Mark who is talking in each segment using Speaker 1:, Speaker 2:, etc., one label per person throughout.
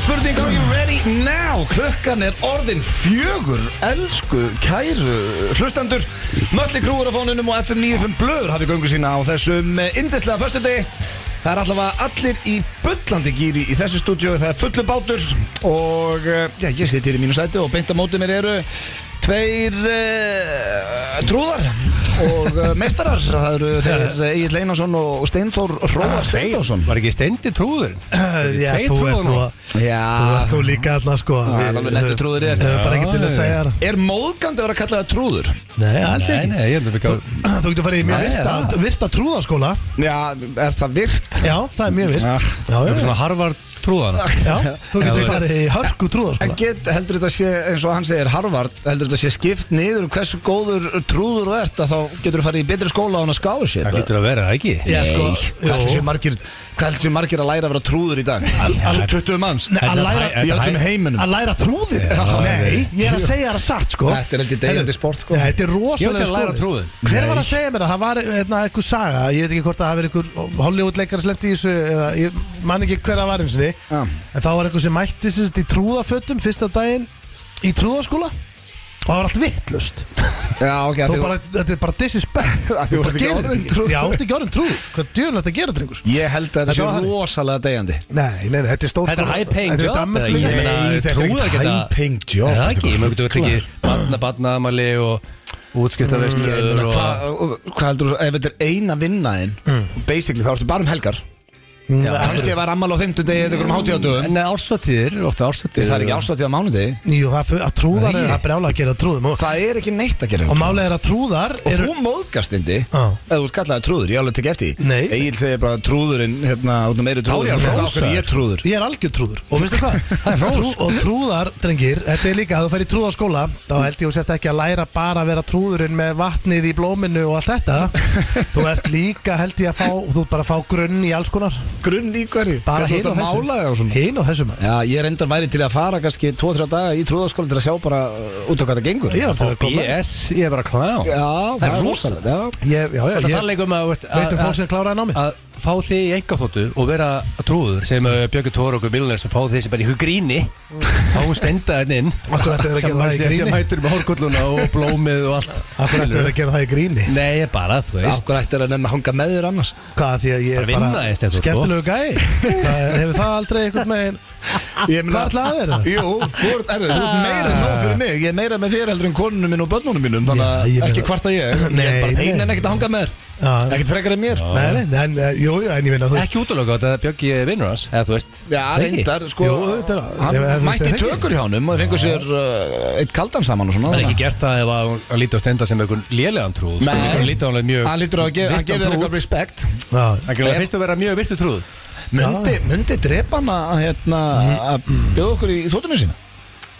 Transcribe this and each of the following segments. Speaker 1: spurning, are you ready now? Klukkan er orðin fjögur, elsku, kæru, hlustendur Mölli krúur á fónunum og FM 95 blöður hafi göngu sína á þessum eh, yndislega föstudegi Það er allavega allir í bullandi gýri í þessu stúdíu, það er fullu bátur og eh, já, ég sittir í mínu sæti og beint á móti mér eru tveir uh, trúðar og uh, meistarar, það eru þeir Egil Einarsson og Steinþór
Speaker 2: Ah,
Speaker 1: Róa Steinþórsson
Speaker 2: Var ekki steindi trúðurinn?
Speaker 3: Eh, Já,
Speaker 2: Tveir
Speaker 3: þú ert
Speaker 2: trúðar
Speaker 3: nú
Speaker 2: nú.
Speaker 1: Já.
Speaker 3: Þú ert nú líka alltaf sko
Speaker 1: Ah. Það er alveg nettur trúður Ah, í þetta.
Speaker 3: Þau bara ekki til að segja það
Speaker 1: Er móðgandi að vera að kalla það trúður?
Speaker 3: Nei, alls
Speaker 2: Nei,
Speaker 3: ekki
Speaker 2: nei, ég er mjög gáð
Speaker 3: Þú getur farið í mjög
Speaker 2: Nei,
Speaker 3: virta,
Speaker 2: það.
Speaker 3: virta trúðaskóla
Speaker 1: Já, er það virt?
Speaker 3: Já, það er mjög virt
Speaker 1: Já.
Speaker 3: Já, já,
Speaker 2: Svona harvar trúðan
Speaker 3: já Þú
Speaker 2: Já,
Speaker 3: getur
Speaker 2: þú-
Speaker 3: farið í hörku
Speaker 1: En
Speaker 3: trúðaskóla
Speaker 1: get, heldur þetta sé, eins og hann segir Harvard, heldur þetta sé skipt niður um hversu góður trúður þú ert að þá getur þú farið í betri skóla án að skáðu sér
Speaker 2: Það getur að vera, það ekki?
Speaker 3: Já, sko,
Speaker 1: Hvað heldur
Speaker 3: jú.
Speaker 1: sé margir, hvað heldur sé margir að læra að vera trúður í dag?
Speaker 2: al-
Speaker 1: 20 manns
Speaker 3: Nei, að
Speaker 2: Þetta-
Speaker 3: læra
Speaker 2: þetta-
Speaker 1: í öllum heiminum
Speaker 3: Að læra trúðir?
Speaker 1: Já.
Speaker 3: Nei, ég er að segja það satt sko
Speaker 1: Þetta er heldur deyjandi sport sko
Speaker 3: Nei, þetta er
Speaker 2: Ég ætla
Speaker 3: rosalega
Speaker 2: að læra trúðin.
Speaker 3: Hver
Speaker 1: Nei.
Speaker 3: var að segja mér það? Það var hérna, einhver saga Ég veit ekki hvort það hafi verið einhver Hollywood-leikar slemt í þessu eða, Ég man ekki hver að var eins og
Speaker 1: Já.
Speaker 3: En þá var einhver sem mætti sem sagt, í trúðafötum Fyrsta daginn í trúðaskóla Og það var allt vittlust
Speaker 1: Já, ok, að
Speaker 3: Þú
Speaker 1: því-
Speaker 3: bara, þetta er bara disrespect
Speaker 1: Að þú ert ekki
Speaker 3: gerir
Speaker 1: orðinn
Speaker 3: þetta
Speaker 1: trúður.
Speaker 3: Já, þú ert ekki orðin trú Hvað djöðum þetta að gera, drengur?
Speaker 1: Ég held að þetta
Speaker 3: Þetta
Speaker 1: sé
Speaker 3: var-
Speaker 1: rosalega deyjandi
Speaker 3: Nei, nei, nei, þetta er stór
Speaker 2: Þetta er high paying
Speaker 3: Þetta er í
Speaker 2: job
Speaker 3: Danmörku
Speaker 2: eða
Speaker 3: líka.
Speaker 2: ég meina,
Speaker 1: Nei, þetta er
Speaker 2: trúðar
Speaker 1: ekkert
Speaker 2: geta-
Speaker 1: high paying job,
Speaker 2: Er Það ekki,
Speaker 1: þetta
Speaker 2: ég
Speaker 1: er
Speaker 2: mjög getur vel ekki Batna, batna, amali og útskiptaveislu
Speaker 1: Mm, Ég meina,
Speaker 2: og
Speaker 1: Hvað hva heldur þú, ef þetta er eina vinnaðin Basically, þá ertu bara um helgar Kannski að vera ammal á 50 degi eða einhverjum hátíðatöðum
Speaker 2: En ársvatíðir, ofta ársvatíðir
Speaker 1: Það er ekki ástæðið á mánudegi
Speaker 3: Jú, það er að trúðar
Speaker 2: Nei.
Speaker 3: er að brjála að gera trúðum Og,
Speaker 1: Það er ekki neitt að gera
Speaker 3: og málega er að trúðar
Speaker 1: Og
Speaker 3: eru-
Speaker 1: þú móðgast indi
Speaker 3: Já.
Speaker 1: Ef þú skallaði trúður, ég alveg tekið eftir því.
Speaker 3: Nei.
Speaker 1: Egil segir bara trúðurinn hérna, út um meiri trúður
Speaker 2: ég að
Speaker 1: Og
Speaker 2: hrósa
Speaker 1: þá fyrir ég trúður
Speaker 3: Ég er algjör trúður Og veistu hvað? Trú, og trúðar, drengir, þetta er líka að þú fer í trúðaskóla Þá held ég að þú sért ekki að læra bara að vera trúðurinn með vatnið í blóminu og allt þetta Þú ert líka held ég að fá Þú ert bara að fá grunn í alls konar
Speaker 1: Grunn í hverju
Speaker 3: Bara
Speaker 1: Hvernig
Speaker 3: hin
Speaker 1: þú
Speaker 3: og
Speaker 1: ert að mála þig og
Speaker 3: þessum
Speaker 1: svona
Speaker 3: Hin og þessum
Speaker 1: Já, ég reyndar væri til að fara kannski 2-3 daga í trúðaskóla til að sjá bara uh, út á hvað það gengur
Speaker 3: Ég var til að koma
Speaker 2: BS, ég er bara klán
Speaker 1: Já,
Speaker 2: Það er
Speaker 1: rosalegt,
Speaker 2: rosalegt
Speaker 1: já.
Speaker 3: Ég, já, já,
Speaker 2: Það
Speaker 3: ég
Speaker 2: talegum að veist, að-
Speaker 3: veit um
Speaker 2: að-
Speaker 3: fólk sem kláraði námið
Speaker 2: að fá þig í engaþóttu og vera trúður sem uh, Björgur Tóra og Milner sem fá þig sem bara í hugríni þá stenda henn inn
Speaker 3: Akkur ættu þeir að
Speaker 2: sem
Speaker 3: gera það í
Speaker 2: sem- sem
Speaker 3: gríni?
Speaker 2: hættur með hórkulluna og blómið og allt
Speaker 3: Akkur ættu verið að gera það í gríni
Speaker 2: Nei, ég bara, þú veist
Speaker 1: Akkur ættir að nefna hanga með þér annars
Speaker 3: Hvað því að ég
Speaker 2: Bara
Speaker 3: er
Speaker 2: vinna þér,
Speaker 3: bara
Speaker 2: Stefán, sko.
Speaker 3: skemmtilegu gæi Það hefur það aldrei einhvern veginn Hvað ætlaði þér það?
Speaker 1: Jú, þú ert, erðu, þú ert meira en nóg fyrir mig Ég er meira með þér heldur en konunum minn og börnunum mínum Þannig
Speaker 3: Já, ég
Speaker 1: að
Speaker 3: meina-
Speaker 1: ekki hvarta ég Ég er
Speaker 3: Nei,
Speaker 1: bara
Speaker 3: nei.
Speaker 1: hrein en ekkert að hanga með
Speaker 3: Já.
Speaker 1: þér Ekkert frekar en mér
Speaker 3: Nei, nei, en, eh, jú, jú, en ég minna, þú veist
Speaker 2: Ekki útlöka þetta að Björgi er vinnur hans eða þú veist
Speaker 1: Já,
Speaker 2: Það ekki.
Speaker 1: reyndar, sko
Speaker 3: Jú, þetta er- ef- ef
Speaker 1: Hann
Speaker 3: þú
Speaker 1: mætti
Speaker 3: veist,
Speaker 1: tökur hjá honum og fengur sér uh, eitt kaldan saman og svona
Speaker 2: Það er ekki gert það ef að hún að líti á stenda sem einhvern lélegan trúð Sko,
Speaker 1: Nei.
Speaker 2: Hann líti á hann mjög
Speaker 1: Hann lítur á að gefa
Speaker 2: virtan
Speaker 1: hann gefur þér
Speaker 2: trúð.
Speaker 1: eitthvað respect
Speaker 3: Já,
Speaker 2: Hann gerir það fyrst að vera mjög virtu trúð
Speaker 1: Mundi, mundi drepa hann að hérna,
Speaker 3: Mm.
Speaker 1: að bjóða okkur í þóttunum sína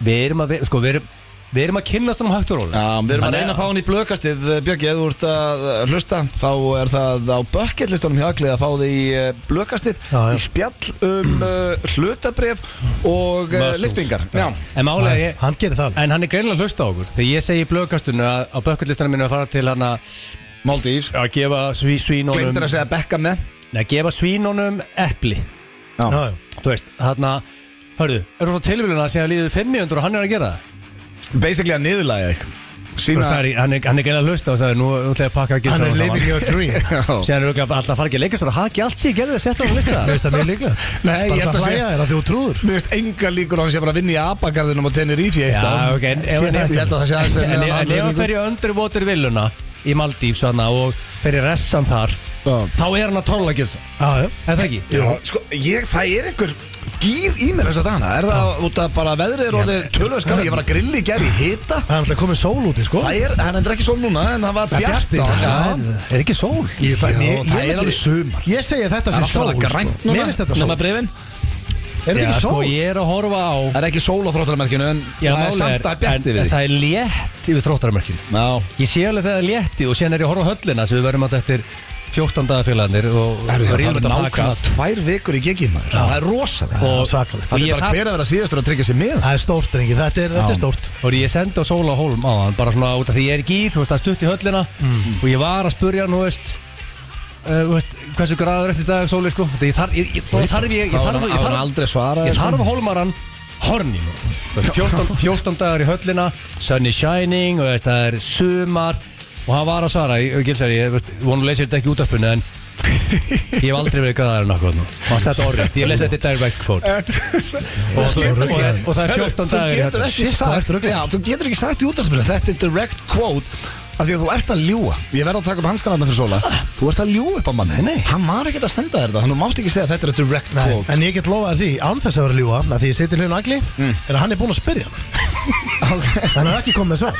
Speaker 2: Við erum að, sko, við erum Við erum að kynnast honum hægt og rólega
Speaker 1: Já, við erum að reyna að fá hann í blökastið Björgi, ef þú ert að uh, hlusta þá er það á bökkjallistunum hjá Aglið að fá þig í uh, blökastið
Speaker 3: Já, já.
Speaker 1: í spjall um uh, hlutabref og uh,
Speaker 2: Muscles.
Speaker 1: liftingar Já,
Speaker 2: En málega
Speaker 3: Nei,
Speaker 2: ég
Speaker 3: hann gerir það alveg.
Speaker 2: En hann er greinilega að hlusta á okkur Þegar ég segi í blöðkastunni að á bökkullistanum minni að fara til hann að
Speaker 1: Maldís
Speaker 2: að gefa sví, svínunum
Speaker 1: Gleimdur að segja bekka með
Speaker 2: Nei, gefa svínunum epli
Speaker 1: Já,
Speaker 3: Já, já.
Speaker 2: Þú veist, þarna Hörðu, eru svo tilvílun að segja líðið 500 og hann er að gera það
Speaker 1: basically að niðurlæga þig
Speaker 2: Þú
Speaker 1: Sýna
Speaker 2: veist, það er í- hann er, hann er greinilega að hlusta og sagði Nú ætla ég að pakka að gera
Speaker 3: Hann er living
Speaker 2: saman
Speaker 3: your dream
Speaker 1: Já.
Speaker 2: Sér er örugglega alltaf að fara ekki að leika sér að haki allt sér gerði að setja á hún lista
Speaker 3: Þú veist það mjög líklegt
Speaker 1: Nei, ég
Speaker 3: Bara
Speaker 1: held
Speaker 3: það
Speaker 1: að sé-
Speaker 3: hlæja þér að þú trúður
Speaker 1: Mér veist enga líkur á hans ég bara að vinna í abagarðinum og Tenerife í eitt
Speaker 2: Já,
Speaker 1: ár
Speaker 2: ok, en ef
Speaker 3: Sé
Speaker 2: hann er
Speaker 3: það
Speaker 1: Ég held að það sé aðeins
Speaker 2: En, en, en ef
Speaker 1: þegar
Speaker 2: hann fer í underwater villuna í Maldífs hana, og fer í ressan þar þá er hann að trolla að gera það
Speaker 3: Já, já
Speaker 2: Er það ekki?
Speaker 1: Já, sko, ég, það er einhver gýr í mér þess að dana Er það út að bara veðrið er orðið tölvöskar Ég var að grilli í gær í hita
Speaker 3: Það er alltaf komið sól úti, sko
Speaker 1: Það er, hann er ekki sól núna En það var
Speaker 3: Það er
Speaker 1: bjart
Speaker 3: bjart í
Speaker 1: á
Speaker 3: dag.
Speaker 1: Já.
Speaker 2: En, er ekki sól?
Speaker 3: Ég fæ-
Speaker 1: Já,
Speaker 3: ég- ég
Speaker 1: það er
Speaker 3: myndi-
Speaker 1: alveg sumar.
Speaker 3: Ég segi þetta
Speaker 1: Það
Speaker 3: sem
Speaker 1: er
Speaker 3: sól
Speaker 1: alltaf að grænt
Speaker 3: sko.
Speaker 1: núna
Speaker 3: Mér finnst þetta sól
Speaker 1: Nema brefin
Speaker 3: Er þetta ekki
Speaker 2: sko,
Speaker 3: sól?
Speaker 2: ég er að horfa á
Speaker 1: Það er ekki sól á þróttarmerkinu En
Speaker 2: Já,
Speaker 1: það er
Speaker 2: málið
Speaker 1: samt að bjart
Speaker 2: en
Speaker 1: yfir því
Speaker 2: það er létt yfir þróttarmörkinu
Speaker 1: Já
Speaker 2: Ég sé alveg þegar það er léttið og síðan er ég að horfa á höllina sem við verðum alltaf eftir 14 dagafélagarnir og
Speaker 1: Það
Speaker 2: og
Speaker 1: eru
Speaker 2: ríðum þetta taka
Speaker 1: nákvæmlega tvær vikur í geggi maður Það er rosalega
Speaker 3: Það
Speaker 2: og-
Speaker 3: er svakalegt
Speaker 1: Það
Speaker 2: ég
Speaker 1: er bara
Speaker 2: þarf-
Speaker 1: hver að vera síðastur að tryggja sér með
Speaker 3: Það er stórt, drengi, þetta er, þetta er stórt
Speaker 2: og ég sendi á Sóla Hólm
Speaker 1: Mhm.
Speaker 2: á hann bara svona út af því ég er ekki í, þú veist, það er stutt í höllina og ég var að spurja hann, þú veist uh, þú veist, hversu graður eftir dag sóli sko Þetta ég þarf, ég, ég, og þarf ég, ég
Speaker 1: Þá
Speaker 2: þarf,
Speaker 1: hefur
Speaker 2: ég
Speaker 1: hann
Speaker 2: þarf,
Speaker 1: aldrei svarað
Speaker 2: ég
Speaker 1: þessu.
Speaker 2: þarf holmaran horni nú. Þú veist, 14, 14 dagar í höllina Sunny Shining, og, þú veist, það er sumar og hann var að svara, ég gilsar ég, þú veist, vonu leysir þetta ekki út af punni en ég hef aldrei verið græðar en okkur nú og hann stætti orðið, ég lesi þetta í direct quote og, og, og, og, og það er 14 dagar í
Speaker 1: Þú getur ekki
Speaker 2: höllina
Speaker 1: sagt já, Þú getur ekki sagt í útdagsbyrðu Þetta er direct quote að Því að þú ert að ljúa Ég verð að taka upp hanskanarna fyrir sóla Þú ert að ljúa upp á manni
Speaker 2: Ah. Nei, nei.
Speaker 1: Hann var ekkert að senda þér það Þannig þú mátt ekki segja að þetta er a direct quote
Speaker 3: En ég get lofað þér því, án þess að vera að ljúa að því ég seti hljóðin agli, er að hann er búinn að spyrja hann Þannig að hann er ekki komið svo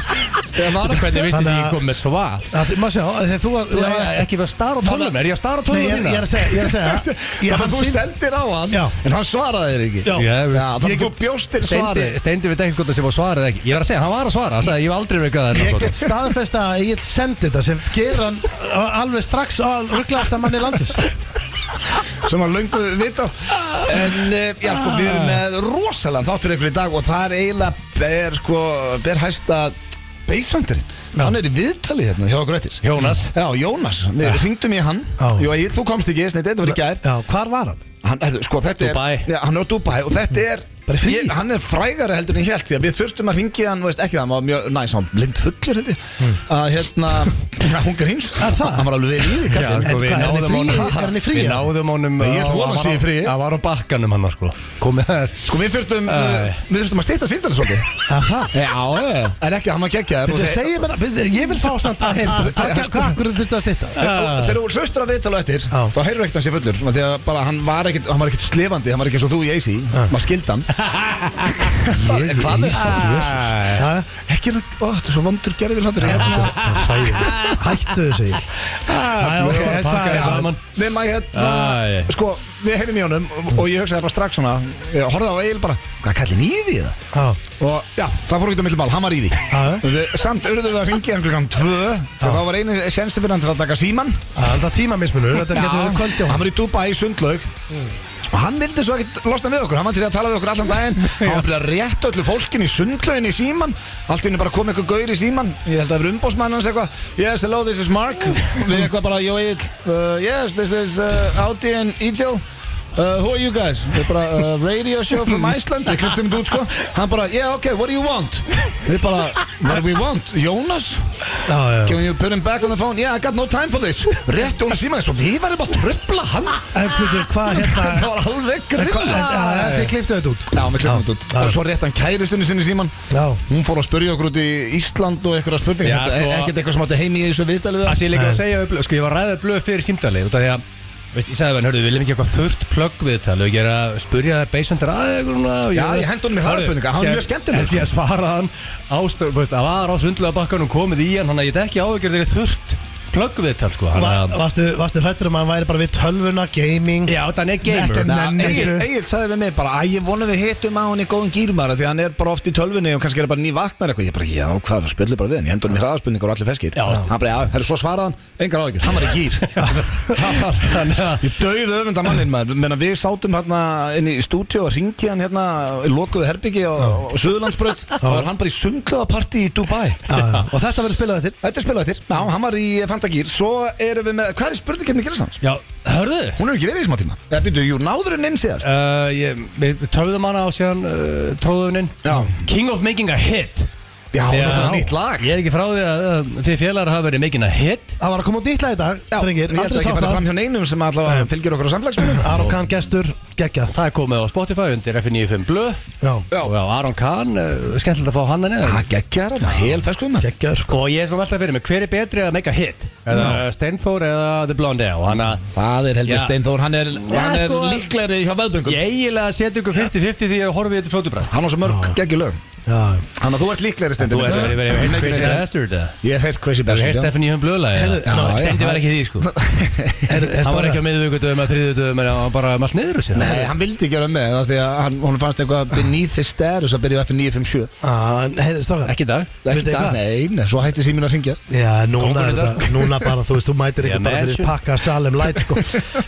Speaker 2: Veitu hvernig vistist
Speaker 3: Þannig
Speaker 2: ég
Speaker 3: að-
Speaker 2: ekki kom með svar?
Speaker 3: að, Má sjá, að þegar þú var
Speaker 2: Þú
Speaker 3: þú var-
Speaker 2: er ekki verið að stara á tölum, er ég að stara á
Speaker 3: Nei,
Speaker 2: tölum
Speaker 3: ég, er- ég er að segja, ég er að segja ég,
Speaker 1: Þannig
Speaker 3: hann
Speaker 1: að þú
Speaker 3: sýn-
Speaker 1: sendir á hann
Speaker 3: Já.
Speaker 1: En hann svaraði þér ekki
Speaker 3: Já.
Speaker 1: Já, Þannig
Speaker 3: Ég
Speaker 1: að þú
Speaker 3: get-
Speaker 1: bjóst til
Speaker 2: Steindi,
Speaker 1: svarið
Speaker 2: steindi veit ekki hvort það sem var svarað eða ekki Ég var að segja, hann var að svara, hann sagði ég hef aldrei verið gæðað
Speaker 3: Ég
Speaker 2: hérna
Speaker 3: get staðfest að ég get sendið þetta sem gerir hann a- alveg strax á rugglaðasta manni landsins
Speaker 1: sem var löngu vitað en eh, já sko við erum með rosalega þátt fyrir ykkur í dag og það er eiginlega ber sko ber hæsta beisvangurinn hann er í viðtali hérna hjá okkur eftir
Speaker 2: Jónas
Speaker 1: Já, Jónas, við syngdum í hann
Speaker 3: Já.
Speaker 1: Jó, Egil, þú komst ekki, snið, þetta var í gær
Speaker 3: Já, hvar var hann?
Speaker 1: hann, er, sko, þetta er-
Speaker 2: Dubai.
Speaker 1: Já, Hann er á Dubai og þetta er
Speaker 3: Bara í fríi.
Speaker 1: ég, Hann er frægari heldur en ég held Því að við þurftum að ringja hann, þú veist, ekki það Hann var mjög, næs, hann var blind fullur heldur Að hérna, já, hún grýns
Speaker 3: Hmm. Er það?
Speaker 1: Hann var alveg vel í því,
Speaker 2: Já,
Speaker 1: kallinn.
Speaker 2: sko,
Speaker 3: En
Speaker 2: við
Speaker 3: hvað, er hann í
Speaker 2: náðum
Speaker 3: fríi?
Speaker 2: honum-
Speaker 3: Er hann í fríi?
Speaker 2: Við náðum honum
Speaker 1: Ég ætla að vona að sé í fríi.
Speaker 2: Það var á bakkanum hann var, sko Komið það
Speaker 1: Sko við þurftum,
Speaker 2: Æ.
Speaker 1: uh, við þurftum að stýta síndalið svolítið
Speaker 3: Aha.
Speaker 1: Já, já. en ekki, hann var geggjaður og
Speaker 3: Þetta
Speaker 1: þeir-
Speaker 3: segir mér að, bíddu, ég vil fá samt að
Speaker 1: Ah,
Speaker 3: heyra þetta. Hvað- Hvað akkur er þetta að stýta?
Speaker 1: og Þegar þú voru söstur að viðtala eftir
Speaker 3: Já.
Speaker 1: Þá heyrur ekkert hann sé fullur svona, Því að bara hann var ekkert, hann var ekkert slefandi Hann var ekki eins og þú í AC Maður skildi hann
Speaker 3: Ég,
Speaker 1: Hvað er það?
Speaker 2: Æ,
Speaker 3: Ha?
Speaker 1: Ekki þú, ó, þetta er svo vondur gerðið hlátur hérna.
Speaker 3: Hættu þessu ég Æ, ok,
Speaker 2: Við vorum að
Speaker 3: hvað
Speaker 2: pakka
Speaker 3: er
Speaker 2: því
Speaker 3: það?
Speaker 2: saman
Speaker 1: Nema hérna
Speaker 2: Æ.
Speaker 1: Sko, við heyrðum í honum Og og ég hugsaði bara strax svona Ég horfði á Egil bara Hvað kallir hann í því það?
Speaker 3: Já.
Speaker 1: Og já, það fór ekki á millum mál, hann var í því
Speaker 3: Já.
Speaker 1: Þau- Samt urðuðu að ringi hann klukkan tvö Þá þá var einu sensti fyrir hann til að taka síman
Speaker 3: Það er það tímamismunur, þetta getur verið kvöldjá
Speaker 1: hann var í Dubai í sundlaug og hann vildi svo ekkert losna við okkur hann var til að tala við okkur allan daginn hann var byrjað að rétta öllu fólkin í sundlaugin í síman allt inni bara kom eitthvað gaur í síman ég held að það verið umbósmann hans eitthvað yes hello this is Mark við eitthvað bara jó Egil uh, yes this is uh, Audi and Egil Uh, who are you guys? Við bara, uh, radio show from Iceland Við kliftum þetta út sko Hann bara, yeah ok, what do you want? Við bara, what do we want? Jónas?
Speaker 3: Já, já.
Speaker 1: Can you put him back on the phone? Yeah, I got no time for this Rétti hún síma þess og við varum bara að tröfla hann
Speaker 3: En Pétur, hvað
Speaker 1: Það
Speaker 3: hérna
Speaker 1: var alveg
Speaker 3: en hvað- en-
Speaker 1: grilla
Speaker 3: já, Þið kliftu þetta út
Speaker 1: Já, með klefnum út
Speaker 3: Já.
Speaker 1: Og svo rétti hann kæristunni sinni síman
Speaker 3: Já.
Speaker 1: Hún fór að spyrja okkur út í Ísland og eitthvað spurning
Speaker 2: Já, sko-
Speaker 1: Ekkert eitthvað sem átti heim í þessu viðtalið
Speaker 2: Það sé ég líka
Speaker 3: Nei.
Speaker 2: að segja við blöð Sko, ég var ræðið blöð fyrir símdali Út af því að Veist, ég sagði við hann, hörðu, við viljum ekki eitthvað þurrt plögg við þetta Við gerum að spurja það beisvendur aðeins
Speaker 1: Já, ég hendi honum í hraðaspurningar, hann var mjög skemmtilegur,
Speaker 2: En síðan svaraði hann ástöð, veist, að var á svundlega bakkanum komið í hann Þannig að ég er ekki áhyggjur þeirri þurrt plögg við þetta, sko Þannig
Speaker 3: Va-
Speaker 2: að-
Speaker 3: Varstu varstu hræddur um að hann væri bara við tölvuna, gaming
Speaker 2: Já, þetta hann er gamer
Speaker 3: Þetta er- nenni
Speaker 1: Egil,
Speaker 3: þessu.
Speaker 1: Egil sagði við mig bara að ég vona við hittum á hann í góðum gýrmara því að hann er bara oft í tölvunni og kannski er bara ný vaknar eitthvað ég bara já hvað það spilur bara við hann ég hendur hann í hraðaspurningar og allir feskir
Speaker 2: Já.
Speaker 1: hann bara já herru svo svaraði hann engar áðgjur hann var í gýr Það var-
Speaker 2: Þannig að-
Speaker 1: ég dauði öfunda mannin maður menna við sátum hérna inn í stúdíu og ringi hann hérna í lokuðu herbyggi og, og Suðurlandsbröð og var hann bara í sundlöðaparti í Dubai
Speaker 3: Já, já. Og þetta verður spilað eftir
Speaker 1: Þetta er spilað eftir já hann var í fantagýr svo erum við með hvað er spurningkjarni Gilsans
Speaker 2: Já, hörðu
Speaker 1: hún er ekki verið í smá tíma eða býtu jú náðurinn inn síðast
Speaker 2: uh, ég, Við töfðum hana á síðan uh, tróðuninn
Speaker 1: Já.
Speaker 2: King of making a hit
Speaker 1: já, þetta er nýtt lag
Speaker 2: Ég er ekki frá því að uh, þið félagar hafa verið making a hit
Speaker 3: Það var að koma út nýtt lag í dag,
Speaker 1: Já, ég
Speaker 3: drengir
Speaker 1: held
Speaker 3: aldrei
Speaker 1: ekki að fara
Speaker 3: toppað.
Speaker 1: fram hjá neinum sem allavega fylgir okkur á samfélagsmiðlum
Speaker 3: Aron Kahn gestur, geggjað
Speaker 2: Það er komið á Spotify undir F95 Blö
Speaker 3: Já,
Speaker 1: Já.
Speaker 2: Og á Aron Kahn, uh, skemmtilegt að fá hann að neða
Speaker 1: Það geggjara, það er hel feskum maður.
Speaker 3: geggjaður sko
Speaker 2: Og ég er svona alltaf fyrir mig, hver er betri að make a hit? Eða no. Steinfor eða The Blonde Og hann að
Speaker 1: Það er heldur
Speaker 2: Já.
Speaker 1: Steinþór, hann er, hann er
Speaker 2: sko.
Speaker 1: líklegri hjá veðböngum
Speaker 2: Ég eiginlega setja ykkur 50-50 því að horfið þetta fljótubræð
Speaker 1: Hann á svo mörg geggjulög
Speaker 3: Já,
Speaker 1: Þannig að þú ert líklegri
Speaker 2: Þú
Speaker 1: Steinþór
Speaker 2: veist að ég verið heilt Crazy
Speaker 1: Ég
Speaker 2: Bastard eða?
Speaker 1: hef Crazy
Speaker 2: Þú heilt
Speaker 1: Bastard já.
Speaker 2: F95 Blöðlagi
Speaker 3: Heyrðu, já,
Speaker 2: Steindi
Speaker 1: já,
Speaker 2: var ekki í því sko
Speaker 3: er, er
Speaker 2: Hann var
Speaker 3: stóra-
Speaker 2: ekki á miðvíkutöðum að þriðutöðum en hann var bara um allt niður úr sér
Speaker 1: Nei, hann vildi ekki vera með það því að hann, honum fannst eitthvað beneath his status að byrja á FN957
Speaker 3: Ah, en heyrðu, strákar
Speaker 2: Ekki í dag
Speaker 1: Ekki
Speaker 3: Vildi
Speaker 1: það,
Speaker 3: eitthvað?
Speaker 1: nei, nei, svo hætti síminn að syngja
Speaker 3: Já, núna,
Speaker 2: Kóngurinn sko.
Speaker 3: er
Speaker 2: þar.
Speaker 3: þetta, núna bara, þú veist, þú mætir
Speaker 2: Ég
Speaker 3: ykkur bara
Speaker 2: mention.
Speaker 3: fyrir pakka salem light, sko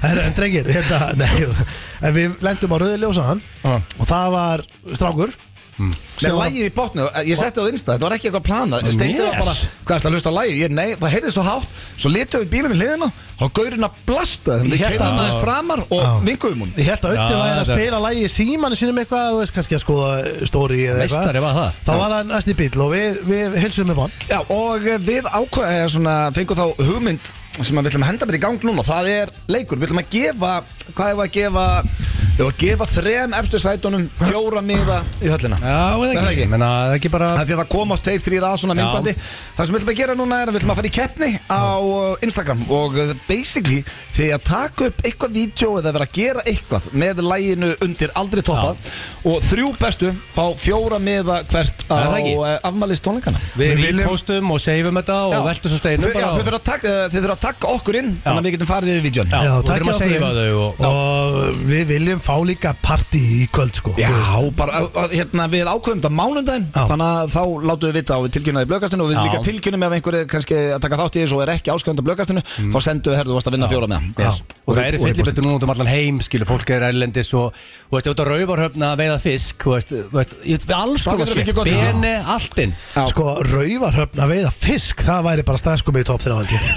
Speaker 3: Herra, En drengir, hérna, nei, en við lendum á rauði ljósaðan
Speaker 2: Já.
Speaker 3: Og það var strákur
Speaker 1: Með lægið í botnu, ég setti það á insta Þetta var ekki eitthvað planað Steindi var
Speaker 2: Yes.
Speaker 1: bara, hvað er það að hlusta á lægið? Ég, nei, það heyrði svo hátt Svo litum við bílum í hliðina Og gaurinn að blasta þeim Við
Speaker 3: Ég held
Speaker 1: kemum
Speaker 3: að-
Speaker 1: aðeins framar
Speaker 3: Já.
Speaker 1: og vinguðum hún
Speaker 3: Ég held að Ötti
Speaker 2: Já,
Speaker 3: væri að
Speaker 2: þetta-
Speaker 3: spila lægi í símanu sínum eitthvað, þú veist, kannski að skoða stóri eða eitthvað.
Speaker 2: Meistari var það.
Speaker 3: Þá var hann næst í bíl og við, við hilsum upp á hann.
Speaker 1: Já, og eh, við ákvæða svona, fengum þá hugmynd sem að við ætlum að henda bara í gang núna og það er leikur, við ætlum að gefa hvað er að gefa, við ætlum að gefa þrem eftir sætunum fjóra miða í höllina
Speaker 2: Já, eða
Speaker 1: Það er
Speaker 2: ekki,
Speaker 1: ekki.
Speaker 2: menna það er ekki bara
Speaker 1: Það er því að það komast tveir, þrýr að svona
Speaker 2: Já.
Speaker 1: myndbandi Það sem við ætlum að gera núna er að við ætlum að fara í keppni á uh, Instagram og uh, basically því að taka upp eitthvað vídeo eða vera að gera eitthvað með læginu undir aldrei toppa og þrjú bestu fá fjóra miða hvert á
Speaker 2: Er það ekki?
Speaker 1: uh, afmælist tónleikana
Speaker 2: Við
Speaker 3: Við viljum-
Speaker 2: repostum og seifum þetta og veltum svo
Speaker 1: Þau-
Speaker 2: steinu
Speaker 1: já,
Speaker 2: bara
Speaker 1: þau þurfa að taka- eh, þau þurfa að taka okkur inn þannig að við getum farið yfir vídjón
Speaker 2: Já,
Speaker 3: Já,
Speaker 2: og
Speaker 3: takk
Speaker 2: þurfum að
Speaker 3: hjá
Speaker 2: seifa
Speaker 3: okkur.
Speaker 2: þau og, og
Speaker 3: Og við viljum fá líka partí í kvöld, sko.
Speaker 1: Já, bara að- að, hérna, við ákveðum þetta mánundaginn
Speaker 3: Já.
Speaker 1: Þannig að þá látum við vita og við tilkynnaði blökastinu og við
Speaker 2: Já.
Speaker 1: líka tilkynnum ef einhver er kannski að taka þátt í þessu og er ekki áskjöfandi blökastinu þá sendu við herðu varst að vinna fjóra með það.
Speaker 3: Já.
Speaker 1: Yes.
Speaker 2: Mm. Og það eru fyllibittur núna út um allan heim, skilu, fólk er erlendis og, og veist, út á rauvarhöfna að veiða fisk, og veist, veist, ég- við alls
Speaker 1: Þá
Speaker 2: konar
Speaker 1: getur þú
Speaker 2: shit.
Speaker 1: fengið gott í það.
Speaker 2: Bene, alltinn.
Speaker 1: Já.
Speaker 3: Sko, rauvarhöfn að veiða fisk, það væri bara stræðskummi í top 3 held ég.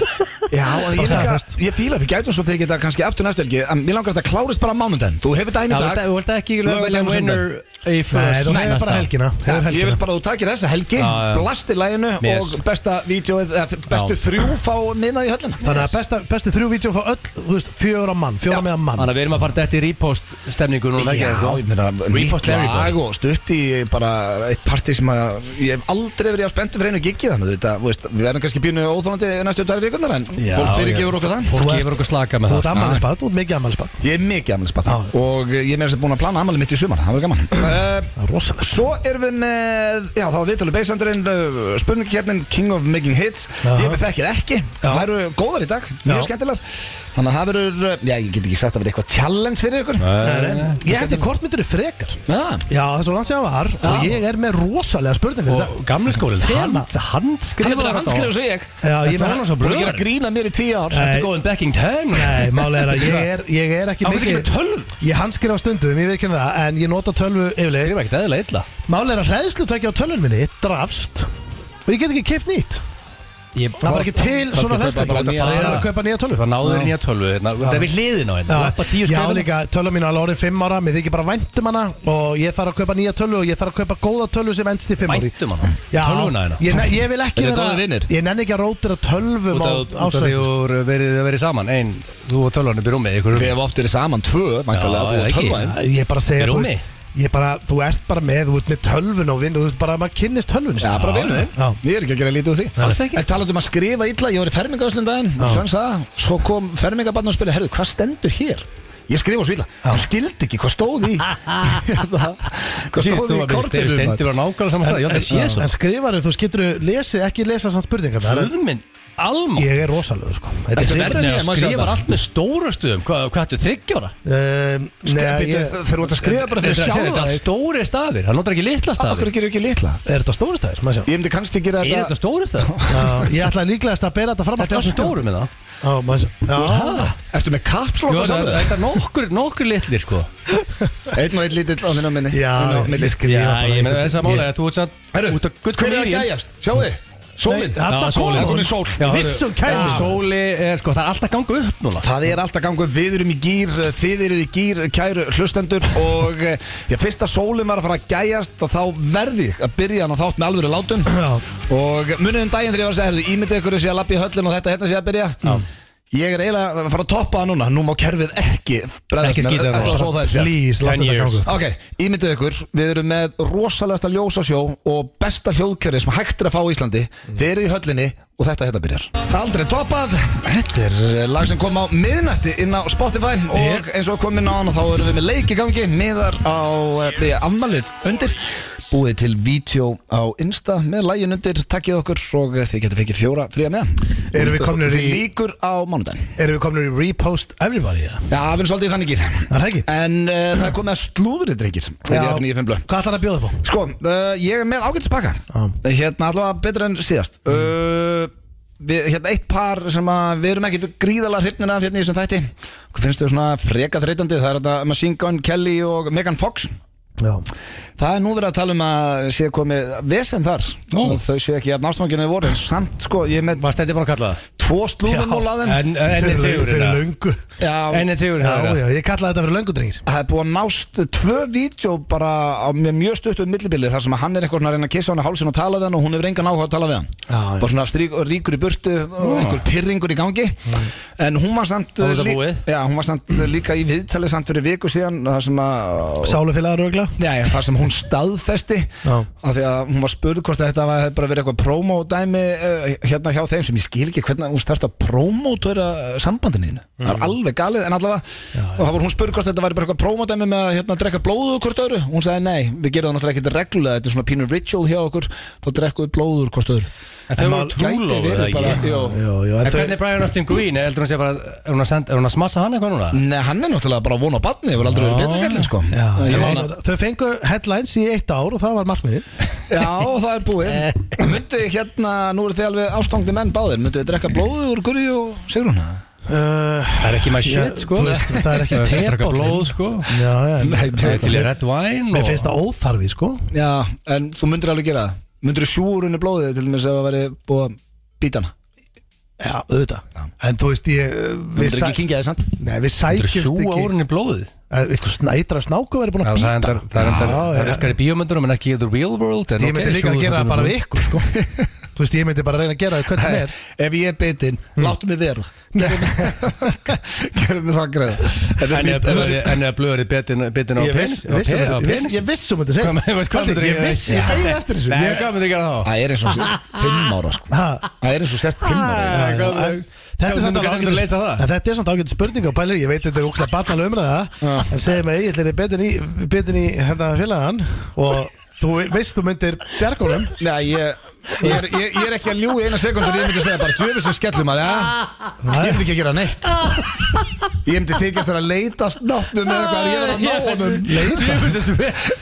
Speaker 1: Já, en ég,
Speaker 3: Bara
Speaker 1: líka,
Speaker 3: staðfest.
Speaker 1: ég fíla að við gætum svo tekið þetta kannski aftur næstu helgi en mér langar að þetta klárist bara mánundaginn Þú hefur þetta
Speaker 2: Já,
Speaker 1: einu
Speaker 2: þú
Speaker 1: dag
Speaker 2: veist- þú veist ekki
Speaker 1: laugardag
Speaker 2: velja
Speaker 1: og
Speaker 2: winner
Speaker 1: sunnudaginn.
Speaker 2: í
Speaker 3: Nei, þú hefur bara
Speaker 2: næsta.
Speaker 3: helgina.
Speaker 1: Já,
Speaker 3: Hefur
Speaker 1: ég vil
Speaker 3: helgina.
Speaker 1: bara að þú takir þessa helgi,
Speaker 2: Já, já.
Speaker 1: blasti læginu
Speaker 2: Yes.
Speaker 1: og besta vídeoið, eða bestu
Speaker 2: Já.
Speaker 1: þrjú fá miðað í höllina
Speaker 3: Þannig að besta, bestu þrjú vídeo fá öll, þú veist, fjóra mann, fjóra
Speaker 1: Já.
Speaker 3: meðan mann.
Speaker 2: Þannig að við erum að fara dætt í repost stemningu núna
Speaker 1: Já,
Speaker 2: ekki, sko?
Speaker 1: ég meina, nýtt
Speaker 2: Repost
Speaker 1: lag
Speaker 2: Larry
Speaker 1: og stutt í bara eitt parti sem að ég hef aldrei verið á spenntu fyrir einu giggi þannig þetta, þú veist, við verðum kannski pínu óþólandi næstu tvær vikundar en
Speaker 2: Já,
Speaker 1: fólk fyrir
Speaker 2: já.
Speaker 1: gefur okkur það
Speaker 2: Fólk
Speaker 3: Þú ert-
Speaker 2: gefur okkur slaka með
Speaker 3: Þú
Speaker 2: það
Speaker 3: ert ammælisbad, þú ert mikið ammælisbad.
Speaker 1: Ég er mikið afmælisbarn og ég er meira sem búin að plana afmæli mitt í sumar, það verður gaman
Speaker 3: Það
Speaker 1: uh,
Speaker 3: er rosalega.
Speaker 1: Svo erum við með, já þá viðtalið beisandurinn, uh, spurningkeppnin King of Making Hits,
Speaker 3: Aha.
Speaker 1: ég með þekkir ekki, það eru góðar í dag, mjög
Speaker 3: Já.
Speaker 1: skemmtilegar Þannig að það verður, uh, já ég get ekki sagt að verður eitthvað challenge fyrir ykkur Ah,
Speaker 3: Nei, nei. Ég hætti kortmyndur í frekar.
Speaker 1: Já,
Speaker 3: Já, það er svo langt sem það var og ég er með rosalega spurning fyrir
Speaker 2: Og
Speaker 3: þetta.
Speaker 2: gamli skólinn,
Speaker 3: Þema.
Speaker 2: hand- handskrifaður
Speaker 1: Hann er bara
Speaker 2: þetta á-
Speaker 1: handskrifaður, segi ég.
Speaker 3: Já, ég
Speaker 2: Þetta
Speaker 3: meina-
Speaker 2: var nú svo
Speaker 1: búin að gera
Speaker 2: blöður
Speaker 1: grína mér í tíu ár
Speaker 2: Þetta
Speaker 3: Nei.
Speaker 2: er góðin back in time
Speaker 3: Nei, málið er að ég er, ég er ekki
Speaker 2: Á, hvað
Speaker 3: mikið
Speaker 2: ertu ekki með tölvu?
Speaker 3: Ég handskrifa stundum, ég veit ekki það En ég nota tölvu yfirleitt
Speaker 2: Skrifa ekkert eðlilega illa
Speaker 3: Málið er að hlæðslutæki á tölvun minni drafst Og ég get ekki keft nýtt
Speaker 2: Ég-
Speaker 3: Það er bara ekki til
Speaker 2: Kannski kaupa
Speaker 3: svona
Speaker 2: bara
Speaker 3: hlæðslutæki
Speaker 2: nýja-
Speaker 3: Ég er að kaupa nýja tölvu
Speaker 2: Það náður í nýja tölvu hérna. Það er við hliðin á henni
Speaker 3: Já,
Speaker 2: Þú ert bara tíu
Speaker 3: já
Speaker 2: skrifin
Speaker 3: líka tölvun mín er alveg orðin 5 ára Mér þykir bara væntum hana Og ég þarf að kaupa nýja tölvu Og ég þarf að kaupa góða tölvu sem endst í 5 ári
Speaker 2: Mæntum hana
Speaker 3: Já,
Speaker 2: Tölvuna hérna. henni
Speaker 3: ég, ne- ég vil ekki
Speaker 1: Þetta er
Speaker 3: vera
Speaker 1: góðir vinir.
Speaker 3: Ég nenni ekki að rótira
Speaker 2: Út
Speaker 3: tölvum á
Speaker 2: af út af því
Speaker 3: ásveist
Speaker 2: þú eru verið að verið saman Einn, þú og tölvan upp í rúmið ykkur
Speaker 1: Við hefum oft verið saman tvö, mæntalega,
Speaker 2: Já,
Speaker 1: þú
Speaker 2: eða
Speaker 1: og
Speaker 2: ekki.
Speaker 1: tölvaðin
Speaker 3: Æ, Ég bara segja,
Speaker 2: Er
Speaker 3: þú
Speaker 2: Ómi?
Speaker 3: veist Ég bara, þú ert bara með, þú ert með tölvun og vinn, þú veist bara að maður kynnist tölvun
Speaker 1: Já, bara vinnu
Speaker 3: Já.
Speaker 1: þinn, ég er ekki að gera lítið úr því
Speaker 2: Alls ekki.
Speaker 1: En talað um að skrifa illa, ég var í fermingaðslinn daginn Svon sagði, svo kom fermingabann og spila Herðu, hvað stendur hér? Ég skrifa svo illa, hann skildi ekki hvað stóð í Hvað stóð
Speaker 2: Síðust þú
Speaker 1: í
Speaker 2: var með
Speaker 1: kortinu maður?
Speaker 2: stendur var nákvæmlega saman stað Ég ætla að sé
Speaker 3: En, en
Speaker 2: svo
Speaker 3: skrifaru, þú skilur lesi, ekki lesa samt spurningar það er-
Speaker 2: Röðminn, alma
Speaker 3: Ég er rosalegu sko Þetta
Speaker 1: Ertu
Speaker 3: hrikalega-
Speaker 1: verri en
Speaker 2: Nei,
Speaker 1: ég,
Speaker 2: að
Speaker 1: maður sé
Speaker 2: skrifa
Speaker 1: það.
Speaker 2: allt með stóra stuðum Hvað hvað ertu, þryggjóra?
Speaker 3: Um, Nei,
Speaker 1: Bíddu,
Speaker 3: ég-
Speaker 1: Þeir voru að skrifa bara fyrir sjálfa
Speaker 2: Þetta er
Speaker 1: þig
Speaker 2: stóri staðir, hann notar ekki litla staðir
Speaker 1: Akkur gerir ekki litla
Speaker 3: Er þetta stóru stæðir? Má sjá.
Speaker 1: Ég myndi kannski gera
Speaker 2: Er þetta
Speaker 1: þetta
Speaker 2: stóri staðir?
Speaker 3: Já, Ég ætla líklegast að bera þetta fram
Speaker 2: Þetta er svo stóru með það
Speaker 3: Já, má sjá. Já,
Speaker 1: Ertu með
Speaker 2: Jú,
Speaker 1: kapslokk og
Speaker 2: það-
Speaker 1: samveg?
Speaker 2: Þetta er nokkur, nokkur litlir sko
Speaker 1: Einn og einn lítill á þinn á minni
Speaker 3: Já,
Speaker 1: Þinn á milli.
Speaker 3: ég skrifa bara
Speaker 2: ég meina
Speaker 3: einhvern-
Speaker 2: þess að mála Þú ert sann
Speaker 1: Herru,
Speaker 2: út af gutt
Speaker 1: hver er að gæjast? Sjáu þið? Sólin
Speaker 3: Nei, þarna kom hún.
Speaker 1: sól
Speaker 2: Já,
Speaker 3: Viss
Speaker 2: hörru,
Speaker 3: um kæmi.
Speaker 2: já, Sóli er sko, það er alltaf gangu upp núna
Speaker 1: Það er alltaf gangu, við erum í gýr, þið eruð í gýr, kæru hlustendur og eh, já, fyrsta sólum var að fara að gæjast og þá verði að byrja hann að þátt með alvöru látum
Speaker 3: Já.
Speaker 1: og munið um daginn þegar ég var að segja, heyrðu, ímyndið ykkur þessi að lappa í höllin og þetta hérna sé að byrja Ég er eiginlega að fara að toppa það núna, nú má kerfið ekki
Speaker 2: Ekki
Speaker 1: bregðast
Speaker 2: skýta það.
Speaker 1: ekki að svo það er sér
Speaker 3: Please, láta
Speaker 2: 10
Speaker 3: þetta
Speaker 2: years.
Speaker 3: gangu
Speaker 1: Ok, ímyndið ykkur, við erum með rosalegasta ljósasjó og besta hljóðkjörið sem hægt er að fá í Íslandi Þeir eru í höllinni og þetta hérna byrjar Mm. Aldrei toppað, þetta er eh, lag sem kom á miðnætti inn á Spotify og eins og komin á hann þá erum við með leik í gangi miðar á eh, afmalið undir búið til vídeo á Insta með lægin undir, takkið okkur og eh, þið getur fengið fjóra fría með
Speaker 3: Erum við komnir
Speaker 1: Við
Speaker 3: í-
Speaker 1: líkur á mánudaginn
Speaker 3: Erum við komin í repost everybody? eða?
Speaker 1: Já, við erum svolítið í þannig gýr
Speaker 3: Er það ekki?
Speaker 1: En uh, það er komið að slúðrið, drengir Það er
Speaker 3: Já.
Speaker 1: ég að nýja fimm blöð
Speaker 3: Hvað ætlar að bjóða upp á?
Speaker 1: Sko, uh, ég er með ágætt tilbaka
Speaker 3: Já.
Speaker 1: Hérna allavega betra en síðast uh, við, Hérna eitt par sem að við erum ekkit gríðalega hrifnir af hérna í þessum þætti Hvað finnst þau svona freka þreytandi Það er þetta Machine Gun Kelly og Megan Fox
Speaker 3: Já.
Speaker 1: Það er nú verið að tala um að sé komið vesen þar
Speaker 2: Nú.
Speaker 1: og Þau séu ekki hérna að nástanginu voru en samt sko, ég er með
Speaker 2: Var stendir búin að kalla það?
Speaker 1: tvo slúðum
Speaker 3: Já.
Speaker 1: núl að þeim
Speaker 2: En en
Speaker 3: Fyrir-
Speaker 2: er sigurinn
Speaker 3: Fyrir
Speaker 2: það?
Speaker 3: löngu
Speaker 1: Já,
Speaker 2: En er sigurinn
Speaker 3: Já,
Speaker 2: það?
Speaker 3: já, ég kallaði þetta fyrir löngu drengir
Speaker 1: það er búið að nást tvö vídeo bara á mjög, mjög stuttum millibili þar sem að hann er eitthvað svona að reyna að kissa hann á hálsinn og tala við hann og hún hefur engan áhuga að tala við hann
Speaker 3: Já, já.
Speaker 1: bara svona strík, ríkur í burtu og einhver pirringur í gangi en hún var samt eh,
Speaker 2: Þá er þetta
Speaker 1: lí-
Speaker 2: búið.
Speaker 1: já, hún var samt eh, líka í viðtali samt fyrir viku síðan þar sem að
Speaker 3: Sálufélagar örgla
Speaker 1: Já, já, það sem hún staðfesti
Speaker 3: Já.
Speaker 1: af því að hún var spurð hvort að þetta var bara verið eitthvað promódæmi uh, hérna hjá þeim sem ég skil ekki hvernig hún starfst að promótera sambandinniðinu það
Speaker 3: Mhm.
Speaker 1: er alveg galið en allavega og þá var hún spurð hvort þetta var bara eitthvað promódæmi með að hérna, drekka blóðu hvort öðru hún sagði nei, við gerum það náttúrulega ekkert reglulega þetta er svona pínur ritual hjá okkur þá drekkuðu blóður hvort öðru
Speaker 2: En þau
Speaker 1: En
Speaker 2: voru
Speaker 1: maður gæti
Speaker 2: trúlóðu
Speaker 1: verið
Speaker 2: það
Speaker 1: bara-
Speaker 2: ekki?
Speaker 1: Jó.
Speaker 3: Jú, jú,
Speaker 2: En
Speaker 3: en þau
Speaker 2: hvernig er Brian Austin Green? Er heldur hún sé bara, er hún að senda- er hún að smassa hann eitthvað núna?
Speaker 1: Nei, hann er náttúrulega bara von á batni, hefur aldrei verið
Speaker 2: Já.
Speaker 1: betri gællin sko
Speaker 3: Já,
Speaker 1: Ég
Speaker 3: ég
Speaker 1: vona-
Speaker 3: meina, Þau fengu headlines í eitt ár og það var markmiðið
Speaker 1: Já, það er búið Myndu hérna, nú eru þið alveg ástangni menn báðir Myndu þið drekka blóðu úr gurri og sigruna?
Speaker 3: uh,
Speaker 2: Það er ekki my shit, sko.
Speaker 3: Þú veist, það er ekki
Speaker 2: Það er ekki blóð,
Speaker 3: tepállinn
Speaker 2: sko.
Speaker 3: Já, já, en-
Speaker 1: Nei,
Speaker 2: Það er til í
Speaker 3: mér-
Speaker 2: red wine
Speaker 3: Mér
Speaker 2: og-
Speaker 3: finnst það óþarfi, sko
Speaker 1: Já, en þú myndir alveg gera það Myndur þú sjúur unni blóðið til dæmis ef það væri búið að býta hana
Speaker 3: Já, auðvitað En þú veist, ég eh, Við,
Speaker 1: Myndur ekki
Speaker 3: sæ,
Speaker 1: kingja þið samt
Speaker 3: nei, við
Speaker 2: Þú
Speaker 3: sækjumst
Speaker 2: sjúa
Speaker 3: ekki
Speaker 2: úr henni blóðið?
Speaker 3: Eh, Eitthvað snætra snáku verið búin
Speaker 2: Já,
Speaker 3: að
Speaker 2: það
Speaker 3: býta
Speaker 2: endar, það endar, það er
Speaker 3: já,
Speaker 2: skar í bíómyndunum en ekki í the real world en ok,
Speaker 3: Ég myndi líka
Speaker 2: sjóðu
Speaker 3: að gera
Speaker 2: það
Speaker 3: það bara
Speaker 2: nú.
Speaker 3: við ykkur, sko Þú veist, ég myndi bara reyna að gera það hvernig sem er
Speaker 1: Eh, Ef ég er bitinn, láttu mig vera Mm. Gerum við það greið hérna
Speaker 2: En er blöðri, en er blöðri betin, betin á
Speaker 3: Ég
Speaker 2: penis?
Speaker 3: viss- vissum
Speaker 2: á
Speaker 3: þetta- ég viss-
Speaker 2: penis?
Speaker 3: ég vissum þetta segja
Speaker 2: Hvað með- veist, hvað
Speaker 3: Kaldi,
Speaker 2: myndir
Speaker 3: Ég
Speaker 2: ég-
Speaker 3: viss, ég beið eftir þessu
Speaker 2: Nei,
Speaker 3: Ég-
Speaker 2: hvað myndir ég gera þá?
Speaker 1: Það er eins og sér fimm ára sko
Speaker 3: Ha,
Speaker 1: Það er eins og sér fimm ára
Speaker 2: Æ, hvað-
Speaker 3: en Þetta
Speaker 2: Þú
Speaker 3: er samt
Speaker 2: myndir
Speaker 3: alveg
Speaker 2: gæta að leysa það?
Speaker 3: ágætis- en þetta er samt ágætt spurning og pælir, ég veit þetta er ógst að batna umræða en segir mig, ég er betin í, betin í hérna félagann og þú veist þú myndir bjargónum
Speaker 1: Nei, ég, ég, er, ég, ég er ekki að ljúga í eina sekundur Ég myndi segja bara djöfis sem skellum að Ég myndi ekki að gera neitt Ég myndi þykjast vera að leita Náttnum eða hvað er ég verið að ná honum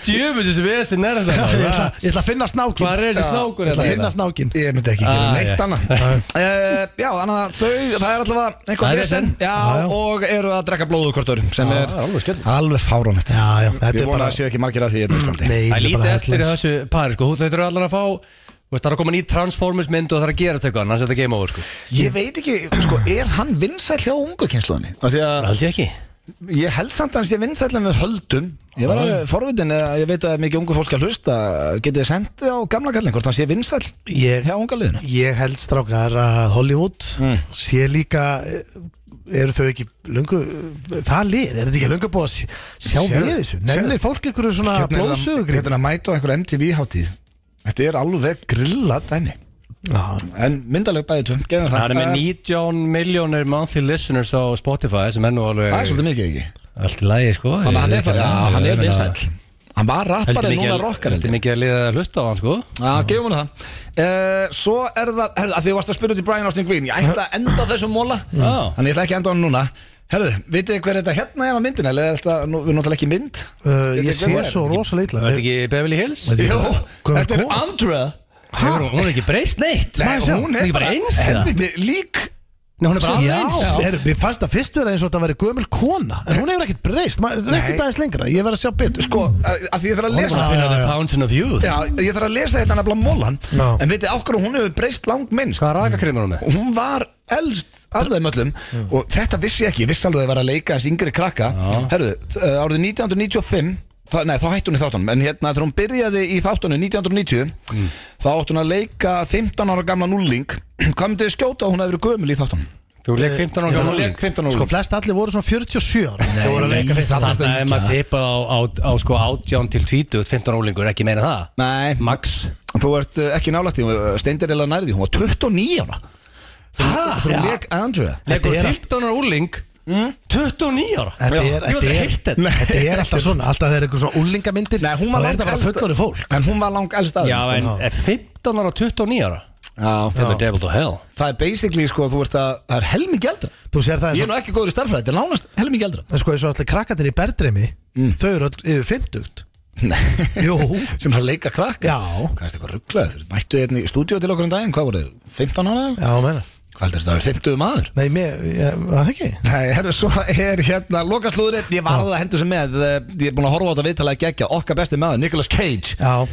Speaker 2: Djöfus þessi vesin er þetta
Speaker 3: ég ætla,
Speaker 2: maður.
Speaker 3: ég ætla að finna snákin
Speaker 2: Hvað er þessi snákur
Speaker 3: Ég ætla að
Speaker 2: hérna?
Speaker 3: finna snákin
Speaker 1: Ég myndi ekki gera
Speaker 2: Ah,
Speaker 1: neitt
Speaker 2: já.
Speaker 1: annað Eh, Já, þannig að þau, það er alltaf
Speaker 2: Það er
Speaker 1: eitthvað vesen
Speaker 2: vesen.
Speaker 1: Já,
Speaker 3: Já, já.
Speaker 1: og eru að drekka blóðu hvort öðrum sem er
Speaker 2: alveg skellt.
Speaker 1: alveg fáránlegt
Speaker 3: Já, já, þetta
Speaker 1: Ég
Speaker 3: er
Speaker 1: vona
Speaker 3: bara
Speaker 1: að séu ekki margir að því hérna í Íslandi
Speaker 3: Nei,
Speaker 2: Það er
Speaker 3: þetta
Speaker 2: lítið
Speaker 3: bara
Speaker 2: eftir í
Speaker 3: headlines.
Speaker 2: þessu pari sko, þau þurfa allar að fá þú veist, Það er að koma ný Transformers mynd og það er að gera þetta eitthvað annars er þetta game over sko
Speaker 1: Ég veit ekki, sko, er hann vinsæll hjá ungu kynsluðinni? Af því að
Speaker 2: held ég ekki
Speaker 1: Ég held samt hans ég vinsætla með höldum Ég var alveg forvitin eða ég veit að mikið ungu fólk að hlusta Getið þið sendið á gamla kallin hvort hans ég vinsæl
Speaker 3: Ég
Speaker 1: hjá unga liðinu
Speaker 3: Ég held strákar að Hollywood
Speaker 2: Mm.
Speaker 3: sé líka eh, eru þau ekki lungu það lið, er þetta ekki lungu búið að sj- sjá
Speaker 1: Sérðu,
Speaker 3: við þessu, nefnir fólk einhverju
Speaker 1: Hérna
Speaker 3: svona
Speaker 2: Hérna
Speaker 3: blóðsögugrið
Speaker 1: að mæta á einhverja MTV hátíð Þetta er alveg grilla dæmi
Speaker 2: hérna-
Speaker 1: En myndaleg bæði tjum, geðum það
Speaker 2: Það er með
Speaker 1: Eh,
Speaker 2: 19 miljónir monthly listeners á Spotify sem er nú alveg
Speaker 1: Það er svolítið mikið ekki
Speaker 2: allt í lagi sko
Speaker 1: Þannig að hann
Speaker 2: Ég-
Speaker 1: er, já, hann er vinsæll Hann var
Speaker 2: Heldur
Speaker 1: rappari
Speaker 2: mikið
Speaker 1: núna
Speaker 2: að-
Speaker 1: rockar
Speaker 2: heldur
Speaker 1: heldur
Speaker 2: mikið að liða að hlusta á hann sko
Speaker 1: Já, gefum hún það uh, Svo er það, herðu, að því þú varst að spyrja út í Brian Austin Green Ég ætla að enda á þessum móla
Speaker 2: Já.
Speaker 1: Þannig ég ætla ekki að enda á hann núna Herðu, vitið þið hver þetta hérna er á myndin Eller er þetta, nú, við notalega ekki mynd
Speaker 3: Uh,
Speaker 1: Vitið
Speaker 3: ég
Speaker 1: þið hver það
Speaker 3: sé
Speaker 1: er?
Speaker 3: svo rosalega
Speaker 2: Er þetta
Speaker 3: illa
Speaker 2: ekki Beverly Hills?
Speaker 3: Þetta
Speaker 1: Jó,
Speaker 3: Hvað er
Speaker 1: þetta er
Speaker 3: kona?
Speaker 1: Andra
Speaker 2: Hefur, hún hún er ekki breyst neitt
Speaker 1: Nei,
Speaker 2: Maður sjá,
Speaker 1: hún er bara
Speaker 2: eins eða?
Speaker 1: helviti lík
Speaker 2: Nei, hún er bara
Speaker 3: Já,
Speaker 2: alveg eins
Speaker 3: er, mér fannst það fyrst vera eins og þetta væri gömul kona en hún hefur ekkert breyst, maður rekkið aðeins lengra ég verð að sjá betur
Speaker 1: Sko, að að því ég þarf að
Speaker 3: Hún er
Speaker 1: lesa
Speaker 3: bara-
Speaker 2: Finna
Speaker 3: Já,
Speaker 2: the
Speaker 3: já.
Speaker 2: fountain of youth
Speaker 1: Já, ég þarf að lesa þetta nefnilega mólan
Speaker 3: Já.
Speaker 1: En vitið þið okkur hún hefur breyst langt minnst
Speaker 2: Hvað rakakrimur hún með?
Speaker 1: og hún var elst af þeim öllum og þetta vissi ég ekki, ég vissi alveg að það var að leika þessi yngri krakka herru, árið 1995 það, nei, þá hætti hún í þáttunum en hérna þegar hún byrjaði í þáttunum 1990 þá átti hún að leika 15 ára gamla núlling hvað myndið þið skjóta að hún hefur gömul í þáttunum?
Speaker 2: Þú leik 15 ára
Speaker 1: Hún
Speaker 2: gammal
Speaker 1: leik 15 ára
Speaker 3: sko,
Speaker 1: núlling
Speaker 3: flest allir voru svona 47 ára Þau voru að leika
Speaker 1: nei,
Speaker 3: fyrst
Speaker 1: það-
Speaker 2: Þannig að ef maður tippað á, á, á sko 18 til 20 15 ólingur, ekki meina það
Speaker 1: nei,
Speaker 2: Max
Speaker 1: þú ert uh, ekki nálægt því steindir eða nærði, hún var 29 ára
Speaker 2: Hæ?
Speaker 1: þú leik Andrea
Speaker 2: Leikur
Speaker 3: Þetta er
Speaker 2: 15 ára óling 29 ára
Speaker 3: Þetta
Speaker 2: Já.
Speaker 3: er-
Speaker 2: Ég
Speaker 3: þetta
Speaker 2: veit
Speaker 3: er-
Speaker 2: að heilt þetta
Speaker 3: þetta er alltaf svona, alltaf þegar eitthvað svona úlingamyndir
Speaker 1: Nei, hún var
Speaker 3: þá er
Speaker 1: langt
Speaker 3: þetta bara
Speaker 1: elst-
Speaker 3: fullori fólk
Speaker 1: en hún var lang elst af
Speaker 2: Já,
Speaker 1: þeim,
Speaker 2: en
Speaker 3: Já.
Speaker 2: er 15 ára og 29 ára
Speaker 1: sko. Já.
Speaker 2: Þetta er devil to hell
Speaker 1: það er basically sko, þú ert að, það er helmingi eldra
Speaker 3: þú sér það eins
Speaker 1: Ég er
Speaker 3: og
Speaker 1: nú ekki góður í starfræði, þetta er nánast helmingi eldra
Speaker 3: En sko eins og allir krakkarnir í berðdreimi
Speaker 1: Mm.
Speaker 3: Þau eru all, yfir 50 Jú
Speaker 1: Sem að leika krakka
Speaker 3: Já
Speaker 1: hérna um Hvað er þetta eitthvað rugglaður? Mættu þér í stúdíu til okkur en daginn, hvað voru þér? 15 ára?
Speaker 3: Já, menna
Speaker 1: Hvað Heldur þetta að það er 50 maður?
Speaker 3: Nei, mér, ég, var það ekki?
Speaker 1: Nei, herru, svo er hérna lokaslúðurinn, ég varði að hendur sem með eh, ég er búin að horfa á þetta viðtalega gegja, okkar besti maður, Nicolas Cage
Speaker 3: Já,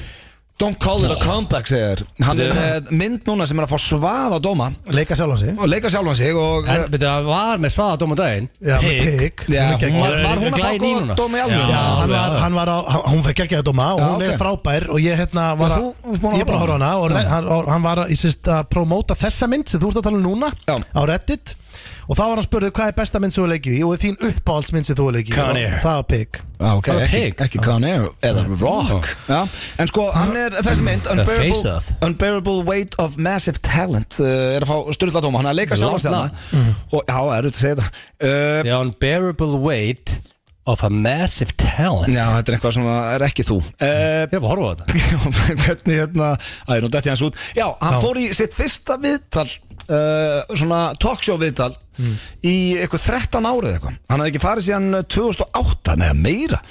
Speaker 1: Don't call it a comeback, segir hann er með mynd núna sem er að fá svað á dóma
Speaker 3: leika sjálfan sig
Speaker 1: og leika sjálfan sig og
Speaker 2: En
Speaker 1: eh,
Speaker 2: betur það var með svaða dóm á daginn
Speaker 3: Já, með pig
Speaker 1: já,
Speaker 3: Hún er
Speaker 1: hún
Speaker 3: geggjuð.
Speaker 1: var, var hún að fá
Speaker 2: Glæný
Speaker 1: góða
Speaker 2: núna.
Speaker 1: dóma í
Speaker 2: Já,
Speaker 1: alveg?
Speaker 3: Já, hann
Speaker 2: alveg,
Speaker 3: var,
Speaker 2: alveg.
Speaker 3: hann var á, hann- hún fekk ekki að dóma og
Speaker 1: Já,
Speaker 3: hún
Speaker 1: ok.
Speaker 3: er frábær og ég hérna
Speaker 1: Og
Speaker 3: var að,
Speaker 1: þú- þú ert búin að
Speaker 3: ég er bara að
Speaker 1: horfa á
Speaker 3: horfa á hana og
Speaker 1: Já.
Speaker 3: hann, og hann var að, ég syns, að promóta þessa mynd sem þú ert að tala um núna
Speaker 1: Já.
Speaker 3: á Reddit og þá var hann spurðið hvað er besta mynd sem þú er leikið í og þín uppáhaldsmynd sem þú er leikið í
Speaker 2: Con
Speaker 3: Og
Speaker 2: Air.
Speaker 3: það var pig
Speaker 1: Já, Ah, ok,
Speaker 2: Bara
Speaker 1: ekki,
Speaker 2: pig.
Speaker 1: ekki Con Air eða Rock Já. En sko, hann er þessi mynd
Speaker 2: Face
Speaker 1: Unbearable,
Speaker 2: Off.
Speaker 1: unbearable Weight of Massive Talent uh, er að fá styrla tóma, hann er að leika
Speaker 2: Langt
Speaker 1: sjálfast hérna og já, er auðvitað að segja þetta uh,
Speaker 2: The unbearable weight of a massive talent
Speaker 1: Já, þetta er eitthvað sem er ekki þú uh,
Speaker 2: Ég er bara að horfa á þetta
Speaker 1: Hvernig hérna Æ, nú detti ég hans út Já, hann
Speaker 3: Já.
Speaker 1: fór í sitt fyrsta viðtal uh, svona talkshow viðtal í eitthvað 13 árið eitthvað Hann hafði ekki farið síðan eh, 2008 neða meira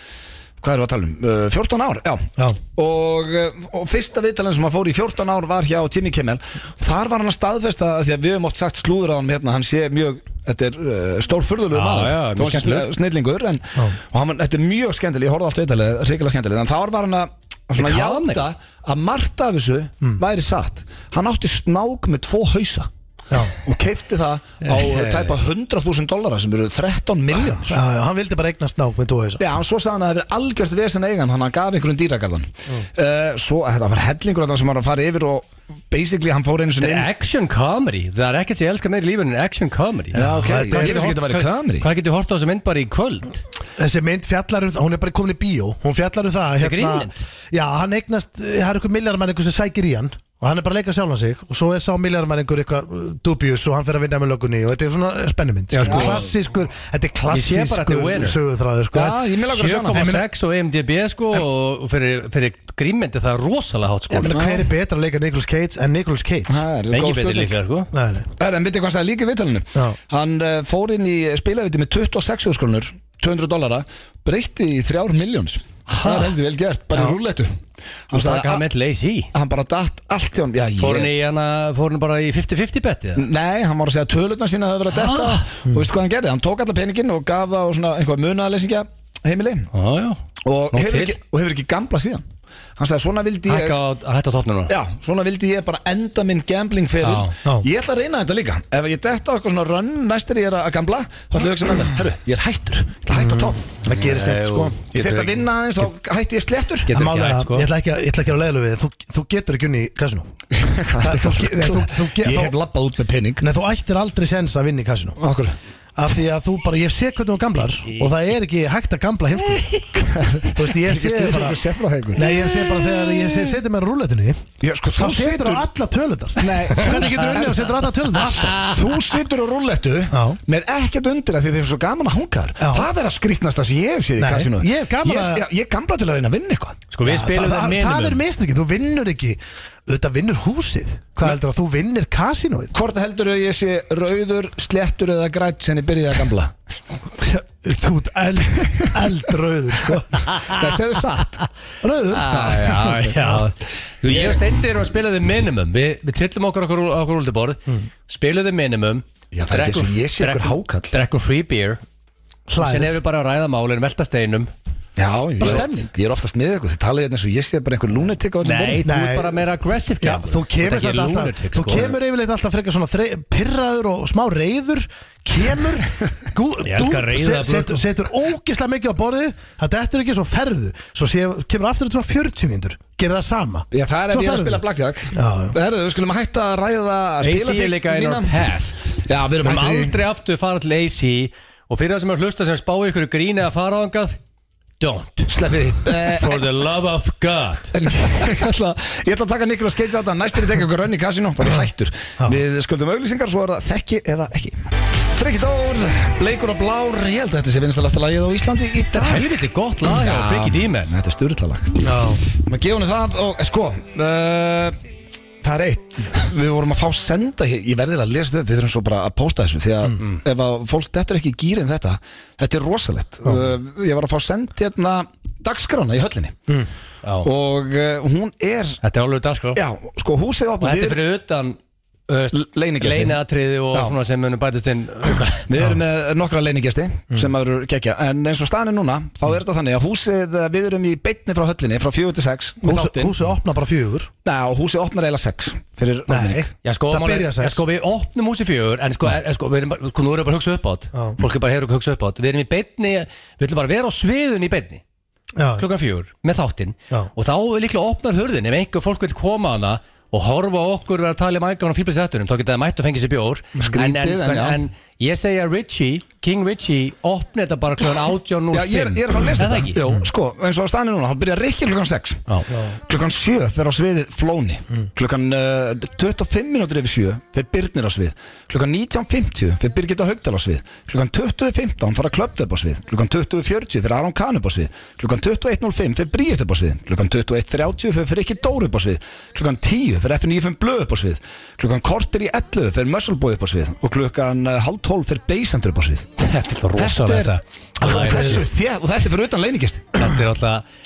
Speaker 1: Hvað erum við að tala um? Uh, 14 ár, já
Speaker 3: Já,
Speaker 1: og, eh, og fyrsta viðtalinn sem hann fór í 14 ár var hjá Jimmy Kimmel þar var hann að staðfesta af því að við höfum oft sagt slúður á hann hérna, hann sé mjög þetta er uh, stór furðulegu
Speaker 2: Já,
Speaker 1: maður
Speaker 2: já,
Speaker 1: Þó
Speaker 2: mjög
Speaker 1: hann sé
Speaker 2: skemmtilegur.
Speaker 1: snillingur en, og hann, var- þetta er mjög skemmtileg, ég horfði allt viðtalið hrikalega skemmtileg, en þar var hann að svona
Speaker 2: Ég Hmm. kann
Speaker 1: játa að margt af þessu væri satt, hann átti snák með tvo hausa
Speaker 3: já,
Speaker 1: og keipti það á tæpa 100.000 dollara sem eru 13 miljón
Speaker 3: já, já, hann vildi bara eignast nák með tóa þessu
Speaker 1: Já, svo sagði hann að það hefur algjört vesen eigan hann hann gaf einhverjum dýragarðan mm. Svo að þetta var hellingur að sem var að fara yfir og basically hann fór einu
Speaker 2: Þetta
Speaker 1: sinni
Speaker 2: er
Speaker 1: inn
Speaker 2: action comedy Það er ekkert sem ég elska meir í lífinu en action comedy
Speaker 3: Já, ok,
Speaker 1: Það
Speaker 3: þetta
Speaker 1: er
Speaker 3: er-
Speaker 1: ekki sem getur verið kamri
Speaker 2: Hvað getur hort á þessu mynd bara í kvöld?
Speaker 3: Þessi mynd fjallar um það, hún er bara komin í bíó Hún fjallar um það
Speaker 2: grínmynd?
Speaker 3: Já, hann eignast, það er einhver milljarmæningur sem sækir í hann Og hann er bara að leika sjálfan sig Og svo er sá milljarmæningur eitthvað uh, dubjus Og hann fer að vinna með lögunni Og þetta er svona spennumynd
Speaker 2: Já, sko.
Speaker 3: Klassískur, þetta er
Speaker 2: Ég sé bara að þetta er
Speaker 3: klassískur
Speaker 2: winner.
Speaker 3: Söguþráður sko.
Speaker 1: Já, ég mig langar að sjá hana.
Speaker 2: 7,6 og IMDB sko og fyrir, fyrir grímyndi það er rosalega hátt sko
Speaker 3: Ég meina, hver er betra að leika Nicolas Cage en Nicolas Cage?
Speaker 1: Það er
Speaker 2: Engi
Speaker 1: góð
Speaker 2: betur
Speaker 1: spurning
Speaker 2: líka sko
Speaker 3: Nei, nei,
Speaker 1: Það er, en vitið hvað það er líka í viðtalinu
Speaker 3: Já.
Speaker 1: Hann uh, fór inn í spilaviti með 26 skrunur 200 dollara, breytti í 3 miljónir Það er heldur vel gert, bara í rúllettu Hann
Speaker 2: Þú stakka
Speaker 1: sagði
Speaker 2: hann
Speaker 1: að-
Speaker 2: með lazy
Speaker 1: hann bara datt allt hjá hann Já, ég-
Speaker 2: Fór hann í hana, fór hann bara í 50-50 betið
Speaker 1: Nei, hann var að segja að tölurnar sína hafa verið að detta og veistu hvað hann gerði, hann tók alla peningin og gaf það á svona eitthvað munaðalesingja heimili
Speaker 2: Já, já
Speaker 1: og
Speaker 2: Nóg
Speaker 1: hefur
Speaker 2: til.
Speaker 1: ekki, og hefur ekki gamla síðan hann sagði svona vildi ég
Speaker 2: Hækka á, hætta á topnum núna
Speaker 1: já, svona vildi ég bara enda minn gambling fyrir
Speaker 2: Já,
Speaker 3: já.
Speaker 1: ég ætla að reyna þetta líka ef ég detta á eitthvað svona rönn næstir ég er að gambla þá ætla ég að hugsa með mér, herru, ég er hættur ég ætla að hætta á topp
Speaker 3: það gerir sér
Speaker 2: Nei,
Speaker 3: sko
Speaker 2: og-
Speaker 1: ég þurft að vinna aðeins, þá hætti ég slettur
Speaker 2: Getur
Speaker 3: En
Speaker 2: ekki
Speaker 3: málið er
Speaker 2: hægt
Speaker 3: að-
Speaker 2: sko
Speaker 3: Ég ætla ekki að- ég ætla ekki að vera leiðlu við þig. Þú- Þú getur ekki unni í kasinu
Speaker 1: ég hef labbað út með pening
Speaker 3: Nei, þú ættir aldrei sens að vinna í kasinu
Speaker 1: okkur
Speaker 3: Af því að þú bara, ég sé hvernig þú gamlar Og það er ekki hægt að gamla heimsku Þú veist, ég sé bara
Speaker 1: sefrahægur
Speaker 3: Nei, ég sé bara þegar ég sé- setja mér rúletunni
Speaker 1: sko,
Speaker 3: Þá
Speaker 1: þú
Speaker 3: setur
Speaker 1: setur
Speaker 3: á alla tölundar
Speaker 1: Nei, Ah.
Speaker 3: Hvernig getur unnið og setur á alla tölundar alltaf
Speaker 1: þú situr á rúllettu
Speaker 3: Já.
Speaker 1: með ekkert undir að því þið er svo gaman að hanga
Speaker 3: Já.
Speaker 1: þar það er að skrýtnasta sem ég hef séð í
Speaker 3: Nei,
Speaker 1: kassinu
Speaker 3: ég er gaman
Speaker 1: ég,
Speaker 3: að-
Speaker 1: ég, ég er gamla til að reyna að vinna eitthvað
Speaker 2: Sko við spilum
Speaker 3: það,
Speaker 2: það
Speaker 3: það, það er
Speaker 2: minimum
Speaker 3: mistökin, þú vinnur ekki Þetta vinnur húsið Hvað heldur að þú vinnir kasinóið?
Speaker 1: Hvort heldur að ég sé rauður, slettur eða grætt sem ég byrjaði að gamla?
Speaker 3: Þú ert eld, eldrauður sko.
Speaker 1: Það séðu satt
Speaker 3: Rauður?
Speaker 2: Já, Ah,
Speaker 1: Ah,
Speaker 2: já, já Þú, Ég og Steindi erum að spila þið minimum Við, við tillum okkur okkur, okkur úldiborð mm. Spilum þið minimum
Speaker 1: Hmm. Já, það er ekki
Speaker 2: drekkum-
Speaker 1: eins og ég sé ykkur
Speaker 2: drekkum-
Speaker 1: hákarl.
Speaker 2: Drekkum free beer
Speaker 3: Hlær.
Speaker 2: Sen erum við bara að ræða málin, velta steinum
Speaker 1: Já, ég er, oft,
Speaker 3: stemning.
Speaker 1: ég er oftast með eitthvað Þið talaði hérna eins og ég sé bara einhver lunatik á öllum
Speaker 2: Nei, þú
Speaker 3: Nei.
Speaker 2: er bara meira aggressive
Speaker 3: Já,
Speaker 2: gambler.
Speaker 3: þú
Speaker 2: Þú ert
Speaker 3: kemur þetta
Speaker 2: ekki
Speaker 3: alltaf
Speaker 2: lunatic,
Speaker 3: Þú
Speaker 2: sko.
Speaker 3: kemur yfirleitt alltaf frekar svona þre, pirraður og smá reyður Kemur gú,
Speaker 2: Ég elska reiða blöð.
Speaker 3: set, Setur ógislega mikið á borðið Það dettur ekki svo ferðu Svo sé, kemur aftur þetta svona 40 mínútur Gerðu það sama
Speaker 1: Já, það er ef
Speaker 3: Svo
Speaker 1: ég er að
Speaker 3: ferðu.
Speaker 1: spila blackjack
Speaker 3: Já, já.
Speaker 1: Það er við skulum að hætta að ræða
Speaker 2: AC
Speaker 1: spilatík
Speaker 2: er líka in our
Speaker 1: mína.
Speaker 2: past
Speaker 1: Já, við erum
Speaker 2: Við erum
Speaker 1: hættið
Speaker 2: aldrei aftur að fara til AC Og fyrir það sem er að hlusta sem spáu ykkur gríni að fara ángað Don't
Speaker 1: Sleppið því Eh,
Speaker 2: For the love of God
Speaker 1: En ég ætla, ég ætla að taka Nikolas Cage að þetta Næstir ég tekja okkur raun í kasinu Það er hættur Við skuldum auglýsingar Svo er það þekki eða ekki Frikki Dór Bleikur og Blár Ég held að þetta sé vinstalasta lagið á Íslandi í dag
Speaker 2: Helviti gott lag hjá
Speaker 1: Já,
Speaker 2: Friggi D-Man
Speaker 1: Þetta er styrlalag
Speaker 3: Já,
Speaker 1: Maður gefa henni það og eh, sko uh, Það er eitt, við vorum að fá senda hér, ég verðir að lesa þau, við þurfum svo bara að posta þessu því að
Speaker 2: Mm,
Speaker 1: ef að fólk dettur ekki í gýrin þetta, þetta er rosalegt uh, ég var að fá send hérna dagskrána í höllinni
Speaker 2: Já.
Speaker 1: og uh, hún er
Speaker 2: Þetta er alveg dagskrá
Speaker 1: Já, sko húsið
Speaker 2: Og
Speaker 1: opnað
Speaker 2: þetta er fyrir utan
Speaker 1: Leinigjasti.
Speaker 2: leinatriði og
Speaker 1: Já.
Speaker 2: svona sem munum bætast inn auka.
Speaker 1: Við erum með nokkra leiningjasti
Speaker 2: Mm.
Speaker 1: sem eru kekja En eins og staðan er núna, þá er þetta þannig að húsið eh, Við erum í beitni frá höllinni, frá 4 til 6 með
Speaker 3: Húsi,
Speaker 1: þáttinn.
Speaker 3: húsi opna bara fjögur
Speaker 1: Nei, og húsið opnar eiginlega 6 Fyrir
Speaker 3: Nei,
Speaker 1: opning.
Speaker 2: Já, sko,
Speaker 3: það
Speaker 2: málið-
Speaker 3: byrja
Speaker 2: já,
Speaker 3: sex
Speaker 2: sko, við opnum húsi fjögur En sko, er, er, sko við erum bara, sko, nú erum við bara að hugsa upp átt
Speaker 3: Já.
Speaker 2: Fólk er bara að heyra og hugsa upp átt Við erum í beinni, við ætlum bara að vera á sviðun í beinni
Speaker 3: Já,
Speaker 2: Klokkan fjögur, með þáttinn
Speaker 3: Já.
Speaker 2: Og þá er líklega opnar hurðin Ef einhver fólk vil koma hana Og horfa á okkur vera að tala um ægan og fýrblast þettunum Þá geta það mætt og fengið sér bjór en, en,
Speaker 1: Mm. Skrítið,
Speaker 2: sko,
Speaker 1: en já.
Speaker 2: en ég segja Richie, King Richie Opni þetta bara klokkan
Speaker 1: Já, ég er,
Speaker 2: 18.05
Speaker 1: ég er að fara að lesa
Speaker 2: Er það
Speaker 1: þetta
Speaker 2: ekki?
Speaker 1: Jó, sko, eins og staðan er núna, þá byrjar Rikki klukkan 6
Speaker 2: Já.
Speaker 1: Klukkan 7 fer á sviðið Flóni
Speaker 2: Mm.
Speaker 1: Klukkan uh, 25 minútur yfir 7 fer Birnir á svið Klukkan 19.50 fer Birgitta Haugdal á svið Klukkan 20.15 fara Klöpt upp á svið Klukkan 20.40 fer Aron Kahn upp á svið Klukkan 21.05 fer Bríett upp á svið Klukkan 21.30 fer Rikki Dór upp á svið Klukkan 10 fer F95 Blöð upp á svið Klukkan kortir í 11 fer Muscleboy upp á svið Og klukkan uh, halv 12 fer Beisendur upp á svið
Speaker 2: Þetta er
Speaker 1: Þetta
Speaker 2: rosalega
Speaker 1: er-
Speaker 2: Þetta er-
Speaker 1: Þessu, þér, og þetta er fyrir utan leiningisti
Speaker 2: Þetta er alltaf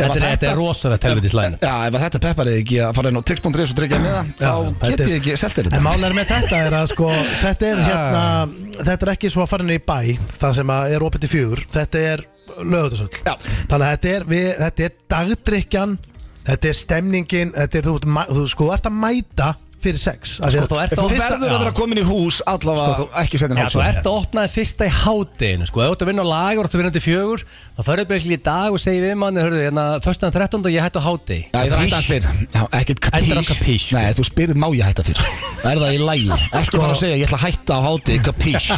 Speaker 2: Þetta er, þetta er rosalega telviti slæn
Speaker 1: Já, ef að þetta peppar þig ekki að fara inn á tix.is og tryggja með það þá
Speaker 3: þetta
Speaker 1: get ég
Speaker 3: er-
Speaker 1: ekki seltir
Speaker 3: En
Speaker 1: þetta
Speaker 3: málar með þetta er að sko Þetta er hérna, þetta er ekki svo að fara inn í bæ Það sem að er opið til fjögur Þetta er lögutasöll
Speaker 1: Já.
Speaker 3: Þannig að þetta er, við, þetta er dagdrykjan Þetta er stemningin Þetta er, þú, ert mæ- þú sko, þú ert að mæta fyrir sex Af því
Speaker 2: Sko, þú ert
Speaker 1: Þú
Speaker 2: á-
Speaker 3: fyrsta-
Speaker 1: verður að vera
Speaker 2: Já.
Speaker 1: komin í hús allavega
Speaker 2: Sko,
Speaker 1: ekki svetin
Speaker 2: Já, þú
Speaker 1: hálfsveg
Speaker 2: ert að opnaði fyrsta í hátinu sko, ef þú ert að vinna á lag og ert að vinna til fjögur þá ferðu bara í dag og segir við manni hörðu, hérna, föstuðan 13. og ég hættu á háti
Speaker 1: Já, ég þarf að hætta hans fyrr Já, ekkert
Speaker 2: Hættir að kapís,
Speaker 1: kapís
Speaker 2: sko.
Speaker 1: Nei, þú spyrir má ég hætta fyrr Er það í lægi? Ekki fara að segja ég ætla að hætta á háti kapís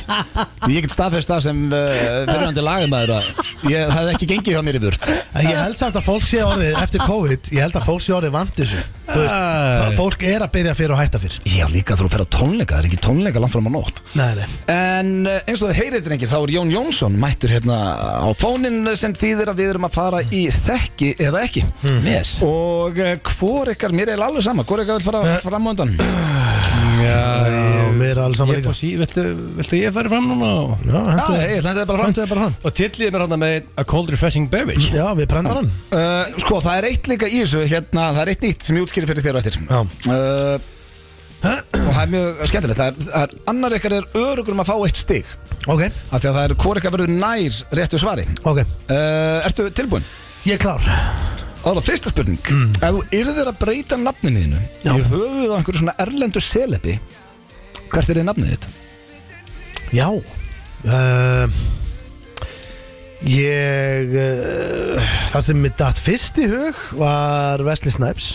Speaker 1: Því ég get staðfest það sem uh, fyrirhandi lagumæður að ég hafði ekki gengið hjá mér í burt
Speaker 3: En ég held samt að fólk sé orðið Eftir COVID, ég held að fólk sé orðið vant þessu Þú veist, það, fólk er að byrja fyrir og hætta fyrir
Speaker 1: Já, líka þú fer á tónleika, það er ekki tónleika langt fram á nótt
Speaker 3: Nei, nei
Speaker 1: En eh, eins og þið heyrið drengir, þá er Jón Jónsson mættur hérna á fónin sem þýðir að við erum að fara í þekki eða ekki
Speaker 2: yes.
Speaker 1: Og eh, hvor ykkar, mér er eiginlega alveg sama, hvor ykkar vil fara fram á undan?
Speaker 3: Já, við erum alls saman
Speaker 2: ég
Speaker 3: líka
Speaker 2: fór sí, viltu, viltu ég færi fram núna og,
Speaker 3: Já,
Speaker 1: Já,
Speaker 3: hentu,
Speaker 1: ég hlændi það bara fram
Speaker 3: hentu bara hann
Speaker 2: og tilliði mér hann með a cold refreshing beverage
Speaker 3: Já, við brendar hann
Speaker 1: uh, Sko, það er eitt líka í þessu, hérna, það er eitt nýtt sem ég útskýri fyrir þér á eftir
Speaker 3: Já.
Speaker 1: uh, Og það er mjög skemmtilegt, það er, það er annar ykkar er örugur um að fá eitt stig
Speaker 3: Ok,
Speaker 1: Af því að það er hvor ykkar verður nær réttu svari
Speaker 3: ok,
Speaker 1: uh, Ertu tilbúin?
Speaker 3: ég er klár
Speaker 1: Ára, fyrsta spurning Ef þú yrðir að breyta nafninu þínu
Speaker 3: Mm. Já.
Speaker 1: Í höfuð á einhverju svona erlendu selepi Hvert er þið nafnið þitt?
Speaker 3: Já uh, Ég uh, Það sem mér datt fyrst í hug Var Wesley Snipes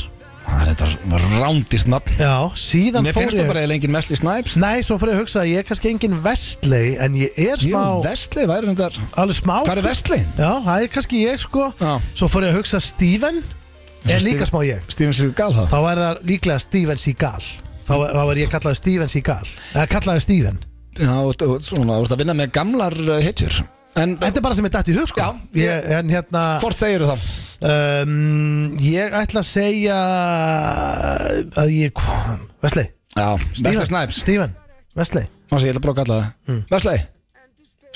Speaker 1: Það er þetta rándýrt nafn
Speaker 3: Já, síðan
Speaker 1: Mér
Speaker 3: fór
Speaker 1: finnst þú
Speaker 3: ég
Speaker 1: bara eða engin Mesli Snipes
Speaker 3: Nei, svo fyrir ég að hugsa að ég er kannski engin Wesley En ég er
Speaker 1: Jú,
Speaker 3: smá
Speaker 1: Vesli væri hundar
Speaker 3: Alveg smá
Speaker 1: Hvað er Vesli?
Speaker 3: Já, það er kannski ég sko
Speaker 1: Já.
Speaker 3: Svo fór ég að hugsa Steven Er
Speaker 1: Steven-
Speaker 3: líka smá ég
Speaker 1: Steven Seagal það
Speaker 3: Þá er það líklega Steven Seagal Þá er, þá er ég kallaði Steven Seagal Eða kallaði Steven
Speaker 1: Já, og- og svona, þú ert að vinna með gamlar uh, hitjur En
Speaker 3: Þetta er bara sem ég datt í hug sko
Speaker 1: Já.
Speaker 3: ég, En hérna
Speaker 1: hvort segir þú það?
Speaker 3: um, Ég ætla að segja Að ég Vesley
Speaker 1: Já, Vesli Snipes
Speaker 3: Steven Mm. Vesley
Speaker 1: Má sé, ég ætla að prófa að kalla það Vesli?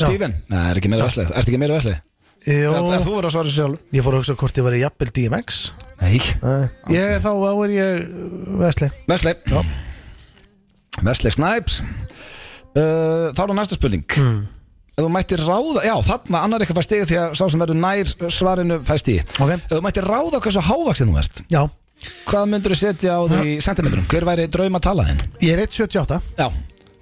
Speaker 1: Steven? Nei, er ekki meira Vesli Ertu ekki meira Vesli?
Speaker 3: Jó,
Speaker 1: Þú verður að svara sér sjálf
Speaker 3: Ég fór að hugsa hvort ég var í Jappel DMX
Speaker 1: Nei
Speaker 3: Nei, Ég er þá, þá er ég Vesley
Speaker 1: Vesli Vesli Snipes uh, Þá er það næsta spurning Ef þú mættir ráða, já þarna annar eitthvað fær stig því að sá sem verður nær svarinu fær stig
Speaker 3: Ok.
Speaker 1: Ef þú mættir ráða hversu hávaksin þú ert
Speaker 3: Já,
Speaker 1: Hvað myndur þú setja á því sentimetrum? Hver væri drauma talaðin?
Speaker 3: ég er 178
Speaker 1: Já,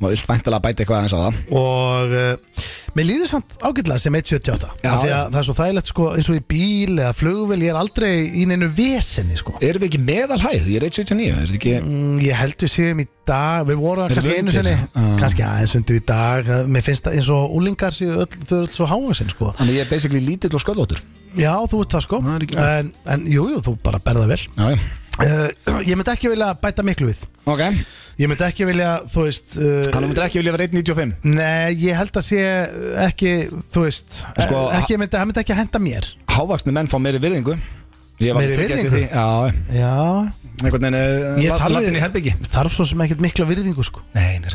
Speaker 1: maður vilt væntalega bæta eitthvað aðeins á það
Speaker 3: og uh, mér líður samt ágætlega sem 178
Speaker 1: Já.
Speaker 3: af því að það er svo þægilegt sko, eins og í bíl eða flugvél, ég er aldrei í neinu vesenni sko.
Speaker 1: Erum við ekki meðalhæð? Ég er 179, er þetta ekki
Speaker 3: Mm, ég held við séum í dag við vorum það
Speaker 1: Erum
Speaker 3: kannski
Speaker 1: við
Speaker 3: einu
Speaker 1: undir?
Speaker 3: sinni
Speaker 1: Já.
Speaker 3: kannski aðeins undir í dag eh, mér finnst það eins og úlingar séu öll, þau eru öll svo hávasin sko.
Speaker 1: Þannig ég er basically lítill og sköllótur
Speaker 3: já þú veist það sko
Speaker 1: Það er ekki gott.
Speaker 3: en, en jú, jú, þú bara berða vel
Speaker 1: Já, já,
Speaker 3: uh, ég myndi ekki vilja bæta miklu við
Speaker 1: ok
Speaker 3: ég myndi ekki vilja, þú veist uh,
Speaker 1: Þannig myndir ekki vilja vera 195
Speaker 3: Nei, ég held að sé ekki, þú veist, eh,
Speaker 1: Sko,
Speaker 3: ekki, myndi, það myndi ekki að henda mér
Speaker 1: Hávaksni menn fá meiri virðingu Ég var
Speaker 3: Meiri
Speaker 1: að tekja eftir
Speaker 3: virðingu?
Speaker 1: því. Já,
Speaker 3: Já,
Speaker 1: einhvern veginn eh,
Speaker 3: Ég
Speaker 1: la-
Speaker 3: þarf-
Speaker 1: labbinn í herbyggi
Speaker 3: þarf svo sem ekkert mikla virðingu sko
Speaker 1: Nei, nei,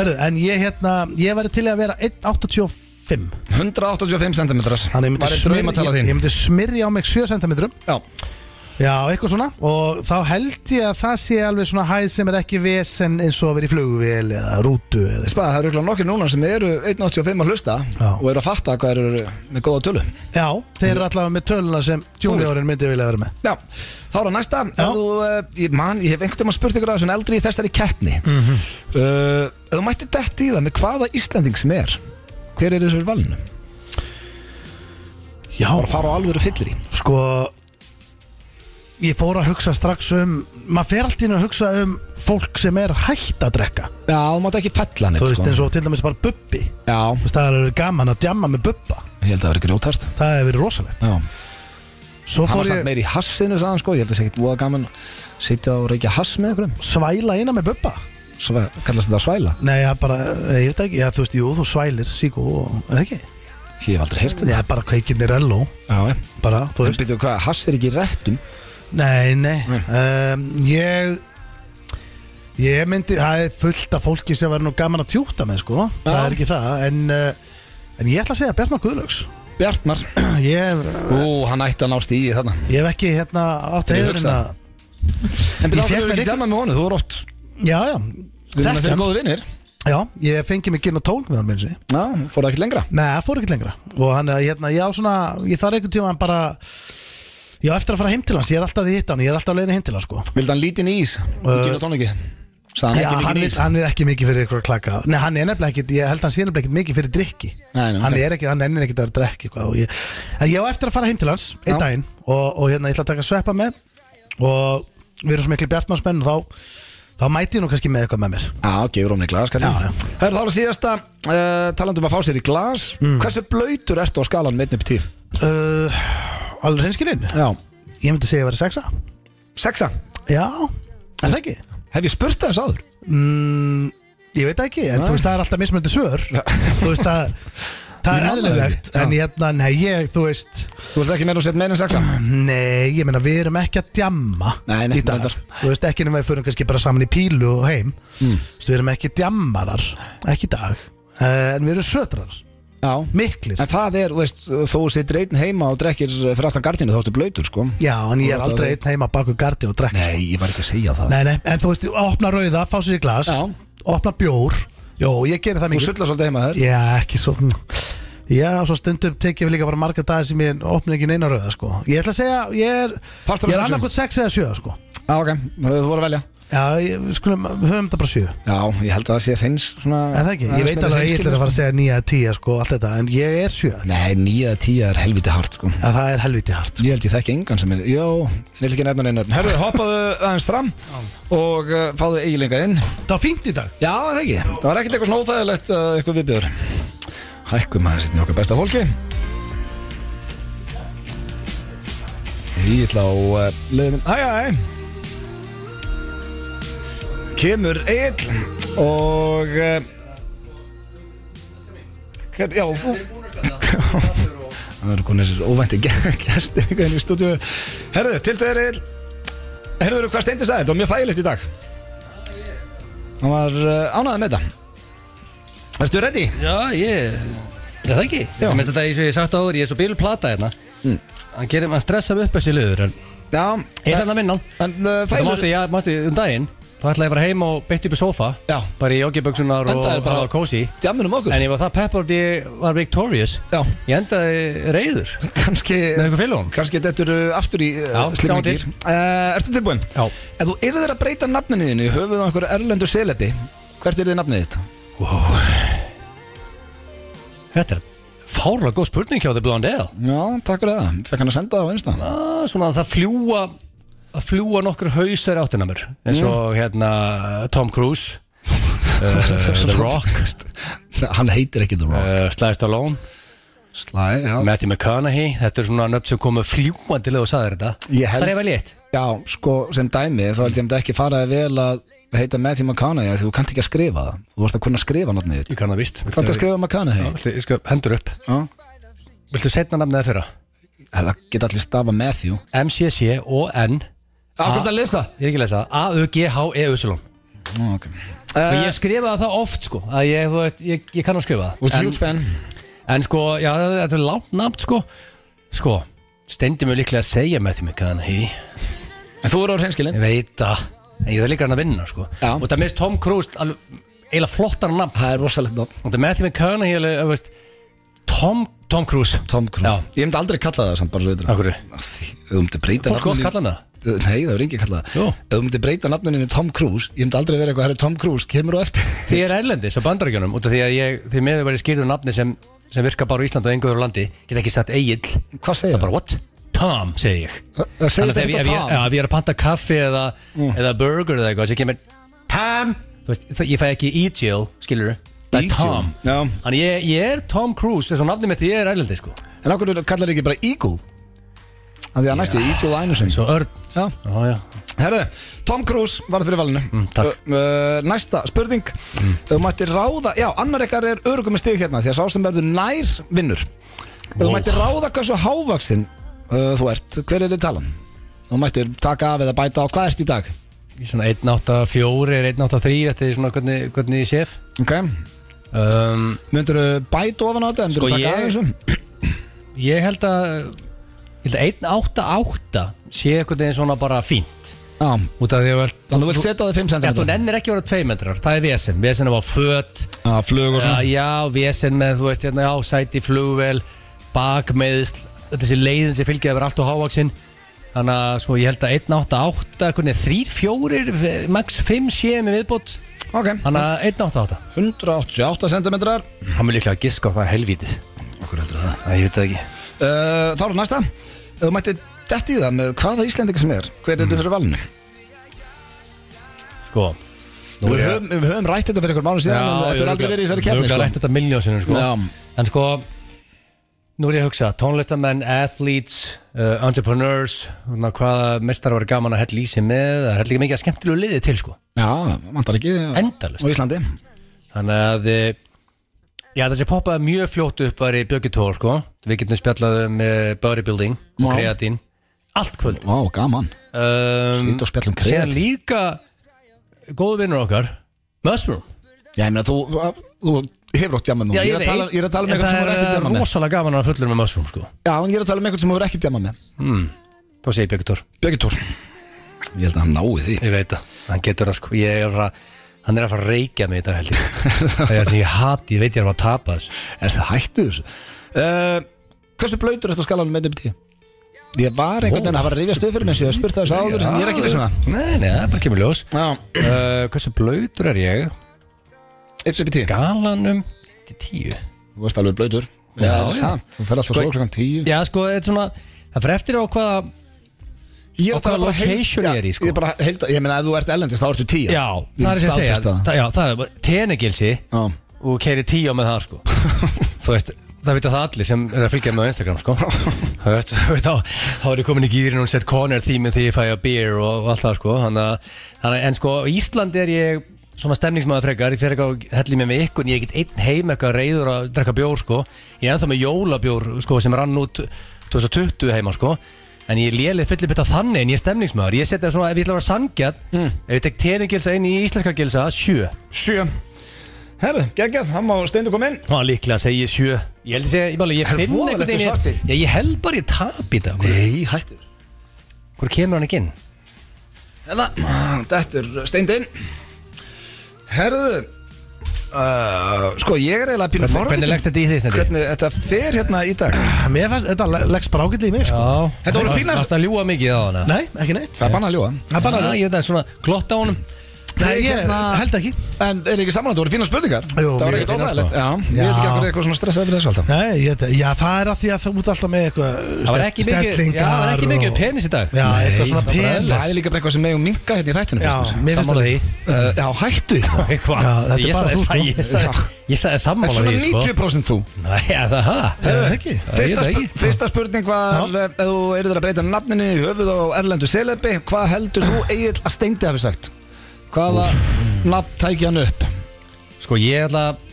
Speaker 3: Herru, en ég hérna, ég væri til í að vera 1,85
Speaker 1: 185 cm
Speaker 3: Þannig ég myndi,
Speaker 1: draum að tala
Speaker 3: smyrja, ég,
Speaker 1: þín
Speaker 3: ég myndi smyrja á mig 7 cm
Speaker 1: Já,
Speaker 3: Já, eitthvað svona og þá held ég að það sé alveg svona hæð sem er ekki vesen eins og að vera í flugvél eða rútu eða
Speaker 1: Spæða, það eru örugglega nokkir núna sem eru 1.85 að hlusta
Speaker 3: Já.
Speaker 1: og eru að fatta hvað þeir eru með góða tölu
Speaker 3: Já, þeir eru allavega með töluna sem juniorin myndi vilja vera með
Speaker 1: Já, þá er það næsta
Speaker 3: Já.
Speaker 1: Ef þú, uh, ég, man, ég hef einhvern veginn spurt ykkur að þessum eldri í þessari keppni mm -hmm. Ef þú mætti dett í það með hvaða Íslanding sem er Hver er þessur valinu?
Speaker 3: Já,
Speaker 1: Bara fara á alvöru fyllir í
Speaker 3: sko Ég fór að hugsa strax um maður fer allt í einu að hugsa um fólk sem er hætt að drekka
Speaker 1: Já, þú mátt ekki fella hann
Speaker 3: Þú veist eins og til dæmis bara bubbi Þú
Speaker 1: Já,
Speaker 3: veist það er gaman að djamma með bubba
Speaker 1: ég held að það verið grjótart
Speaker 3: Það hefur verið rosalegt
Speaker 1: Já,
Speaker 3: Svo
Speaker 1: hann var
Speaker 3: fór
Speaker 1: samt
Speaker 3: ég
Speaker 1: meir í hassinu sagðan sko Ég held að það sé ekkit voða gaman að sitja og reykja hass með ykkur
Speaker 3: svæla eina með bubba
Speaker 1: Svo kallast þetta svæla
Speaker 3: Nei, ég bara, ég veit ekki, já, þú veist, jú, þú svælir síku og, eða ekki?
Speaker 1: Ég hef aldrei heyrt þetta
Speaker 3: Já, bara kveikinir elló,
Speaker 1: Já, ég
Speaker 3: bara, þú
Speaker 1: En
Speaker 3: veist
Speaker 1: byrju hvað, hass er ekki í réttum
Speaker 3: Nei, nei,
Speaker 1: Nei.
Speaker 3: Um, ég ég myndi, það er fullt af fólki sem verður nú gaman að tjúta með, sko það er ekki það, en uh, en ég ætla að segja Bjarnar Guðlaugs
Speaker 1: Bjartmar
Speaker 3: ég,
Speaker 1: Ú, hann ætti að nást í þarna
Speaker 3: ég hef ekki, hérna, átt
Speaker 1: Ég
Speaker 3: heiðurinn
Speaker 1: hugsa.
Speaker 3: að
Speaker 1: En byrja,
Speaker 3: Ég
Speaker 1: þú
Speaker 3: fékk
Speaker 1: hefur
Speaker 3: mér
Speaker 1: ekki
Speaker 3: ekki-
Speaker 1: djamað með honum, þú er oft
Speaker 3: já, já,
Speaker 1: Við erum
Speaker 3: þekkt
Speaker 1: þeir
Speaker 3: hann.
Speaker 1: góðu vinnir
Speaker 3: já, ég fengi mig ginn og tólk með hann minni sig
Speaker 1: Já, fór það ekki lengra
Speaker 3: Nei, það fór ekkert lengra og hann, eh, hérna, ég á svona, ég þarf einhvern tíma bara, ég á eftir að fara heim til hans ég er alltaf því hitt hann, ég er alltaf að leiðin heim til hans, sko
Speaker 1: Vildi hann lítinn í ís? Uh, Ginn og tónleiki Sæðan
Speaker 3: Já,
Speaker 1: ekki
Speaker 3: hann
Speaker 1: mikið í
Speaker 3: er,
Speaker 1: ís
Speaker 3: hann er ekki mikið fyrir ykkur að klaka Nei, hann er nefnilega ekki, ég held að hann sé nefnilega ekki mikið fyrir drikki
Speaker 1: Nei, nei,
Speaker 3: Hann
Speaker 1: ok.
Speaker 3: er ekki, hann ennir ekki að drekka eitthvað og ég, En ég á eftir að fara heim til hans,
Speaker 1: Já.
Speaker 3: einn daginn og, og hérna, ég ætla að taka sveppa með Og við erum svo miklu bjartnánsmenn og þá, þá mæti ég nú kannski með eitthvað með mér
Speaker 1: Já, gefur ofni glas kannski.
Speaker 3: Já, já.
Speaker 1: Herðu, þá er það síðasta uh, Talandum að fá sér í glas Hversu blöytur ertu á skalan með 1 upp í 10?
Speaker 3: uh, Alveg reynskilinn,
Speaker 1: Já
Speaker 3: ég myndi segja að vera sexa
Speaker 1: Sexa
Speaker 3: Já, er það ekki?
Speaker 1: Hef ég spurt það þess áður?
Speaker 3: Mm, ég veit það ekki, en
Speaker 1: Nei.
Speaker 3: þú veist það er alltaf mismöndi svör Þú veist að það er
Speaker 1: Ég man það
Speaker 3: eðlilegt
Speaker 1: ekki.
Speaker 3: En
Speaker 1: Já.
Speaker 3: hérna, nei, ég, þú veist
Speaker 1: Þú ert ekki meira að setja meira en sexa?
Speaker 3: Nei, ég meina við erum ekki að djamma
Speaker 1: Nei, nei,
Speaker 3: í dag
Speaker 1: reyndar.
Speaker 3: Þú veist ekki nema við förum kannski bara saman í pílu og heim mm. Við erum ekki djammarar, ekki í dag uh, En við erum sötrar,
Speaker 1: Já
Speaker 3: miklir
Speaker 1: En það er, þú veist, þú situr einn heima og drekkir fyrir aftan gardinu þá ertu blöytur, sko
Speaker 3: Já, en ég er
Speaker 1: Þú ert
Speaker 3: aldrei
Speaker 1: að-
Speaker 3: einn heima baku gardin og drekka
Speaker 1: Nei, ég var ekki að segja það
Speaker 3: nei, nei, en þú veist, opna rauða, fá sér í glas
Speaker 1: Já.
Speaker 3: Opna bjór, jó, ég gerir
Speaker 1: Þú
Speaker 3: það mikið
Speaker 1: sullar svolítið heima þér
Speaker 3: Já, ekki svo Já, svo stundum tekið við líka bara marga dagar sem ég opna ekki neina rauða, sko Ég ætla að segja, ég er,
Speaker 1: Fastur á
Speaker 3: ég er
Speaker 1: sexum?
Speaker 3: annarkot 6 eða 7, sko
Speaker 1: Já, ok, þú þú voru að velja
Speaker 3: Já, ég, við skulum, höfum þetta bara 7
Speaker 1: Já, ég held að það sé hreins svona
Speaker 3: Er það ekki? Ég veit alveg að ég ætla að fara að segja 9 að 10 sko, allt þetta, en ég er 7 að
Speaker 1: Nei, nýja tíja er helviti hart sko
Speaker 3: það er helviti hart
Speaker 1: Ég held ég þekki engan sem er Jó, ég held ekki nefna neinar Herðu, hoppaðu aðeins fram Og uh, fáðu eiginlega inn
Speaker 3: Það var fínt í dag
Speaker 1: Já, það ekki Það var ekkert eitthvað svona óþægilegt uh, Eitthvað viðbjör Hækkum aðeins hérna í okkar besta fólki Ég ætla á uh, leiðin Æ, æ, æ Kemur Egil Og uh, hver, Já, þú Það eru konir óvænti gæsti einhvern veginn í stúdíu Herðu, til þeir Egil Herðu, hvað steindi sagði? Þetta var mjög þægilegt í dag Hann var uh, ánæðið með þetta Ertu ready?
Speaker 2: Já, ég Er það ekki?
Speaker 1: Já.
Speaker 2: Já Mér finnst þetta eins og ég hef sagt áður Ég er svo bílu plata hérna
Speaker 1: Mm.
Speaker 2: Hann gerir maður stressa upp þessi liður En
Speaker 1: Já
Speaker 2: er hann að minna hann
Speaker 1: En uh,
Speaker 2: Það
Speaker 1: þægilegur-
Speaker 2: mástu, já, mástu, um daginn Þá ætlaði ég bara heim og beitt upp í sófa
Speaker 1: Já.
Speaker 2: Bara í joggiböksunar og
Speaker 1: Endaði bara-
Speaker 2: hafa kósi
Speaker 1: Djamminn um okkur
Speaker 2: En ég var það peppard ég var victorious
Speaker 1: Já.
Speaker 2: Ég endaði reyður
Speaker 1: Kanski
Speaker 2: Með einhver félagum
Speaker 1: Kanski dettur uh, aftur í uh,
Speaker 2: Já,
Speaker 1: slimum
Speaker 2: sjáum til.
Speaker 1: gír. uh, Ertu tilbúin?
Speaker 2: Já.
Speaker 1: Ef þú yrðir að breyta nafninu þínu í Höfuð á einhverju erlendu selebi Hvert er þið nafnið þitt?
Speaker 2: Þetta er fárlega góð spurning hjá þið Blondell
Speaker 1: Já, takk fyrir það Fekk hann að senda það á einsta
Speaker 2: ah, Svona að það fljúa að fljúa nokkur hausar áttina mér eins
Speaker 1: Mm.
Speaker 2: og hérna Tom Cruise uh, The Rock
Speaker 1: Hann heitir ekki The Rock
Speaker 2: uh, Sly Stallone
Speaker 1: Slæ, já
Speaker 2: Matthew McConaughey þetta er svona nöfn sem komu fljúandi leið og sagði þetta
Speaker 1: Ég held-
Speaker 2: það er vel létt
Speaker 1: Já, sko, sem dæmi Þá held ég að þetta ekki faraði vel að heita Matthew McConaughey af Því þú kannt ekki að skrifa það Þú vorst að kunna skrifa nafnið þitt
Speaker 2: ég kann það vist
Speaker 1: Kannt að skrifa McConaughey?
Speaker 2: skrifa hendur upp
Speaker 1: Já.
Speaker 2: viltu setna nafnið það fyrra
Speaker 1: Það geta allir stafa Matthew
Speaker 2: MCC og N
Speaker 1: Akkur að lesa
Speaker 2: ég er ekki að lesa það A-U-G-H-E-U-S-L-O-N
Speaker 1: Ó, ok.
Speaker 2: og ég skrifaði það oft sko að ég, þú veist, ég, ég kann að skrifa það
Speaker 1: Þú ert
Speaker 2: En-
Speaker 1: huge fan
Speaker 2: En sko, já, þetta er langt nafn sko Sko, Steindi mjög líklega að segja með því mig hvað hann hei
Speaker 1: En þú eru á hreinskilin
Speaker 2: Ég veit að En ég þarf líka hann að vinna sko
Speaker 1: Já.
Speaker 2: Og það minnst Tom Cruise alveg, Eila flottar nafn
Speaker 1: Það er rosalegt nafn
Speaker 2: Og það með því mig hvað hann hei Tom, Tom Cruise
Speaker 1: Tom Cruise
Speaker 2: Já.
Speaker 1: Ég myndi aldrei kalla það samt bara svo veitur
Speaker 2: Af hverju?
Speaker 1: Því, ef þú myndi breyta
Speaker 2: Fólk oft kalla hann það
Speaker 1: það Nei, það er engin kalla það
Speaker 2: Jú.
Speaker 1: Ef þú myndi breyta nafnuninu Tom Cruise Ég myndi aldrei vera eitthvað Herri Tom Cruise kemur á eftir
Speaker 2: Því ég er erlendis á bandarækjunum út af því að ég, því miður verið skýrður nafni sem, sem virka bara á Íslandi og engur á landi, get ekki sagt Egil
Speaker 1: Hvað segir
Speaker 2: Það er bara what? Tom, segi ég
Speaker 1: Það- það segist
Speaker 2: Þannig að ef
Speaker 1: ekkert
Speaker 2: ég-
Speaker 1: á
Speaker 2: ef ég-
Speaker 1: Tom. Mm.
Speaker 2: Já, ef ég er að panta kaffi eða, eða burger eða eitthvað, sem kemur Tom, þú veist, það, ég fæ ekki E-Jill, skilur Það er
Speaker 1: E-Jill,
Speaker 2: Tom
Speaker 1: já.
Speaker 2: Þannig ég, ég er Tom Cruise, þess að nafni mitt ég er erlendi sko
Speaker 1: En okkur kallar ekki bara Eagle Af því að næstu Eagle Einarsen
Speaker 2: Svo örn
Speaker 1: Já
Speaker 2: Já, já
Speaker 1: Herðu, Tom Cruise var fyrir valinu
Speaker 2: Mm, takk. Mm.
Speaker 1: Ö, ö, Næsta spurning Þú mætti ráða, já, annar ykkar er örugum með stig hérna Því að sá sem verður nær vinnur Þú
Speaker 2: Vó.
Speaker 1: mætti ráða hversu hávaksin uh, þú ert Hver er þið talan? Þú mættir taka af eða bæta á hvað ert í dag
Speaker 2: Í Svona 1.84 er 1.83 Þetta er svona hvernig, hvernig ég séf
Speaker 1: Ok
Speaker 2: um,
Speaker 1: Myndirðu bæta ofan á þetta? Myndirðu
Speaker 2: Sko,
Speaker 1: taka
Speaker 2: ég-
Speaker 1: af þessu?
Speaker 2: Ég held að Ég held að 1.88 sé eitthvað neginn svona bara fínt
Speaker 1: Já,
Speaker 2: Út af því að
Speaker 1: þannig þú vilt setja á þig 5
Speaker 2: Já, þú
Speaker 1: cm
Speaker 2: nennir ekki að vera 2 metrar, það er vesen Vesen var föt,
Speaker 1: Já, flug og
Speaker 2: já,
Speaker 1: svona
Speaker 2: já, vesen með, þú veist, hérna, já, sæti flugvel Bakmeðsl, þessi leiðin sem fylgjaði verið allt og hávaksin Þannig að, sko, ég held að 1.88, hvernig, 3, 4, max 5 sé með viðbót
Speaker 1: Ok,
Speaker 2: Þannig að 1.88
Speaker 1: 188 cm
Speaker 2: Hann vil líklega giska á það helvítið
Speaker 1: Okkur heldur það
Speaker 2: Það, ég veit það ekki
Speaker 1: Uh, Þá er næsta Þú mætti dætt í það með hvaða Íslendinga sem er Hver er
Speaker 2: Mm.
Speaker 1: þetta fyrir valinu?
Speaker 2: Sko, nú
Speaker 1: Við
Speaker 2: er-
Speaker 1: höfum, við höfum rætt þetta fyrir einhver mánu síðan en Þetta er aldrei verið í þessari kefni
Speaker 2: Þú
Speaker 1: sko.
Speaker 2: rætt þetta miljónsinu sko.
Speaker 1: Já.
Speaker 2: En sko Nú er ég að hugsa, tónlistamenn, athletes, uh, entrepreneurs, svona hvaða mestar var gaman að hella í sig með, það er hella ekki mikið að skemmtilegu liði til sko,
Speaker 1: Já, vantar ekki Á
Speaker 2: endalust.
Speaker 1: Íslandi
Speaker 2: Þannig að, eh, já þessi poppaði mjög fljótt upp var í Bjöggitór sko, við getum spjallað um uh, bodybuilding og
Speaker 1: Já.
Speaker 2: kreatín, allt kvöld.
Speaker 1: Vá, gaman
Speaker 2: Um,
Speaker 1: Sýnt og spjalla um
Speaker 2: Síðan
Speaker 1: kreatín.
Speaker 2: líka, góðu vinnur okkar, Mushroom.
Speaker 1: Já, ég meina, þú, þú hefur átt jamma með
Speaker 2: Já,
Speaker 1: honum. Ég er að tala- Ég er að tala um
Speaker 2: En
Speaker 1: eitthvað sem
Speaker 2: það
Speaker 1: hefur ekkert
Speaker 2: er
Speaker 1: jamma
Speaker 2: eh,
Speaker 1: með
Speaker 2: rosalega gaman að fullur með Mushroom sko.
Speaker 1: Já, en ég er að tala um eitthvað sem hefur ekkert jamma með
Speaker 2: Hmm. Þá segir Björgur Tór,
Speaker 1: Björgi Tór Ég held að hann nái því
Speaker 2: ég veit það, hann getur það sko, ég er að, hann er að fara að reykja mig í dag held ég. Það er því ég hati, ég veit ég er að fara að tapa þessu.
Speaker 1: Er það hættu þessu? Uh, Hversu blöytur þetta skalanum með nefndi? Ég var einhvern veginn að hafa að rifja stöð fyrir mér sem ég hef spurt það þessu áður en ég er ekki vissum það
Speaker 2: Nei, nei, um það er bara kemur ljós.
Speaker 1: Já,
Speaker 2: Uh, hversu blöytur er ég?
Speaker 1: XBT
Speaker 2: Galanum, þetta er tíu.
Speaker 1: Þú varst alveg blöytur
Speaker 2: Já,
Speaker 1: það er
Speaker 2: já.
Speaker 1: samt. Þú fer alltaf svo klokkan tíu
Speaker 2: Já, sko, þetta er svona, það fyrir eftir á hvaða,
Speaker 1: Ég er
Speaker 2: Og
Speaker 1: að tala
Speaker 2: hvaða
Speaker 1: bara heil-
Speaker 2: location
Speaker 1: Já,
Speaker 2: ég er í, sko.
Speaker 1: Ég er bara heilda Ég meina, ef þú ert ellendist þá ertu tíu
Speaker 2: já, það er sem ég segja, það, já, það er bara tenegilsi
Speaker 1: Já,
Speaker 2: og keiri tíu með það, sko. Þú veist, það vita það allir sem er að fylgja með á Instagram, sko. Þú veist, þú veist, þá, þá er ég komin í gýrin og set corner þýmið þegar ég fæ að beer og, og allt það, sko. Þannig að, þannig að- en sko, á Íslandi er ég svona stemningsmaður frekar, ég fer eitthvað og helli mig með ykkur, en ég get einn heim eitthvað reyður að drekka bjór, sko. Ég er ennþá með jólabjór, sko, sem rann út 2020 heima, sko. En ég lélið fyllir byrta þannig en ég er stemningsmaður. Ég setja svona, ef ég ætla að vera sangjad, ef ég tek teningilsa inn í íslenska gilsa, sjö.
Speaker 1: sjö Herðu, geggjað, hann má steindu kom inn
Speaker 2: Má líklega segja ég sjö Ég held að segja, ég, máli, ég
Speaker 1: Það er
Speaker 2: finn
Speaker 1: voðalegt þú
Speaker 2: einhvern
Speaker 1: svart
Speaker 2: veginn
Speaker 1: þig.
Speaker 2: Já, ég held bara ég tap í dag
Speaker 1: Nei, hættur
Speaker 2: Hvor kemur hann ekki inn?
Speaker 1: Hérna, dættur steind inn Herðu uh, Sko, ég er eiginlega pínu
Speaker 2: Hvernig, hvernig leggst þetta í því stendi?
Speaker 1: Hvernig þetta fer hérna í dag
Speaker 3: Mér fannst, þetta le- leggst bara ágætlega í mig sko.
Speaker 2: Já
Speaker 1: Þetta voru
Speaker 2: Varst-
Speaker 1: fínar-
Speaker 2: Varstu að ljúa mikið á hana?
Speaker 3: Nei, ekki neitt
Speaker 1: Það er banna að ljúa
Speaker 3: Það er bara
Speaker 2: Já, ég veit að svona glott á honum
Speaker 3: Nei, ég
Speaker 1: hérna-
Speaker 3: held ekki
Speaker 1: En er ekki samanlægt, þú voru fína spurningar
Speaker 3: Jú,
Speaker 1: Það var
Speaker 3: mjög
Speaker 1: ekkert
Speaker 3: fínar,
Speaker 1: óþægilegt
Speaker 2: sko.
Speaker 1: Já, ég veit ekki
Speaker 3: Já.
Speaker 1: að hverju eitthvað svona stressað fyrir þessu alltaf
Speaker 3: Nei, ég, já, það er að því að þú út alltaf með eitthvað
Speaker 2: Það var ekki mikið Já, það var ekki mikið penis í dag
Speaker 3: Já, eitthvað svona
Speaker 2: það var bara
Speaker 3: penis.
Speaker 2: eðlilegt.
Speaker 1: Það er líka bara eitthvað sem megum minga hérna í þættinu
Speaker 3: Já,
Speaker 1: finnst mér.
Speaker 3: mér finnst
Speaker 2: Sammála
Speaker 3: það
Speaker 2: því
Speaker 1: Uh, já hættu því.
Speaker 2: Nei, hvað?
Speaker 3: Já, þetta er
Speaker 2: Ég
Speaker 3: bara
Speaker 2: sagði-
Speaker 3: þú, sko.
Speaker 2: ég sagði- Ég sagði
Speaker 1: Þetta er
Speaker 2: sammála
Speaker 1: svona
Speaker 2: því sko
Speaker 1: 90% þú
Speaker 2: Nei, já, það ha?
Speaker 3: Það er ekki
Speaker 2: Ég
Speaker 1: Fyrsta, sp
Speaker 2: veit ekki.
Speaker 1: fyrsta spurning var
Speaker 3: Já.
Speaker 1: eh, ef þú eru að breyta nafninu í höfuð á Erlendu Selebi hvað heldur þú Egil að steindi hafi sagt hvaða nafn tæki hann upp
Speaker 2: Sko ég ætla að-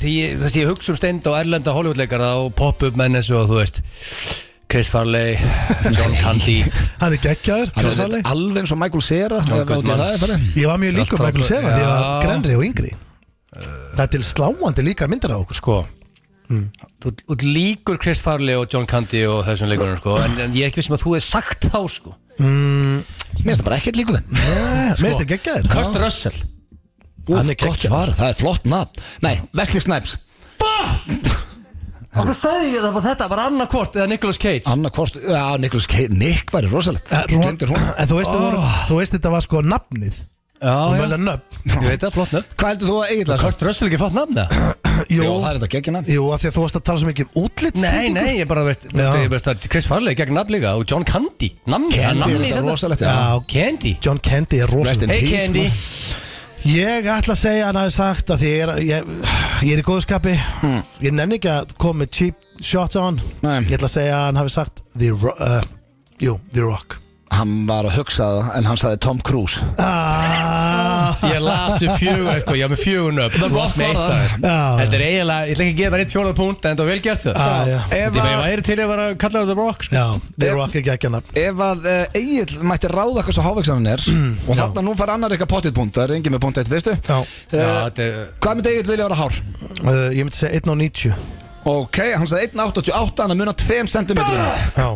Speaker 2: Því þess að ég hugsa um steind og erlenda Hollywoodleikara og pop-up menn eins og þú veist Chris Farley, John Candy
Speaker 3: Hann er geggjaður,
Speaker 1: hann
Speaker 3: Chris
Speaker 1: er
Speaker 3: Farley
Speaker 1: alveg eins og Michael Cera
Speaker 2: John
Speaker 1: ef átti
Speaker 2: Goodman.
Speaker 1: það er farið.
Speaker 3: Ég var mjög líkur
Speaker 2: Allt
Speaker 3: Michael
Speaker 2: frá-
Speaker 3: Cera því ég var
Speaker 2: Já.
Speaker 3: grenri og yngri Það er til sláandi líkar myndir á okkur
Speaker 2: Sko, þú þú ert líkur Chris Farley og John Candy og þessum leikurinn sko, en, en ég er ekki vissum að þú hefði sagt þá sko.
Speaker 1: Mér finnst það bara ekkert líka þeim
Speaker 3: Mér
Speaker 1: sko.
Speaker 3: finnst það geggjaðir
Speaker 2: Kurt Russell
Speaker 1: Ú,
Speaker 3: Hann er
Speaker 1: Gott
Speaker 3: geggjaður.
Speaker 1: svar, það er flott nafn Nei, Wesley Snipes
Speaker 2: Okkur sagði ég það bara þetta, bara annarkvort eða Nicolas Cage
Speaker 1: Anna Kvort, já, Nicholas K. Nick væri rosalegt Gleymdir hún.
Speaker 3: Eh, En þú veist, oh.
Speaker 1: Ah.
Speaker 3: þú veist þetta var sko nafnið
Speaker 2: Já,
Speaker 3: Hún
Speaker 2: já,
Speaker 3: mæla nöfn
Speaker 2: ég veit það, flott nöfn
Speaker 1: Hvað heldur þú að eiginlega sagt?
Speaker 2: Kurt Russell er ekki flott nafn það
Speaker 1: Jó,
Speaker 3: Jú,
Speaker 1: það er þetta geggina
Speaker 3: jú, af því að þú varst að tala svo mikið um útlitt
Speaker 2: Nei, nei, ég bara veist,
Speaker 3: Já.
Speaker 2: ég veist að Chris Farley gegn nafn líka og John Candy Namni, hann
Speaker 1: Andy er
Speaker 2: namni í
Speaker 1: þetta
Speaker 2: þetta
Speaker 1: rosalegt já.
Speaker 3: Já,
Speaker 2: Candy
Speaker 3: John Candy er
Speaker 1: Rest in
Speaker 3: rosalega
Speaker 2: Hey
Speaker 1: peace,
Speaker 2: Candy
Speaker 1: man.
Speaker 3: Ég ætla að segja hann hafi sagt að því ég er, ég, ég er í góðskapi Ég nenni ekki að koma með cheap shots á hann
Speaker 1: Hmm. Nei.
Speaker 3: Ég ætla að segja að hann hafi sagt The Ro- uh, Jú, The Rock
Speaker 1: Hann var að hugsa það en hann sagði Tom Cruise
Speaker 3: ah,
Speaker 2: Ég lasi fjögur, sko, ég haf með fjögur nöfn
Speaker 1: Það er gott
Speaker 2: Með eitt
Speaker 1: svarað.
Speaker 2: af þeim.
Speaker 3: Já.
Speaker 2: Þetta er eiginlega, ég ætla ekki að gefa það eitt fjóðað punkt En það var vel gert það
Speaker 3: Ah, já.
Speaker 2: Þetta
Speaker 1: Ef
Speaker 2: er bara,
Speaker 1: að-
Speaker 2: ég væri til að vera að kalla það The Rock sko.
Speaker 3: Já, The
Speaker 1: Ég-
Speaker 3: Rock er geggja nafn
Speaker 1: Ef að uh, Egil mætti ráða hvað svo hávegsanin er og
Speaker 3: já.
Speaker 1: þarna nú fær annar eitthvað pottið punkt það er engin með punkt eitt, veistu?
Speaker 3: Já,
Speaker 2: Já,
Speaker 1: Uh,
Speaker 2: þetta er
Speaker 1: hvað myndi Egil vilja vera hár?
Speaker 3: uh, ég myndi segja 1 á 90
Speaker 1: Ok, hann sagði 1.88 hann að muna 2 cm uh,
Speaker 3: Já,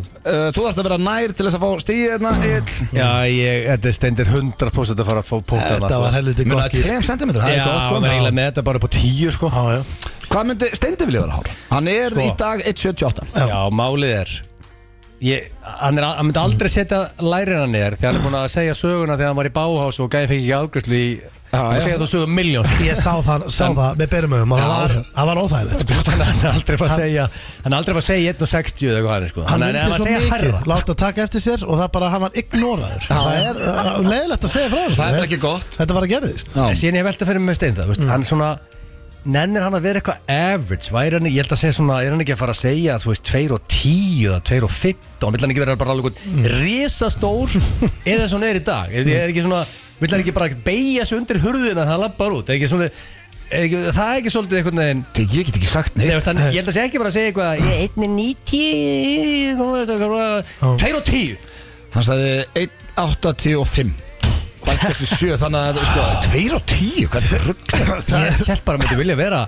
Speaker 1: Þú þarfst að vera nær til þess að fá stíði hérna Egil
Speaker 2: Já, ég, þetta er stendir 100% að fara að fá punkt sko.
Speaker 3: þetta var helviti
Speaker 1: Muna
Speaker 3: gott gísk
Speaker 1: 2 cm, það er
Speaker 2: Já,
Speaker 1: gott
Speaker 2: hann var
Speaker 1: sko
Speaker 2: eiginlega með þetta bara upp á 10 sko
Speaker 3: Já, já
Speaker 1: Hvað myndi Steindi vilja vera hár? Hann er
Speaker 2: Sko.
Speaker 1: í dag 1.78
Speaker 2: Já, málið er ég, hann, er, hann myndi aldrei setja lærina neður því hann er búin að segja söguna þegar hann var í báhás og gæði fekk ekki afgjörslu í hann
Speaker 1: já.
Speaker 2: segja þú sögum miljón
Speaker 3: Ég sá það, sá það með berum öfum og það var, það var óþægilegt sko.
Speaker 2: hann er aldrei fara að segja hann er aldrei fara að segja 1.60 eða eitthvað hann er, sko.
Speaker 3: Hann
Speaker 2: Hann er- var
Speaker 3: vildi
Speaker 2: að
Speaker 3: svo
Speaker 2: segja
Speaker 3: mikið
Speaker 2: hærra.
Speaker 3: láta taka eftir sér og það bara, hann var ignoraður Það er uh, leiðilegt að segja frá þessu
Speaker 1: Það er
Speaker 3: en
Speaker 1: ekki gott.
Speaker 3: Þetta var að gerðist
Speaker 1: Já.
Speaker 2: En síðan ég velta fyrir mig með stein það
Speaker 3: Mm.
Speaker 2: veist, Hann svona Nennir hann að vera eitthvað average Væri hann, ég held að segja svona Er hann ekki að fara að segja Þú veist 2 og 10 Eða 2 og 15 Vill hann ekki vera bara alveg mm. Risastór Eða svona er í dag er, er ekki svona Vill hann ekki bara beigja sig undir hurðina Það lappar út er ekki svona, er ekki, Það er ekki svolítið einhvern veginn
Speaker 1: Ég get ekki sagt
Speaker 2: Nei,
Speaker 1: neitt
Speaker 2: veist, hann, ég held að segja ekki bara að segja eitthvað Ég er 1 og 90 2 og 10
Speaker 1: Hann sagði 1.85 Bælt eftir 7 þannig að sko, 2 og 10, hvað er rugglega
Speaker 2: Ég held bara að myndi vilja vera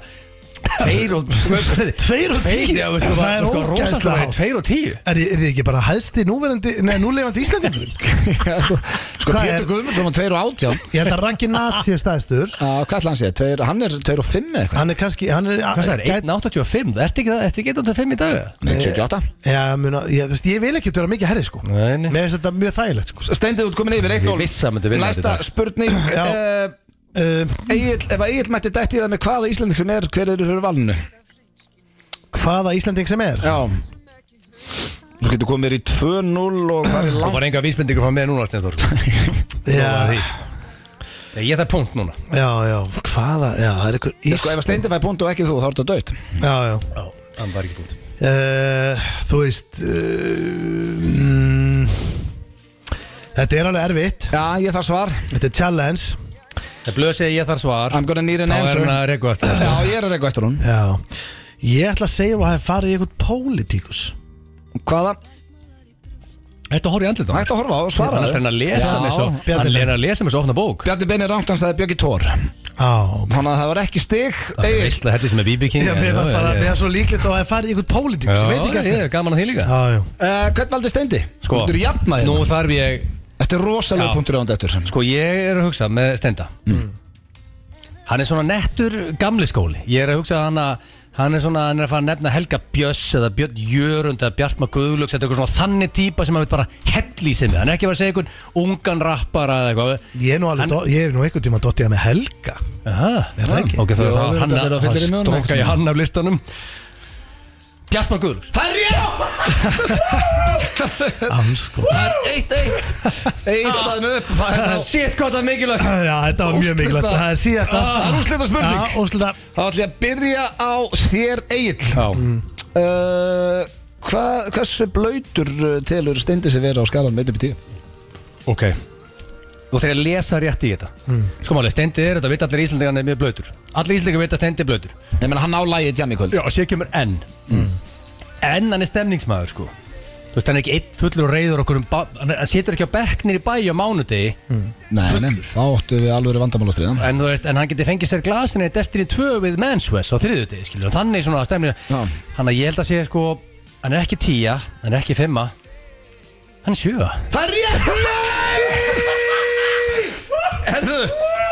Speaker 2: Tveir og
Speaker 3: Tveir og tíu?
Speaker 2: já, veistu,
Speaker 3: Það er
Speaker 2: sko,
Speaker 3: ógeðslega
Speaker 2: rosalega
Speaker 3: hátt.
Speaker 2: Tveir og tíu
Speaker 3: Er, er þið ekki bara hæðsti núverandi, nei, núlefandi Íslandingur?
Speaker 1: Sko
Speaker 3: Hvað
Speaker 1: Pétur
Speaker 3: er-
Speaker 1: Guðmundsson var 2 og 18
Speaker 3: Ég held að rangi natsjö stæðstur
Speaker 1: Uh, hvað ætla hann sé? Tveir, hann er 2 og 5 eða eitthvað
Speaker 3: Hann er kannski, hann er
Speaker 2: Hvað það er, 1.85? Það ert ekki það, ert ekki 1.85 í dag?
Speaker 1: Nei, 78
Speaker 3: Já, muna, ég, þú veist, ég vil ekki vera mikið herri sko
Speaker 2: Nei, nei.
Speaker 3: Mér finnst þetta mjög þægilegt sko
Speaker 1: Steindið út komin yfir 1-0
Speaker 2: vissi að myndi vinna
Speaker 1: Næsta
Speaker 2: þetta í dag.
Speaker 1: spurning
Speaker 3: Já.
Speaker 1: uh,
Speaker 3: uh,
Speaker 1: Egil, Ef að Egil mætti dætt í það með hvaða Íslanding sem er Hver er þurru valinu?
Speaker 3: Hvaða Íslanding sem er?
Speaker 1: Já Þú getur komið mér í 2-0 og hvað er
Speaker 2: Þú
Speaker 1: langt
Speaker 2: var enga vísbendingur frá mér núna, Stensdór
Speaker 3: Já, já,
Speaker 2: Ég er það punkt núna
Speaker 3: já, hvaða, já, það er ykkur
Speaker 1: Sko ef að
Speaker 3: Ísland
Speaker 1: Steindið fæði punkt og ekki þú þá er þetta dött
Speaker 3: Já, já
Speaker 2: Já, hann var ekki punkt
Speaker 3: uh, Þú veist uh, mm, Þetta er alveg erfitt
Speaker 1: Já, ég þarf svar
Speaker 3: Þetta er challenge
Speaker 2: Það blöð segi ég þar svar
Speaker 1: I'm gonna need an
Speaker 2: Þá er
Speaker 1: answer
Speaker 2: hann að reyku eftir það
Speaker 1: Já, ég er að reyka eftir hún
Speaker 3: Já Ég ætla að segja að það hefði farið í eitthvað pólitíkus
Speaker 1: Hvaða?
Speaker 2: Þetta horf í andlit á
Speaker 1: Hægt að horfa á og svara
Speaker 2: Hann er að lesa
Speaker 1: Já.
Speaker 2: með svo
Speaker 3: Bjarni
Speaker 2: Hann
Speaker 3: Ben.
Speaker 2: er að lesa með svo opna bók
Speaker 1: Bjarni Beini Rangt, hann sagði Björgi Tór
Speaker 3: Já,
Speaker 1: Þannig að það var ekki stig
Speaker 2: Það er
Speaker 1: Egil,
Speaker 2: veistlega helli sem er BB King
Speaker 3: Já, mér fannst bara, mér fannst svo líklegt að það hefði farið í ykkur pólitíkus, ég veit ekki
Speaker 2: Já,
Speaker 3: að
Speaker 2: ég er gaman að því líka
Speaker 3: Já, já,
Speaker 1: uh, hvern valdi Steindi?
Speaker 2: Sko,
Speaker 1: Þú er jafna
Speaker 2: nú
Speaker 1: hérna
Speaker 2: þarf ég
Speaker 1: Þetta er
Speaker 2: Já.
Speaker 1: rosalega punktur á hann eftir
Speaker 2: Sko ég er að hugsa með Stenda
Speaker 1: Mm.
Speaker 2: Hann er svona nettur gamli skóli Ég er að hugsa að hann að Hann er svona, hann er að fara að nefna Helga Bjöss eða Björn Jörund eða Bjartma Guðlöks eða eitthvað svona þannig típa sem hann veit bara hell í sinni Hann er ekki að vera að segja einhvern ungan rappara eða eitthvað
Speaker 3: ég er nú alveg,
Speaker 2: Hann-
Speaker 3: do, ég er nú einhvern tíma dottið að með Helga
Speaker 2: Aha,
Speaker 3: Er það ekki?
Speaker 2: Ok, þá
Speaker 1: Jú,
Speaker 2: er það
Speaker 1: við erum
Speaker 2: hann
Speaker 1: þetta að fylla í
Speaker 2: að
Speaker 1: munum
Speaker 2: stróka
Speaker 1: einhvern
Speaker 2: í hann af listanum Bjartma Guðlöks
Speaker 1: Það er rétt!
Speaker 3: Ansko
Speaker 1: Það er eitt eitt Egil staðið mig upp Það er Ah. það
Speaker 2: Shit, hvað það er mikilvægt
Speaker 3: Já, þetta var mjög mikilvægt, það Ah, er síðasta
Speaker 1: Það er úrslita spurning
Speaker 3: Já, úrslita
Speaker 1: Þá ætlum ég að byrja á þér Egil
Speaker 2: Já,
Speaker 1: uh, hva, Hversu blöytur telur Steindi sem vera á skalan með 1.10?
Speaker 2: ok Þú þarf að lesa rétt í þetta Sko máli, Stendi er þetta, veit allir Íslandingar hann er mjög blöytur Allir Íslandingar veit að Stendi er blöytur
Speaker 1: Nei, menn hann á lagið jam í kvöld
Speaker 2: Já, og sér kemur enn mm. Enn hann er stemningsmaður sko Þú veist, hann er ekki einn fullur og reyður okkur um ba- Hann hann situr ekki á bekknir í bæju á mánudegi
Speaker 1: Nei, nei, þá áttu við alveg vandamál að stríða
Speaker 2: en, þú veist, en hann geti fengið sér glasin í Destiny 2 við Men's West á þriðjudegi skilur. Þannig svona að stemni
Speaker 1: Já.
Speaker 2: Þannig að ég held að sé sko Hann er ekki tíja, hann er ekki fimma Hann er sjöa
Speaker 1: Það er rétt Nei Herðu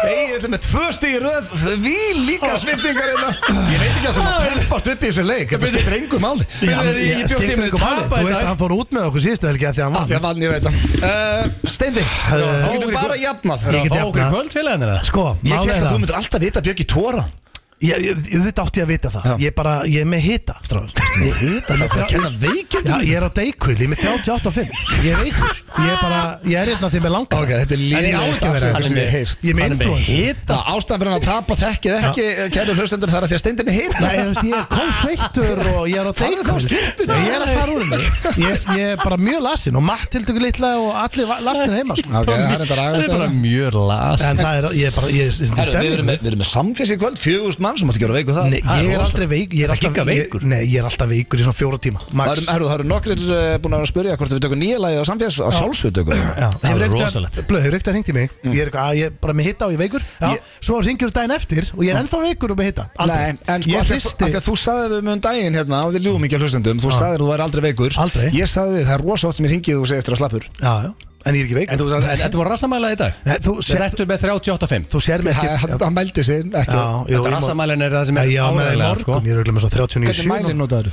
Speaker 1: Egil með tvö stíð röð Því líka sviptingar hérna Ég veit ekki að þú maður Peppast upp í þessu leik Þetta skiptir engu máli
Speaker 2: Já, ég- ég
Speaker 3: Ég- ég
Speaker 2: bjóst
Speaker 3: skiptir
Speaker 2: ég myndi
Speaker 3: engu máli.
Speaker 2: tapa í
Speaker 3: Þú
Speaker 2: dag.
Speaker 3: veist að hann fór út með okkur síðustu helgi að því að hann
Speaker 1: eh? Af því
Speaker 3: vann
Speaker 1: að vann ég veit það uh, Steindi Þú
Speaker 2: Fá
Speaker 1: getur
Speaker 2: okkur í
Speaker 1: bara
Speaker 2: kvöld.
Speaker 1: jafnað
Speaker 2: Það
Speaker 3: Ég
Speaker 2: er
Speaker 3: get
Speaker 2: að fá okkur í
Speaker 3: jafnað.
Speaker 2: kvöld félagin þeirra
Speaker 3: Sko,
Speaker 1: Ég
Speaker 3: málið
Speaker 1: held
Speaker 3: er
Speaker 1: að þú
Speaker 3: það
Speaker 1: myndir alltaf vita Björki Tóra
Speaker 3: Ég ég- ég veit átti að vita það
Speaker 1: Já.
Speaker 3: Ég bara, ég er með hita
Speaker 1: Ég hita það fyrir að kenna veikindum
Speaker 3: Já, ég er á deikul, ég er með 38 og 5 Ég er veikur, ég er bara, ég er hérna því með langar
Speaker 1: Ok, þetta er
Speaker 3: En ég á
Speaker 1: lélegasta
Speaker 3: ekki að vera
Speaker 1: afsökun
Speaker 3: hérna.
Speaker 1: sem ég hef heyrt.
Speaker 3: Ég er með
Speaker 2: Hann er með
Speaker 3: influencer
Speaker 2: hit
Speaker 1: Það ástæðan fyrir hann að tapa þekkið ekki Kæru hlustendur þar að því að Steindi með hita
Speaker 3: Nei, þú veist, ég er kósveittur og ég er á
Speaker 1: Farðu þá á
Speaker 3: deikul
Speaker 1: skyrtuna.
Speaker 3: Ég er að fara úr mig Ég ég er bara mjög lasin og Mattildur litla og allir lasin heima sko.
Speaker 1: Ok, það er þetta
Speaker 2: Hann er bara
Speaker 1: ræðist
Speaker 2: mjög las
Speaker 3: En það er, ég er bara, ég er í
Speaker 1: Við erum
Speaker 3: stemningu.
Speaker 1: með, við erum með samféls í kvöld, fjögust mann sem átti að gera veiku það
Speaker 3: Nei, ég er aldrei veik Ég er
Speaker 2: Það er
Speaker 3: alltaf
Speaker 2: giga
Speaker 3: ég-
Speaker 2: veikur.
Speaker 3: Nei, ég er alltaf veikur í svona fjóra tíma
Speaker 1: Það
Speaker 3: Max
Speaker 1: eru, herru, það eru nokkrir uh, búin að vera að spyrja hvort við tökum nýja lagi á samféls á sjálfsveit tökum við.
Speaker 3: Já,
Speaker 2: Það
Speaker 3: hefur
Speaker 2: er
Speaker 3: ekkert
Speaker 2: rosalegt.
Speaker 3: að, blöð, hefur ekkert að hringt í mig ég, er, eitthvað, að ég er bara með hitta og ég er veikur já, Svo ringjur daginn eftir og ég er ennþá veikur og með hitta Aldrei.
Speaker 1: Nei, en sko,
Speaker 3: Ég
Speaker 1: af því
Speaker 3: hristi-
Speaker 1: af því að þú sagðið við um daginn hérna og við ljúum ekki að hlustendum, þú sagðið þú væri aldrei veikur
Speaker 3: Aldrei.
Speaker 1: Ég sagði þið, það er rosa oft sem ég ringið og þú segist eftir að slappur
Speaker 3: Já, já, en ég er ekki
Speaker 2: En
Speaker 3: veikur
Speaker 2: þú en ertu var rassamæla í dag
Speaker 3: Nei, þú
Speaker 2: Þetta
Speaker 3: sér-
Speaker 2: ertu með 38.5
Speaker 3: Þú sér mig
Speaker 1: Það
Speaker 3: ekki
Speaker 1: hann- hann mældi sig ekki
Speaker 3: Já, jú,
Speaker 2: Þetta
Speaker 3: ég má-
Speaker 2: rassamælin er það sem
Speaker 3: Nei,
Speaker 2: er
Speaker 3: já, með það í
Speaker 2: áreiðanlega, sko.
Speaker 3: morgun, ég er auðvitað með svo 39
Speaker 1: Hvernig mælinn notaður?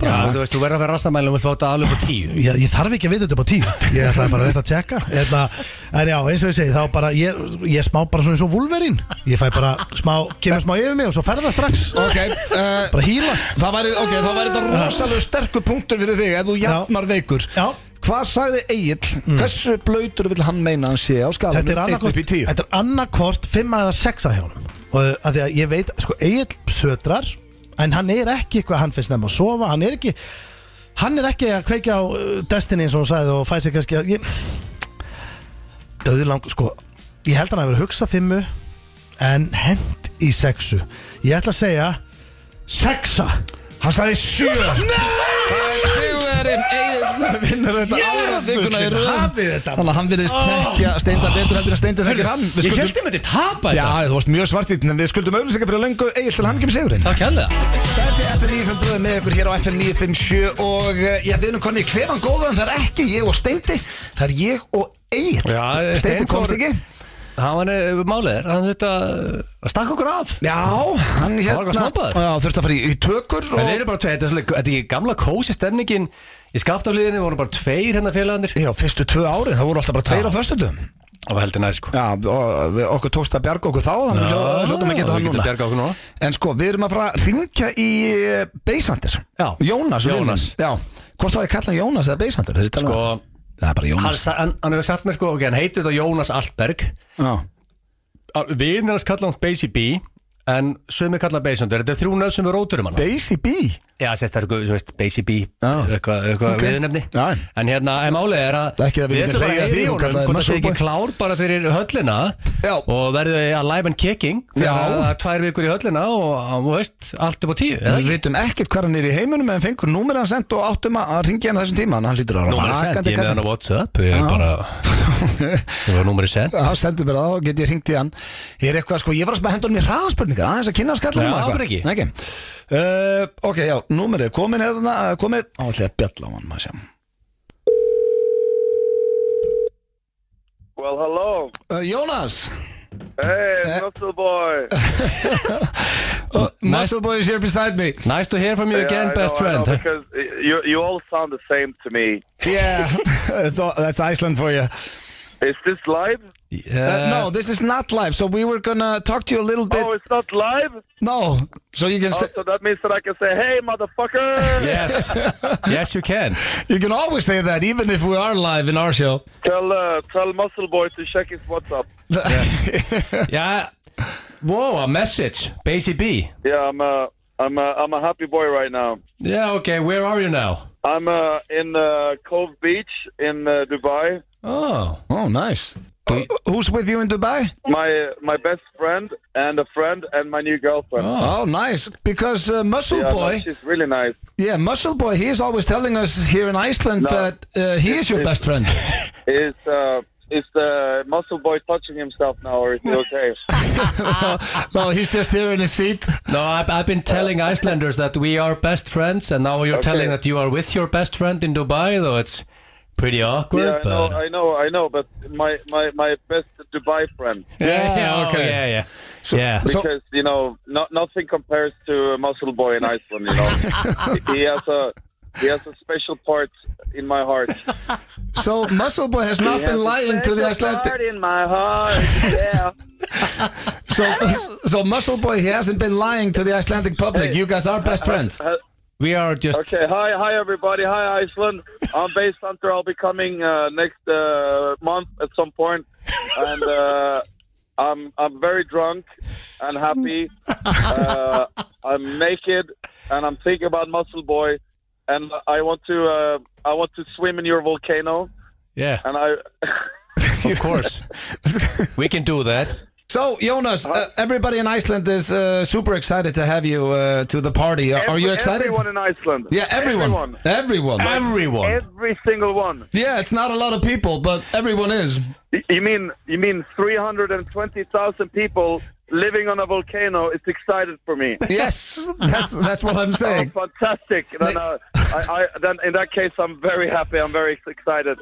Speaker 2: Já,
Speaker 3: bara
Speaker 2: þú veist, þú verður að vera rassamælin og vilt fá þetta alveg upp á 10
Speaker 3: Ég, ég þarf ekki að vita þetta upp á tíu Ég ætlaði bara rétt að tjekka Eðna, En já, eins og ég segi, þá bara Ég, ég smá bara svona eins og vulverín Ég fæ bara smá, kemur smá yfir mig og svo ferða strax
Speaker 1: Ok, uh,
Speaker 3: Bara hýlast
Speaker 1: það væri, ok, það væri þetta rosalega sterkur punktur fyrir þig ef þú jafnar veikur
Speaker 3: Já.
Speaker 1: Hvað sagði Egil, hversu blöytur vil hann meina hann sé á
Speaker 3: Þetta
Speaker 1: skalanum
Speaker 3: er
Speaker 1: 1 upp í
Speaker 3: annarkvort,
Speaker 1: 10?
Speaker 3: þetta er annarkvort 5 eða 6 að hjá honum og uh, að því að ég veit, sko, Egil södrar en hann er ekki eitthvað, hann finnst nefn að sofa hann er ekki, hann er ekki að kveikja á uh, Destiny eins og hún sagði og fæ sér kannski að ég, döðlang, sko ég held hann að vera að hugsa 5 en hend í 6 ég ætla að segja 6
Speaker 1: Hann sagði sjö Sigurverðin Egil vinnur þetta ára vikuna í röð
Speaker 3: hafið þetta.
Speaker 1: Þannig að hann virðist þekkja steinda betur heldur en steinda þekkir hann Við
Speaker 2: Ég
Speaker 1: skuldum-
Speaker 2: held ég myndi tapa
Speaker 1: Já,
Speaker 2: þetta
Speaker 1: þú varst mjög svartýttin en við skuldum auðvitað fyrir löngu Egil til hann ekki um sigurinn
Speaker 2: Takk hérlega
Speaker 1: Þetta er FM 95 blöð með ykkur hér á FM 957 og eh, já, við erum konni í klefan góðan það er ekki ég og steindi það er ég og Egil
Speaker 2: Já, eh,
Speaker 1: Steindi
Speaker 2: Steindór-
Speaker 1: komst ekki
Speaker 2: Hann var eh, málið, er, hann þetta að stakka okkur af
Speaker 1: Já, hann
Speaker 2: var eitthvað
Speaker 1: hérna
Speaker 2: snobbaður.
Speaker 1: Já, þurfti að fara í, í tökur
Speaker 2: En
Speaker 1: og
Speaker 2: þeir eru bara tveir, þetta er svolítið, þetta er ekki gamla kósi stemningin Í skaftafliðinni voru bara tveir hérna félagarnir
Speaker 1: Já, fyrstu tvö árið, það voru alltaf bara tveir
Speaker 2: Já.
Speaker 1: á föstudum
Speaker 2: Það var heldur næ sko
Speaker 1: Já, og eh, við- okkur tókst að bjarga okkur þá þannig
Speaker 2: Já,
Speaker 1: að hljóttum að geta það
Speaker 2: við getum
Speaker 1: núna
Speaker 2: bjargað okkur núna.
Speaker 1: En sko, við erum að fara að ringja í Beisvandir
Speaker 2: Já.
Speaker 1: Jónas, vinur
Speaker 2: Jónas.
Speaker 1: minn. Já, hvort þá ég kalla hann Jónas eða Beisvandir
Speaker 2: Sko,
Speaker 1: sko, Það er bara
Speaker 2: hann,
Speaker 1: Jónas
Speaker 2: sa- hann, hann hefur sagt mér sko, ok, hann heitir þetta Jónas Altberg
Speaker 1: Já,
Speaker 2: Vinnir hans kalla hann Spacey B En sömur kalla hann Beisundur, þetta er þrjú nöfn sem er róturum hann
Speaker 1: Daisy B
Speaker 2: Já, sérst það er eitthvað, þú veist, Spacey B
Speaker 1: Já.
Speaker 2: Eitthvað, eitthvað
Speaker 1: Ok.
Speaker 2: okay. viðnefni
Speaker 1: Já.
Speaker 2: En hérna, en málið er að
Speaker 1: Það er ekki að við getum
Speaker 2: ætlum bara
Speaker 1: hlegið
Speaker 2: að
Speaker 1: að því,
Speaker 2: heyri
Speaker 1: hún
Speaker 2: honum
Speaker 1: kallaði
Speaker 2: Hvort það sé
Speaker 1: Muscle
Speaker 2: ekki
Speaker 1: Boy.
Speaker 2: klár bara fyrir höllina
Speaker 1: Já.
Speaker 2: Og verðu að live and kicking
Speaker 1: Já.
Speaker 2: Þegar það er tvær vikur í höllina Og, þú veist, allt upp á tíu eða
Speaker 1: Við vitum ekkert hvað hann er í heiminum en fengur númer hann sendt og áttum að að ringja hann þessum tíma Þannig að hann lítur að
Speaker 2: Númerið er sent, ég er með hann á Whatsapp Ég er bara, það var númerið sent
Speaker 1: Það sendur mér það og get ég ringt í hann Ég er eitthvað, sko, ég var að spæða hendur mér hraðspurningar aðeins að kynna skallanum
Speaker 2: Já,
Speaker 1: og
Speaker 2: bara ekki.
Speaker 1: Nei, ekki. Uh, Ok, já, númerið, komin hefðna, komin eh, Á, ætli að bjalla á hann, maður sem
Speaker 4: Well, hello.
Speaker 1: Uh, Jónas
Speaker 4: Hey, Muscle Boy.
Speaker 1: uh, Muscle Boy is here beside me
Speaker 2: Nice to hear from you
Speaker 4: Yeah, I
Speaker 2: again,
Speaker 4: know,
Speaker 2: best
Speaker 4: I
Speaker 2: friend
Speaker 4: know, because you, you all sound the same to me.
Speaker 1: Yeah, that's, all, that's Iceland for you
Speaker 4: Is this live?
Speaker 1: uh,
Speaker 2: Yeah.
Speaker 1: No, this is not live So we were gonna talk to you a little bit
Speaker 4: oh, it's not live?
Speaker 1: No, so you can,
Speaker 4: Oh,
Speaker 1: say,
Speaker 4: so that means that I can say, hey, motherfucker.
Speaker 2: Yes, yes you can
Speaker 4: oh.
Speaker 1: you can always say that Even if we are live in our show
Speaker 4: Tell, uh, tell Muscle Boy to check his WhatsApp.
Speaker 2: Já, wow, a message Basie B
Speaker 4: Yeah, I'm a, I'm a, I'm a happy boy right now.
Speaker 2: Yeah, okay, where are you now?
Speaker 4: I'm uh, in uh, Cove Beach in uh, Dubai.
Speaker 2: Oh,
Speaker 1: Oh, nice Who's with you in Dubai?
Speaker 4: My my best friend and a friend and my new girlfriend.
Speaker 1: Oh, nice. Because uh, Muscle
Speaker 4: Yeah, no,
Speaker 1: Boy,
Speaker 4: she's really nice.
Speaker 1: yeah, Muscle Boy, he is always telling us here in Iceland
Speaker 4: No.
Speaker 1: that uh, he is your best friend.
Speaker 4: Is uh, is the muscle boy touching himself now, or is he okay?
Speaker 1: no, he's just here in his seat.
Speaker 2: No, I've, I've been telling Icelanders that we are best friends and now you're
Speaker 4: Okay.
Speaker 2: telling that you are with your best friend in Dubai though it's pretty awkward
Speaker 4: yeah, I know,
Speaker 2: but
Speaker 4: I know, I know. But my my my best Dubai friend,
Speaker 2: yeah,
Speaker 1: Yeah,
Speaker 2: yeah,
Speaker 1: okay.
Speaker 2: yeah, yeah. yeah.
Speaker 1: So-
Speaker 4: because you know, no, nothing compares to muscle boy in Iceland. You know, he has a he has a special part in my heart.
Speaker 1: So Muscle Boy has not
Speaker 4: He has
Speaker 1: been
Speaker 4: a
Speaker 1: lying to the
Speaker 4: special part
Speaker 1: Icelandic.
Speaker 4: in my heart. Yeah.
Speaker 1: So, so Muscle Boy, he hasn't been lying to the Icelandic public.
Speaker 4: Hey.
Speaker 1: You guys are best friends.
Speaker 4: Uh,
Speaker 2: We are just
Speaker 4: Okay, hi, hi everybody, hi Iceland. I'm Base Hunter. I'll be coming uh, next uh, month at some point, and uh, I'm I'm very drunk and happy. Uh, I'm naked, and I'm thinking about Muscle Boy, and I want to uh, I want to swim in your volcano,
Speaker 2: yeah,
Speaker 4: and I
Speaker 2: of course. we can do that.
Speaker 1: So Jonas, uh, everybody in Iceland is uh, super excited to have you uh, to the party. Are, are you
Speaker 4: Every-
Speaker 1: excited?
Speaker 4: Everyone in Iceland.
Speaker 1: yeah, everyone.
Speaker 4: Everyone.
Speaker 1: Everyone.
Speaker 2: Everyone.
Speaker 4: Every single one.
Speaker 1: yeah, it's not a lot of people, but everyone is.
Speaker 4: Y- You mean you mean three hundred and twenty thousand people living on a volcano is excited for me.
Speaker 1: Yes, that's that's what I'm
Speaker 4: Oh,
Speaker 1: saying.
Speaker 4: fantastic! Then, uh, I, I, then in that case, I'm very happy. I'm very excited.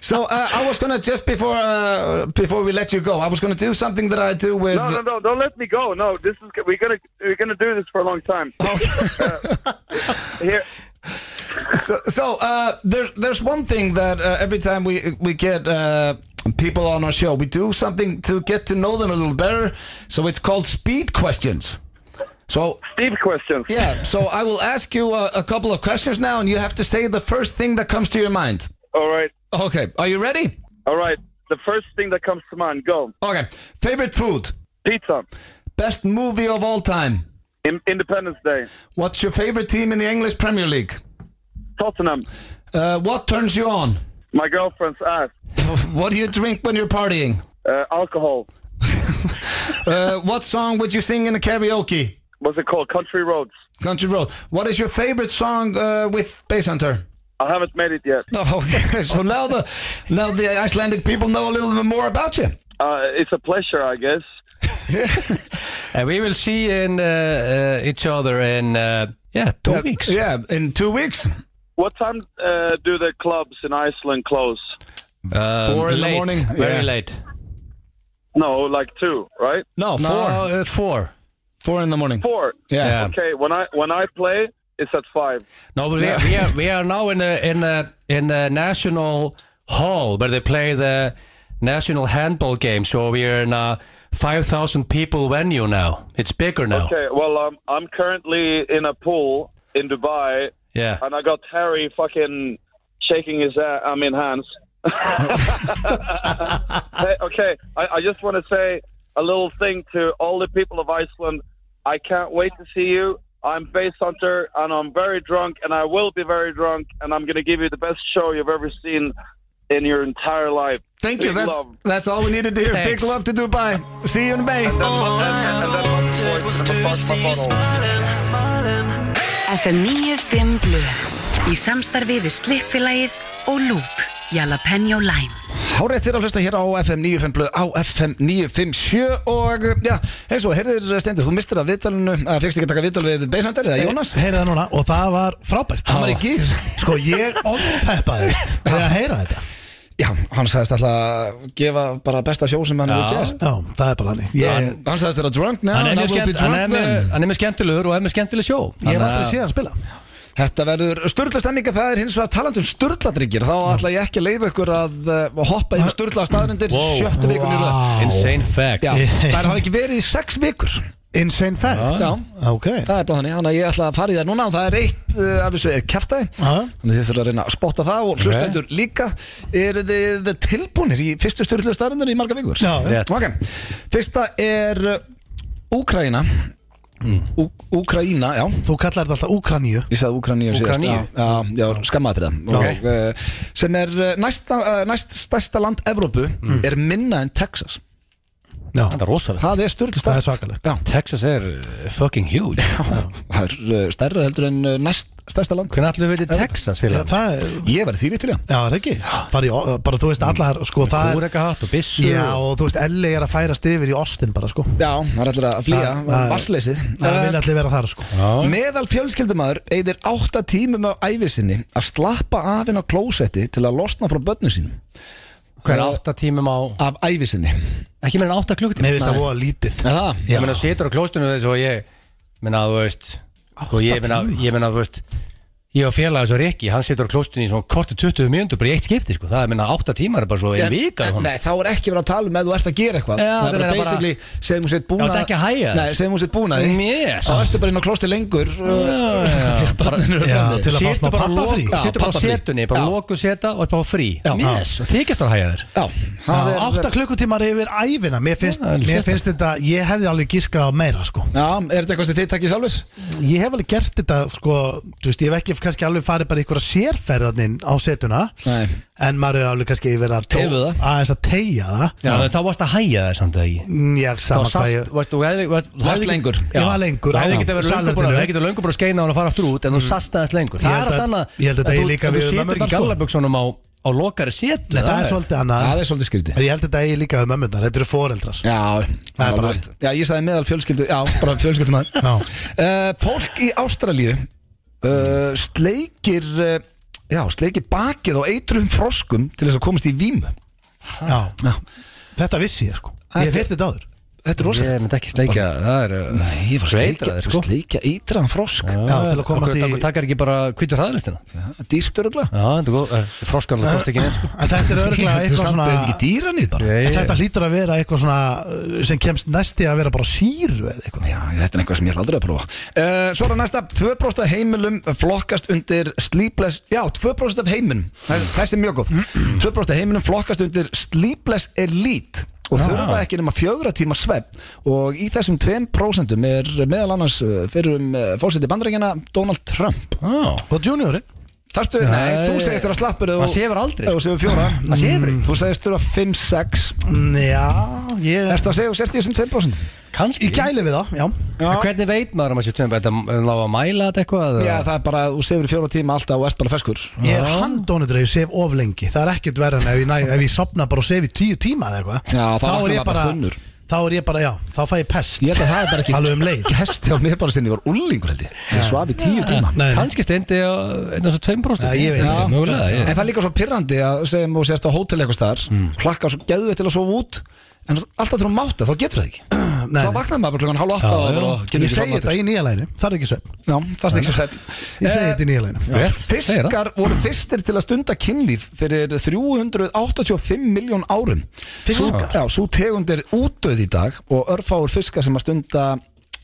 Speaker 1: So uh, I was gonna just before uh, before we let you go, I was gonna do something that I do with.
Speaker 4: No, no, no! Don't let me go. No, this is we're gonna we're gonna do this for a long time. Uh, here,
Speaker 1: So, so uh, there's there's one thing that uh, every time we we get uh, people on our show, we do something to get to know them a little better. So it's called speed questions. So
Speaker 4: Steve questions.
Speaker 1: yeah, so I will ask you a, a couple of questions now, and you have to say the first thing that comes to your mind.
Speaker 4: All right,
Speaker 1: Okay, are you ready?
Speaker 4: all right. The first thing that comes to mind. Go
Speaker 1: Okay, favorite food,
Speaker 4: pizza.
Speaker 1: best movie of all time.
Speaker 4: In, Independence Day.
Speaker 1: What's your favorite team in the English Premier League?
Speaker 4: Tottenham.
Speaker 1: Uh, what turns you on?
Speaker 4: My girlfriend's ass.
Speaker 1: What do you drink when you're partying?
Speaker 4: Uh, alcohol.
Speaker 1: Uh, what song would you sing in a karaoke?
Speaker 4: What's it called? Country roads.
Speaker 1: Country Road. What is your favorite song uh, with Bass Hunter?
Speaker 4: I haven't made it yet.
Speaker 1: Oh, Okay, so now the now the Icelandic people know a little bit more about you.
Speaker 4: Uh, it's a pleasure, I guess.
Speaker 2: And we will see in uh, uh, each other in uh, yeah, two weeks.
Speaker 1: Yeah, in two weeks.
Speaker 4: What time uh, do the clubs in Iceland close?
Speaker 2: Um,
Speaker 1: Four in the
Speaker 2: late,
Speaker 1: morning.
Speaker 2: Very
Speaker 1: Yeah.
Speaker 2: late.
Speaker 4: No, like two, right?
Speaker 1: No,
Speaker 2: No,
Speaker 1: four.
Speaker 2: uh, four.
Speaker 1: four in the morning.
Speaker 4: Four.
Speaker 1: Yeah.
Speaker 2: Yeah.
Speaker 4: Okay, when I when I play, it's at five.
Speaker 2: No, but we, we are we are now in the in the in the national hall where they play the national handball game. So we are in a five thousand people venue now. It's bigger now.
Speaker 4: Okay. Well, um, I'm currently in a pool in Dubai,
Speaker 2: Yeah.
Speaker 4: and I got Harry fucking shaking his ass. I mean hands. hey, okay, I, I just want to say a little thing to all the people of Iceland. I can't wait to see you. I'm Bass Hunter, and I'm very drunk, and I will be very drunk, and I'm going to give you the best show you've ever seen in your entire life.
Speaker 1: Thank you.
Speaker 4: Big
Speaker 1: That's
Speaker 4: love.
Speaker 1: that's all we needed to hear.
Speaker 2: Thanks.
Speaker 1: Big love to Dubai. See you in May.
Speaker 5: FM 95 Blu Í samstarfið við Slippfélagið og Loop Jalapeno Lime
Speaker 1: Hárið þér að hlusta hér á FM 95 blöð á FM 957 og já, eins og heyrðir Stendur, þú mistir að viðtalinu, að fyrst ekki að taka viðtal við Bass Hunter eða Jónas?
Speaker 3: Heyrið það núna og það var frábært
Speaker 1: Hann var í gýr.
Speaker 3: Sko ég ompeppaðist Það er að heyra þetta
Speaker 1: Já, hann sagðist alltaf að gefa bara besta sjó sem hann
Speaker 2: Já.
Speaker 1: hefur gert
Speaker 3: Já, það er bara þannig Ég,
Speaker 1: Eh, Hann hann sagðist vera drunk now
Speaker 2: Hann er
Speaker 1: and I
Speaker 2: með
Speaker 1: will be
Speaker 2: skemmt- hann er
Speaker 1: drunk
Speaker 2: með-
Speaker 1: then
Speaker 2: hann er með skemmtilegur og er með skemmtileg sjó
Speaker 3: ég hef
Speaker 2: Þannig
Speaker 3: aldrei
Speaker 2: að-
Speaker 3: séð hann spila
Speaker 1: Þetta verður sturla stemminga, það er hins vegar talandi um sturladryggir Þá ætla ég ekki að leifa ykkur að uh, hoppa í sturla staðrindir
Speaker 2: Wow.
Speaker 1: sjöttu vikunni wow.
Speaker 2: Insane fact
Speaker 1: Já, þær hafa ekki verið í sex vikur
Speaker 3: Insane fact
Speaker 1: Já.
Speaker 3: Ok
Speaker 1: Það er bara þannig, þannig að ég ætla að fara í það núna og það er eitt uh, af þessu er kæftæði
Speaker 3: Já.
Speaker 1: Þannig að þið þurfa að reyna að spotta það og hlustendur líka Eru þið tilbúinir í fyrstu styrlu starrendar í marga vikur?
Speaker 3: Já.
Speaker 1: Ok, fyrsta er uh, eh, Úkraína Ú- Úkraína, já
Speaker 3: Þú kallar þetta alltaf Úkraníu
Speaker 1: Ég sagði Úkraníu síðast
Speaker 2: Úkraíníu?
Speaker 1: Já, já, já skammaði fyrir það
Speaker 2: Ok.
Speaker 1: og, uh, Sem er eh, næsta, uh, næst stærsta land Evrópu Er minna en Texas
Speaker 3: Já,
Speaker 2: Það er rosalegt
Speaker 1: Það er styrlist
Speaker 3: Það er svakalegt.
Speaker 1: Já,
Speaker 2: Texas er uh, fucking huge
Speaker 1: það er uh, stærra heldur en uh, næst stærsta land
Speaker 2: Hvernig allir við til Texas
Speaker 3: Já,
Speaker 2: fyrir það?
Speaker 3: það er,
Speaker 1: Ég verði þýrið til það
Speaker 3: já, er það ekki Fari, í o- bara þú veist allar, sko, það er
Speaker 2: Kúreka hatt og byssu
Speaker 3: Já, og þú veist, LA er að færast yfir í Austin bara, sko
Speaker 1: Já, það er allir að flýja,
Speaker 3: Það- það er-
Speaker 1: vassleysið
Speaker 3: Það vil allir vera þar, sko
Speaker 2: Já.
Speaker 1: Meðal fjölskyldumæður eigðir átta tímum á æfisinni að slappa af inn á klósetti til að losna frá börnu sín
Speaker 2: Hver átta tímum á
Speaker 1: af æfisinni
Speaker 2: Ekki meira en átta
Speaker 3: Mér
Speaker 2: klukkutíma
Speaker 3: finnst það voða lítið
Speaker 1: Það,
Speaker 3: Já.
Speaker 2: Ég meina setur á klóstunum þess og ég meina þú veist og ég meina, ég meina þú veist ég og félagið svo Rikki, hann setur á klóstunum í svona korti 20 mjöndur bara í eitt skipti sko það er meina 8 tímar er bara svo ein vika
Speaker 1: en,
Speaker 2: hún
Speaker 1: Nei, þá er ekki verið að tala um að þú ert að gera eitthvað
Speaker 2: Já,
Speaker 1: Það er
Speaker 2: það
Speaker 1: bara
Speaker 2: meina bara-
Speaker 1: basically, segjum hún sétt búna
Speaker 2: Já, þetta er ekki að hægja.
Speaker 1: Nei, segjum hún sétt búna því
Speaker 2: Yes.
Speaker 1: Þá ertu bara inn á klósetti lengur uh,
Speaker 2: Já.
Speaker 3: Já,
Speaker 1: Já,
Speaker 3: til að fá
Speaker 2: setur
Speaker 3: smá
Speaker 2: bara
Speaker 3: pappafrí
Speaker 2: lok-
Speaker 1: Já,
Speaker 2: setur bara á
Speaker 1: pabbafrí.
Speaker 2: setunni, bara
Speaker 1: Já.
Speaker 2: loku seta og þetta bara frí
Speaker 1: Já.
Speaker 2: yes. og þykist það að hægja þér
Speaker 1: Já, það
Speaker 3: Já,
Speaker 1: er
Speaker 3: Átta klukkutímar yfir æfina Mér finnst,
Speaker 2: Já, það er
Speaker 3: mér
Speaker 2: sérstakt.
Speaker 3: finnst þetta, ég hefði alveg giskað á meira sko.
Speaker 1: Já, er þetta eitthvað sem þið takkið sjálfis?
Speaker 3: Ég hef alveg gert þetta sko, þú veist, Ég hef ekki kannski alveg farið bara í einhverja sérferðarnin á setuna
Speaker 1: Nei.
Speaker 3: En maður er alveg kannski yfir að tó-
Speaker 1: Tefið það.
Speaker 3: Aðeins að tegja það
Speaker 2: Já, þá varst að hægja þér samt að ekki
Speaker 3: Mm, Já,
Speaker 2: Þá
Speaker 3: sama hvað
Speaker 2: sast,
Speaker 3: ég
Speaker 2: veist, þú hefði veist, þú
Speaker 1: Varst
Speaker 2: hefði ekki-
Speaker 1: lengur.
Speaker 2: Já.
Speaker 3: Ég var lengur,
Speaker 2: Þú hefði
Speaker 3: já.
Speaker 2: ekki verið löngu búin að-
Speaker 3: Salerninu.
Speaker 2: hefði getið löngu búin að skeina hann að fara aftur út en þú sast aðeins lengur Það
Speaker 3: held
Speaker 2: er allt
Speaker 3: að-
Speaker 2: annað
Speaker 3: ég held
Speaker 2: en
Speaker 3: að
Speaker 2: þú-
Speaker 3: þetta eigi líka
Speaker 2: en
Speaker 3: við
Speaker 2: Þú
Speaker 3: um
Speaker 2: setur
Speaker 3: ömmurnar,
Speaker 2: ekki
Speaker 3: sko.
Speaker 2: gallaböksunum á á lokari setu
Speaker 3: Nei, það er svolítið annað
Speaker 1: Það er svolítið skrítið
Speaker 3: En ég held að þetta eigi líka um ömmundar Þetta eru foreldrar
Speaker 1: Já,
Speaker 3: Það er bara
Speaker 1: alveg. Já, ég sagði meðal fjölskyldu Já, bara fjölskyldum að Eh,
Speaker 3: Já.
Speaker 1: Fólk í Ástralíu uh, sleikir uh, Já, sleikir bakið á eitrum froskum til þess að komast í vímu
Speaker 3: Já.
Speaker 1: Já,
Speaker 3: Þetta vissi ég sko
Speaker 1: Þetta-
Speaker 3: Ég hef hirt þetta áður
Speaker 1: þetta er rosalegt
Speaker 2: Ég myndi ekki sleikja Það er
Speaker 1: Nei, ég var að sleikja,
Speaker 2: Sveitra þér, sko.
Speaker 1: sleikja eitraðan frosk
Speaker 3: Já,
Speaker 2: uh,
Speaker 3: til að komast í-
Speaker 2: Okkur takkar ekki bara kvítur hraðlistina Já,
Speaker 1: Dýrt örugla
Speaker 2: þetta er góð Froskarlega kosti ekki neins sko.
Speaker 3: En þetta er örglega eitthvað
Speaker 1: Samt er þetta
Speaker 3: svona
Speaker 1: ekki dýranýð bara
Speaker 3: En þetta hlýtur að vera eitthvað svona uh, sem kemst næsti að vera bara á síru eða eitthvað
Speaker 1: Já, þetta er eitthvað sem ég ætla aldrei að prófa uh, Svo er það næsta, 2% af heimilum flokkast undir sleepless Já, 2% af heimilum, þessi, þessi er mjög góð 2% af heimilum flokkast undir sleepless elite og þurfa ekki nema fjögra tíma svepp og í þessum 2% er meðal annars eh, fyrir um fórseti bandarækjana Donald Trump
Speaker 3: Og juniorinn
Speaker 1: Þarstu, nei,
Speaker 2: Nei,
Speaker 1: þú segist þurfa slappur
Speaker 2: maður sefur aldrei, sko. Mm.
Speaker 1: Þú sefur fjóra
Speaker 2: Maður sefur ekki.
Speaker 1: Þú segist þurfa 5-6
Speaker 3: Mm, Já, ég
Speaker 1: Ertu að segja, þú sérst í þessum 2%
Speaker 2: Kanski
Speaker 3: Ég gæli við það, já
Speaker 2: En Hvernig veit maður að maður sé tveim Þetta er lág að mæla þetta eitthvað
Speaker 1: Já, það er bara, þú sefur í fjóra tíma alltaf og ert bara feskur
Speaker 3: Ég er handónutur ef ég sef of lengi Það er ekkert verra en ef ég, næ, ef ég sopna bara og sef í tíu tíma eða eitthvað
Speaker 1: Já, þá
Speaker 3: Þá
Speaker 1: vaknar
Speaker 3: er
Speaker 1: maður
Speaker 3: ég
Speaker 1: bara
Speaker 3: bara
Speaker 1: þunnur.
Speaker 3: Þá er ég bara, já, þá fæ ég pest
Speaker 1: Ég held að það er bara ekki
Speaker 3: Alveg um leið.
Speaker 1: Gesti á mér bara sinni var úlingur held ég Ég svaf í tíu tíma
Speaker 3: Nei, nei.
Speaker 2: Kanski stendi á einn og svo tveim bróst
Speaker 3: Já, ég veit
Speaker 1: Já.
Speaker 3: ekki.
Speaker 2: Mögulega
Speaker 1: En
Speaker 2: ég.
Speaker 1: það er líka svo pirrandi að segjum og sérst á hótel eitthvað staðar Hlakka svo geðvið til að sofa út En alltaf þegar hún máta þá getur það ekki
Speaker 3: Nei,
Speaker 1: Þá
Speaker 3: nei.
Speaker 1: vaknaði maður bara klokkan hálf átta
Speaker 2: Já,
Speaker 1: og
Speaker 2: já.
Speaker 1: bara getur
Speaker 3: Ég
Speaker 1: ekki
Speaker 3: segi
Speaker 1: sofnað
Speaker 3: þetta
Speaker 1: aftur. Eh,
Speaker 3: í nýja læginu Það er ekki svefn
Speaker 1: Já, það er ekki svo
Speaker 3: Ég segi þetta í nýja
Speaker 2: Já.
Speaker 3: læginu
Speaker 2: Rétt, segir það.
Speaker 1: Fiskar voru fyrstir til að stunda kynlíf fyrir 385 miljón árum Fiskar? Já, svo tegund er útdöð í dag og örfáur fiskar sem að stunda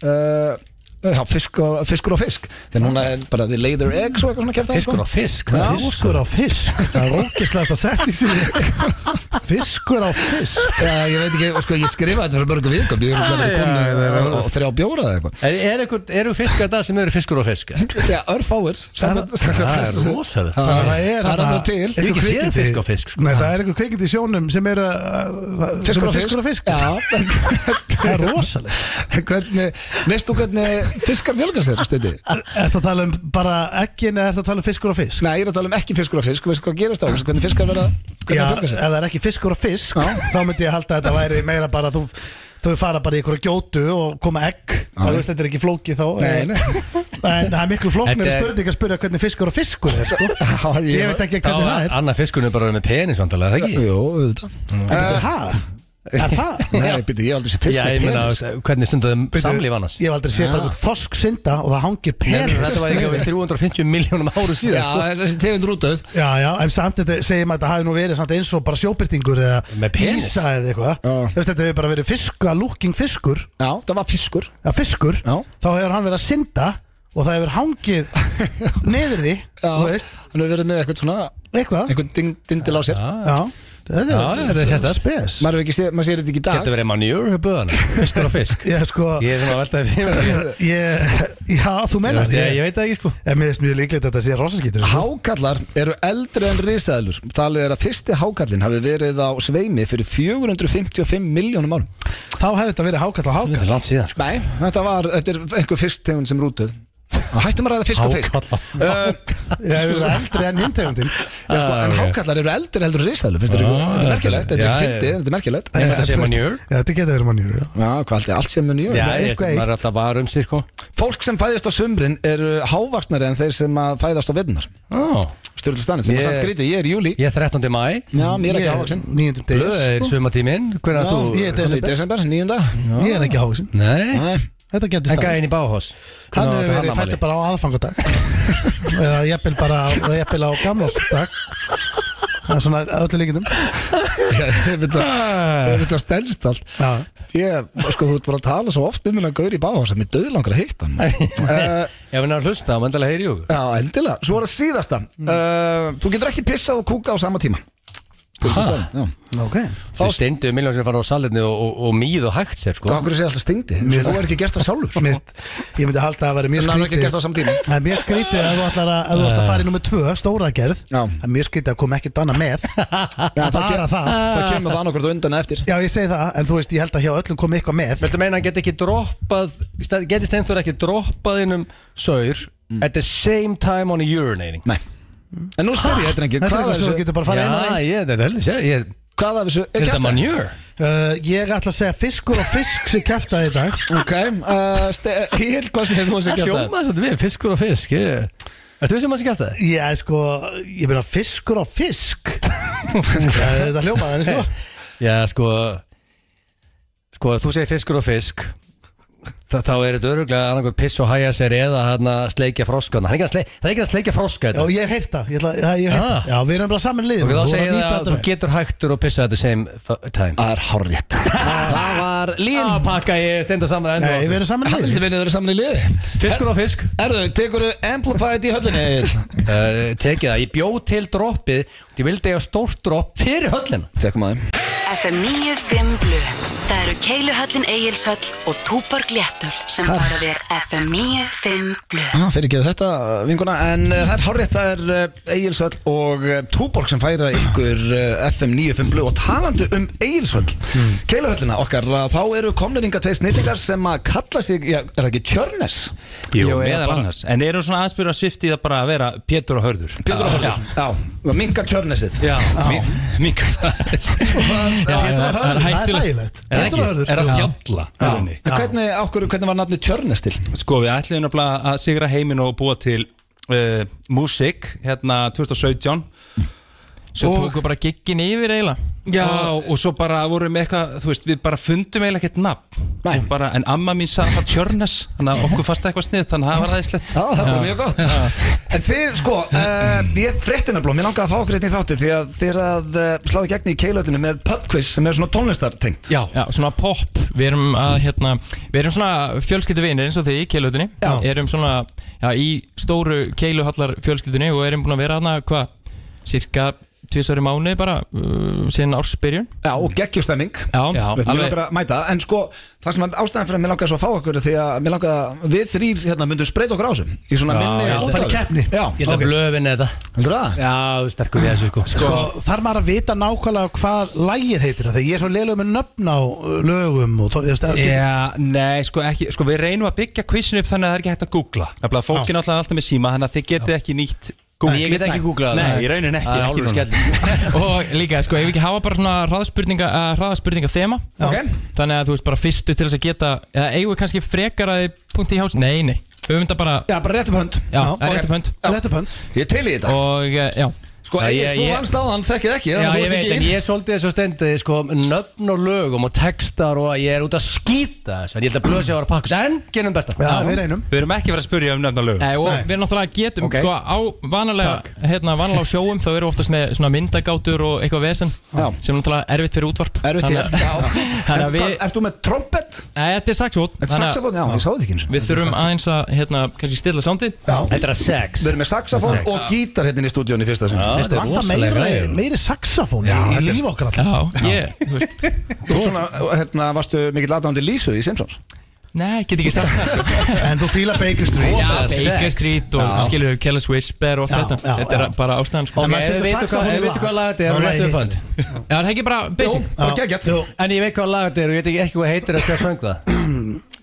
Speaker 1: uh, já, fisk og, fiskur og fisk þegar núna er bara the lay their eggs og eitthvað svona kæft
Speaker 2: Fiskur á fisk það
Speaker 1: Já.
Speaker 2: er fisk.
Speaker 3: Fiskur á fisk Það er ógislega þetta setning sem ég Fiskur á fisk
Speaker 1: Já, ég veit ekki, og sko, ég skrifaði þetta fyrir mörgum viðgöp Ég er örugglega verið komin á- á þrjá bjóra eða eitthvað
Speaker 2: Er- Er eitthvað- eru fiskar það sem eru fiskur á fisk
Speaker 1: Já, örfáir samkvæmt- samkvæmt
Speaker 2: Það er
Speaker 1: þessu.
Speaker 2: rosalega
Speaker 3: Þannig að það er
Speaker 1: Það er
Speaker 3: þarna
Speaker 1: alltaf til.
Speaker 3: einhver
Speaker 2: Ég hef ekki séð
Speaker 3: kvikindi-
Speaker 2: fisk á fisk, sko.
Speaker 3: Nei, það er einhver kveikindi í sjónum sem er uh, uh, sem
Speaker 1: Fiskur
Speaker 3: er
Speaker 1: og
Speaker 3: fiskur og fisk
Speaker 1: Já,
Speaker 3: Það er rosalegt
Speaker 1: En hvernig, veistu hvernig fiskar fjölgar sér, Steindi?
Speaker 3: Er það að tala um bara ekkin eða er það að tala um fiskur og fisk?
Speaker 1: Nei, ég er að tala um ekki fiskur og fisk, veistu hvað gerist á, veistu hvernig fiskar verða,
Speaker 3: Já,
Speaker 1: hvernig
Speaker 3: ef
Speaker 1: fjölgar sér?
Speaker 3: það er ekki fiskur og fisk þá myndi ég halda að þetta væri meira bara þú, þú fara bara í einhverja gjótu og koma egg það þú veist þetta er ekki flókið þá eh,
Speaker 1: Nei, nei.
Speaker 3: En það er miklu flóknir
Speaker 2: Þetta er-
Speaker 3: spurning að spyrja hvernig fiskur og fiskur er sko.
Speaker 1: ég-
Speaker 3: Ég veit ekki
Speaker 2: Þá
Speaker 3: hvernig það
Speaker 2: er
Speaker 3: er
Speaker 2: annað fiskunum bara með penis vandalega, það ekki? Mm.
Speaker 1: Jó, auðvitað.
Speaker 3: Bíddu, Ha? Er það?
Speaker 1: Nei, býttu, ég hef aldrei sér fisk
Speaker 2: Já, ég
Speaker 1: með
Speaker 2: meina,
Speaker 1: penis.
Speaker 2: hvernig stunduðum
Speaker 3: Bíddu,
Speaker 2: samlíf annars?
Speaker 3: Ég hef aldrei séð bara einhvern þosk synda og það hangir penis
Speaker 2: Nei, Þetta var ekki við 350 miljónum
Speaker 1: Já,
Speaker 2: áru síðan sko.
Speaker 1: þessi tegund rútað.
Speaker 3: Já, já, en samt þetta segjum að þetta hafi nú verið samt eins og bara sjóbyrtingur eða
Speaker 2: Með penis.
Speaker 3: písa eða eitthvað
Speaker 1: Já.
Speaker 3: Þú veist, þetta hefur bara verið fiska, looking fiskur
Speaker 1: Já, það var fiskur.
Speaker 3: eða fiskur,
Speaker 1: Já.
Speaker 3: þá hefur hann verið að synda og það hefur hangið niðri,
Speaker 1: Já,
Speaker 3: þú veist,
Speaker 1: hann hefur verið með eitthvað svona,
Speaker 3: eitthvað
Speaker 1: eitthvað dindil á sér.
Speaker 3: Já, Þetta
Speaker 2: Já, þetta er sérstakt.
Speaker 3: spes
Speaker 1: Maður hefur ekki séð, maður sér þetta ekki í dag
Speaker 2: Getur verið manjur hjá böðana Fiskur og fisk
Speaker 3: Ég sko
Speaker 2: Ég er svona að velta því
Speaker 3: ég, Já, þú
Speaker 2: Ég,
Speaker 3: mennar
Speaker 2: veist, ég, ég veit það ekki sko
Speaker 3: En mér finnst mjög líklegt að þetta sé rosaskýtur
Speaker 1: Hákallar eru eldri en risaðlur Talið er að fyrsti hákallin hafi verið á sveimi fyrir 455 miljónum árum
Speaker 3: Þá hefði þetta verið hákall og hákall
Speaker 2: langt síðan
Speaker 1: Nei, þetta var, þetta er einhver fisktegund sem rútuð Og Hættum að ræða fisk og fisk
Speaker 2: Hákarla.
Speaker 1: uh,
Speaker 3: Ég hefði verið eldri en hintegundin
Speaker 1: já, sko,
Speaker 2: Ah,
Speaker 1: En
Speaker 2: ok.
Speaker 1: hákallar eru eldri heldur en risaðlur Finnst þér
Speaker 2: Ah,
Speaker 1: ekki, þetta er merkilegt, þetta er
Speaker 2: já,
Speaker 1: ekki
Speaker 2: já.
Speaker 1: fyndið, þetta er merkilegt
Speaker 2: Ég held að sé manjur
Speaker 3: Já, þetta getur verið mannjur
Speaker 1: Já, hvað allt, allt sem er nýjum
Speaker 2: Já,
Speaker 3: er
Speaker 2: ég veist,
Speaker 3: eitthvað
Speaker 2: maður
Speaker 3: eitt.
Speaker 2: er alltaf var um sig sko
Speaker 1: Fólk sem fæðist á sumrin eru hávaksnari en þeir sem að fæðast á vinnar
Speaker 2: Ó,
Speaker 1: Styrlu stannin sem
Speaker 2: Ég-
Speaker 1: er samt grítið, ég er í júli
Speaker 2: Ég er 13. mæ
Speaker 1: Já, mér er ekki hávaksin
Speaker 3: Nýjöndur
Speaker 2: Blöð er
Speaker 3: degis
Speaker 2: sumatíminn Hvernig að
Speaker 3: sko. Já,
Speaker 2: þú
Speaker 3: ég
Speaker 1: Í
Speaker 3: er desember
Speaker 1: desember, nýjunda
Speaker 3: Ég er ekki hávaksin
Speaker 2: Nei
Speaker 1: Nei
Speaker 3: Þetta getur
Speaker 2: En
Speaker 3: staðist
Speaker 2: gæðin í Báhás
Speaker 3: Hann hefur verið fættur bara á aðfangadag Eða jafnvel bara Eða jafnvel á gamlásdag Það er svona að öllu líkindum
Speaker 1: Þetta þetta stelst allt
Speaker 3: Já,
Speaker 1: Ég, sko, þú ert bara að tala svo oft um hérna Gaur í báhás sem ég döðlangar að hitta hann uh,
Speaker 2: Ef hann er að hlusta, þá mændilega heyri ég
Speaker 1: Já, endilega, svo var það síðasta
Speaker 3: Mm.
Speaker 1: uh, Þú getur ekki pissað og kúka á sama tíma
Speaker 2: Ha?
Speaker 1: Já.
Speaker 3: ok
Speaker 2: Þú steindu miljón sem fann á salinni og, og, og mýð og hægt sér sko
Speaker 1: Hvað okkur sé alltaf steindi? Þú
Speaker 3: Mér-
Speaker 1: er ekki gert það sjálfur
Speaker 3: Mér finnst- Ég myndi halda að það væri mjög
Speaker 1: En hann er ekki
Speaker 3: skrítið
Speaker 1: gert það á sama tíma
Speaker 3: Það er mjög skrítið að þú ætlar að, að þú ætlar að fara í nummer tvö, stóra gerð
Speaker 1: Já.
Speaker 3: Það er mjög skrítið að koma ekkert annað með
Speaker 1: Já, Eh. það
Speaker 3: Bara
Speaker 1: kem-
Speaker 3: það
Speaker 1: Það kemur það annarkvært undan eða eftir
Speaker 3: Já, ég segi það, en þú veist, ég held að hjá öllum komið eitthvað með
Speaker 2: Viltu meina að hann geti ekki droppað sta- Geti Steinþór ekki droppað innum saur At the same time on urinating
Speaker 1: Nei En nú spyr ég þetta ekki
Speaker 3: Ah.
Speaker 1: Hvað af
Speaker 3: Þetta er eitthvað sem þú
Speaker 1: þessu
Speaker 3: getur bara að fara inn og
Speaker 2: Já,
Speaker 3: einn
Speaker 2: ég, þetta er heldur sér Ég
Speaker 1: Hvað af þessu er
Speaker 2: er þetta
Speaker 1: kjaftæði?
Speaker 2: manjur
Speaker 3: uh, Ég ætla að segja fiskur og fisk sem kæftaði í dag
Speaker 1: Ok uh, ste- Hér, hvað segir þú um að
Speaker 2: Það
Speaker 1: segja
Speaker 2: sjóma þess að við, fiskur og fisk ég- Ertu við sem að sé gæta það?
Speaker 3: Ég er sko, ég byrja fiskur og fisk Það er þetta hljómaði, sko
Speaker 2: Já, sko Sko, þú segir fiskur og fisk Þa, Þá er þetta öruglega annað piss og hæja sér eða hann að sleikja froskana Hann er ekki að sleik, Það er ekki að sleikja froska
Speaker 3: Já,
Speaker 2: þetta
Speaker 3: ég hef heyrt það, ég ætla, já, ég hef heyrt
Speaker 2: Ah.
Speaker 3: það Já, við erum bara saman liðin
Speaker 2: Og þá
Speaker 3: Þú voru að
Speaker 2: segir
Speaker 3: nýta
Speaker 2: það að
Speaker 3: þetta Ah.
Speaker 2: þú
Speaker 3: með
Speaker 2: getur hægtur og pissa at the same th- time
Speaker 1: Það er horrið Það var lín
Speaker 2: Að pakka ég stenda saman enn og
Speaker 3: Nei,
Speaker 2: aftur.
Speaker 3: við erum saman
Speaker 1: Hann sko.
Speaker 3: liðin
Speaker 1: vildi vinna þeirra saman í liði
Speaker 2: Fiskur og fisk
Speaker 1: Erðu, tekur þú Amplified í höllinni Egill?
Speaker 2: uh, Tekið það, ég bjóð til droppið Ég vildi eiga stórt dropp fyrir höllina
Speaker 1: Tekum að þeim
Speaker 5: FM 95 Blu Það eru Keiluhöllin Egilshöll og Túborg Léttul sem fara þér FM 95 Blu
Speaker 1: ah, Fyrir ekki þetta vinguna En uh, það er horrið, það er uh, Egilsvöll og uh, Túborg sem færa ykkur uh, FM 95 blöð Og talandi um Egilsvöll mm. Keiluhöllina okkar, uh, þá eru komniringa tveir snillingar sem að kalla sig já, Er það ekki Tjörnes?
Speaker 6: Jú,
Speaker 2: eða
Speaker 6: meðal
Speaker 2: bara-
Speaker 6: annars En eru svona aðspyrra svift í það bara að vera Pétur og Hörður
Speaker 1: Pétur og Hörður Já, minga Tjörnesið
Speaker 6: Já, mingar það
Speaker 3: Pétur og Hörður, það er þægilegt. Pétur og
Speaker 6: Pétur
Speaker 3: Hörður,
Speaker 6: Er að
Speaker 3: já.
Speaker 6: þjálla
Speaker 1: Já.
Speaker 6: í rauninni.
Speaker 1: En hvernig, á hverju, hvernig var nafni Tjörnes til?
Speaker 6: Sko, við ætlum nefnilega að sigra heiminn og búa til uh, Músik, hérna 2017
Speaker 7: Svo
Speaker 6: Og-
Speaker 7: tóku bara giggin yfir eiginlega
Speaker 6: Já, og svo bara vorum við eitthvað, þú veist, við bara fundum eiginlega ekkert nafn
Speaker 1: Nei.
Speaker 6: Og bara, En amma mín sagði það Tjörnes, þannig að okkur fannst það eitthvað snið, þannig að það var aðeinslegt
Speaker 1: Já, það var mjög gott En þið, sko, uh, ég frétti nefnilega Mér langaði að fá okkur eitt í þátti Því að þið er að uh, slá í gegni í keilöðinu Með pubquiz sem er svona tónlistartengt
Speaker 6: Já,
Speaker 7: Já, svona pop, við erum að hérna, við erum svona fjölskylduvinir eins og þið í keiluhutinni
Speaker 1: Já.
Speaker 7: Erum svona, já, í stóru keiluhallar fjölskyldunni og erum búin að vera hana, hvað, cirka tvisari mánu bara, uh, síðan ársbyrjun
Speaker 1: Já, og geggjustemming
Speaker 7: Já,
Speaker 6: Já,
Speaker 1: Mér
Speaker 7: alveg,
Speaker 1: langar að mæta En sko, það sem að ástæðan fyrir að mér langaði svo að fá okkur er Því að mér langaði að við þrýr hérna, myndum spreita okkur á þessum Í svona
Speaker 2: Já,
Speaker 1: minni
Speaker 2: ég held að-
Speaker 1: áferð.
Speaker 3: Áfram í keppni.
Speaker 1: Já,
Speaker 2: Ég ætla
Speaker 3: Ok.
Speaker 2: okay. að blöfin eða
Speaker 1: heldur það?
Speaker 2: Já, þú sterkur við þessu sko, sko.
Speaker 3: Og þarf maður að vita nákvæmlega hvað lægið heitir Þegar ég er svo leiluð með nöfn á uh, lögum og tónlið
Speaker 6: Já, nei, sko ekki, sko við reynum að byggja quizin upp þannig að það er ekki hægt að googla Nefnilega fólki er náttúrulega alltaf með síma, þannig að þið getið ekki nýtt
Speaker 2: Nei, ég get ekki googlað það.
Speaker 6: Nei, í raunin ekki,
Speaker 2: Það er
Speaker 6: ekki
Speaker 2: alveg
Speaker 6: núna.
Speaker 7: og líka, sko, ef við ekki hafa bara svona hraðspurninga, uh, hraðspurninga þema
Speaker 1: Ok.
Speaker 7: Þannig að þú veist bara fyrstu til þess að geta, eða eigum við kannski frekar að þið punkti í háls Nei, nei, við höfum þetta bara,
Speaker 1: Já, bara rétt upp hönd
Speaker 7: já,
Speaker 3: já,
Speaker 7: það er
Speaker 1: ok.
Speaker 7: rétt upp hönd
Speaker 3: Réttu pönt
Speaker 1: Ég til í þetta
Speaker 7: Og, uh, já,
Speaker 1: Sko,
Speaker 2: Já,
Speaker 1: Egill,
Speaker 2: ég-
Speaker 1: þú
Speaker 2: ég-
Speaker 1: vannst á hann, þekkið ekki
Speaker 2: Já,
Speaker 1: þannig að
Speaker 2: ég
Speaker 1: þú ert
Speaker 2: veit,
Speaker 1: ekki
Speaker 2: en
Speaker 1: í-
Speaker 2: ég er svolítið þessu stendið sko, nöfn og lögum og textar og ég er út að skýta þessu en ég held að blöð sér að vera pakkus en genum besta
Speaker 3: Já, við reynum
Speaker 6: Við erum ekki verið að spyrja um nefna lög
Speaker 7: Nei, Eh, og við náttúrulega getum
Speaker 2: Ok.
Speaker 7: sko á vanalega, hérna, vanalega á sjóum þá erum við oftast með svona myndagátur og eitthvað vesen
Speaker 1: Já.
Speaker 7: sem er náttúrulega erfitt fyrir útvarp
Speaker 1: Erfitt hér
Speaker 7: Þannig-
Speaker 1: Já.
Speaker 7: Þannig
Speaker 1: En
Speaker 7: að við,
Speaker 1: hvað- Ert þú með trompet?
Speaker 7: nei, þetta er saxofón
Speaker 1: Þetta er
Speaker 7: Þannig að
Speaker 1: saxofón, já, ég sá þetta ekki eins og
Speaker 7: Við þurfum aðeins að, hérna, kannski stilla sándið
Speaker 1: Já.
Speaker 2: Þetta er að sex
Speaker 1: Við erum með saxofón
Speaker 2: Sex.
Speaker 1: og gítar hérna í stúdíónu í fyrsta sinni
Speaker 2: finnst
Speaker 3: þetta
Speaker 2: þetta
Speaker 3: vanda
Speaker 2: rosalega
Speaker 3: meiri,
Speaker 2: ræður.
Speaker 3: meiri saxafón
Speaker 1: Já, þetta
Speaker 3: í
Speaker 1: er-
Speaker 3: líf okkar alltaf
Speaker 7: Já, ég, þú veist
Speaker 1: Þú svona, hérna, varstu mikill aðdáðandi Lísu í Simpsons
Speaker 7: Nei, get ekki sagt það sko.
Speaker 3: En þú fíla Baker Street
Speaker 7: Já,
Speaker 2: sex.
Speaker 7: Baker Street og þú skilur Kellis Whisper og
Speaker 3: Já,
Speaker 7: allt þetta
Speaker 3: já,
Speaker 7: Þetta
Speaker 3: já.
Speaker 7: er bara ástæðan sko
Speaker 2: Ok,
Speaker 3: maður
Speaker 2: ef
Speaker 3: setur
Speaker 2: við veitum hvað,
Speaker 3: saxófón í
Speaker 2: ef við veitum
Speaker 3: lag.
Speaker 2: hvað lag þetta er,
Speaker 3: Þá
Speaker 2: þá réttum
Speaker 3: lagið
Speaker 2: við band
Speaker 7: Já, það er ekki bara basic
Speaker 1: bara geggjart
Speaker 3: Jú,
Speaker 2: En ég veit hvað lag þetta er og ég veit ekki- ekki hvað heitir og hvað söng það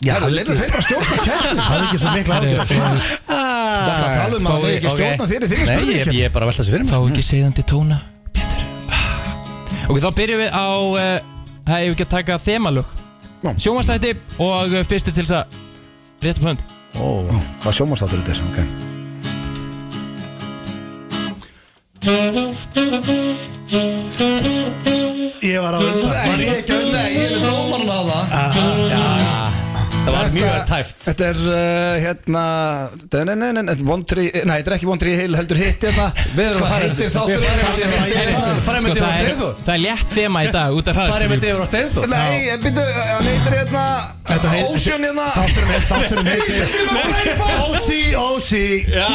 Speaker 3: já,
Speaker 1: Herru, leiðu þeir bara stjórna kæri
Speaker 3: það er ekki svo mikla ágjörð
Speaker 1: Þetta
Speaker 2: Þetta
Speaker 1: tala um að við ekki stjórna þér í þinni
Speaker 2: Nei, ég,
Speaker 1: spurningi
Speaker 2: ég er bara að velta þessu fyrir
Speaker 7: Fá
Speaker 2: mig
Speaker 7: ekki segðandi tóna Pétur Ah. Ok, þá byrjum við á eh, Það hefur ekki að taka þemalög
Speaker 1: Já.
Speaker 7: Sjómanstætti og eh, fyrstu til þess að Rétt um hönd
Speaker 1: Ó, hvað sjómanstáttur þetta er, ok
Speaker 3: Ég var á undan Var ég ekki á undan?
Speaker 1: Nei, ég vil dóma núna á það
Speaker 2: Það var mjög tæft
Speaker 1: Þetta er, uh, hérna Dönenenin, vondri, nei, þetta er ekki vondri heil heldur hitt hérna
Speaker 2: Við erum að
Speaker 1: Hvað
Speaker 2: fara-
Speaker 1: heitir
Speaker 2: Við
Speaker 1: þáttur
Speaker 2: erum að fara- fara
Speaker 7: Sko,
Speaker 2: með yfir á
Speaker 7: það, er,
Speaker 2: steinþór
Speaker 7: það er létt þema í dag út af
Speaker 2: Fara
Speaker 7: hraðspringu.
Speaker 2: með yfir á steinþór
Speaker 1: Nei, býttu, hann heitir hérna Ocean hérna
Speaker 3: Þátturum heitir Ósí, ósí
Speaker 7: Já,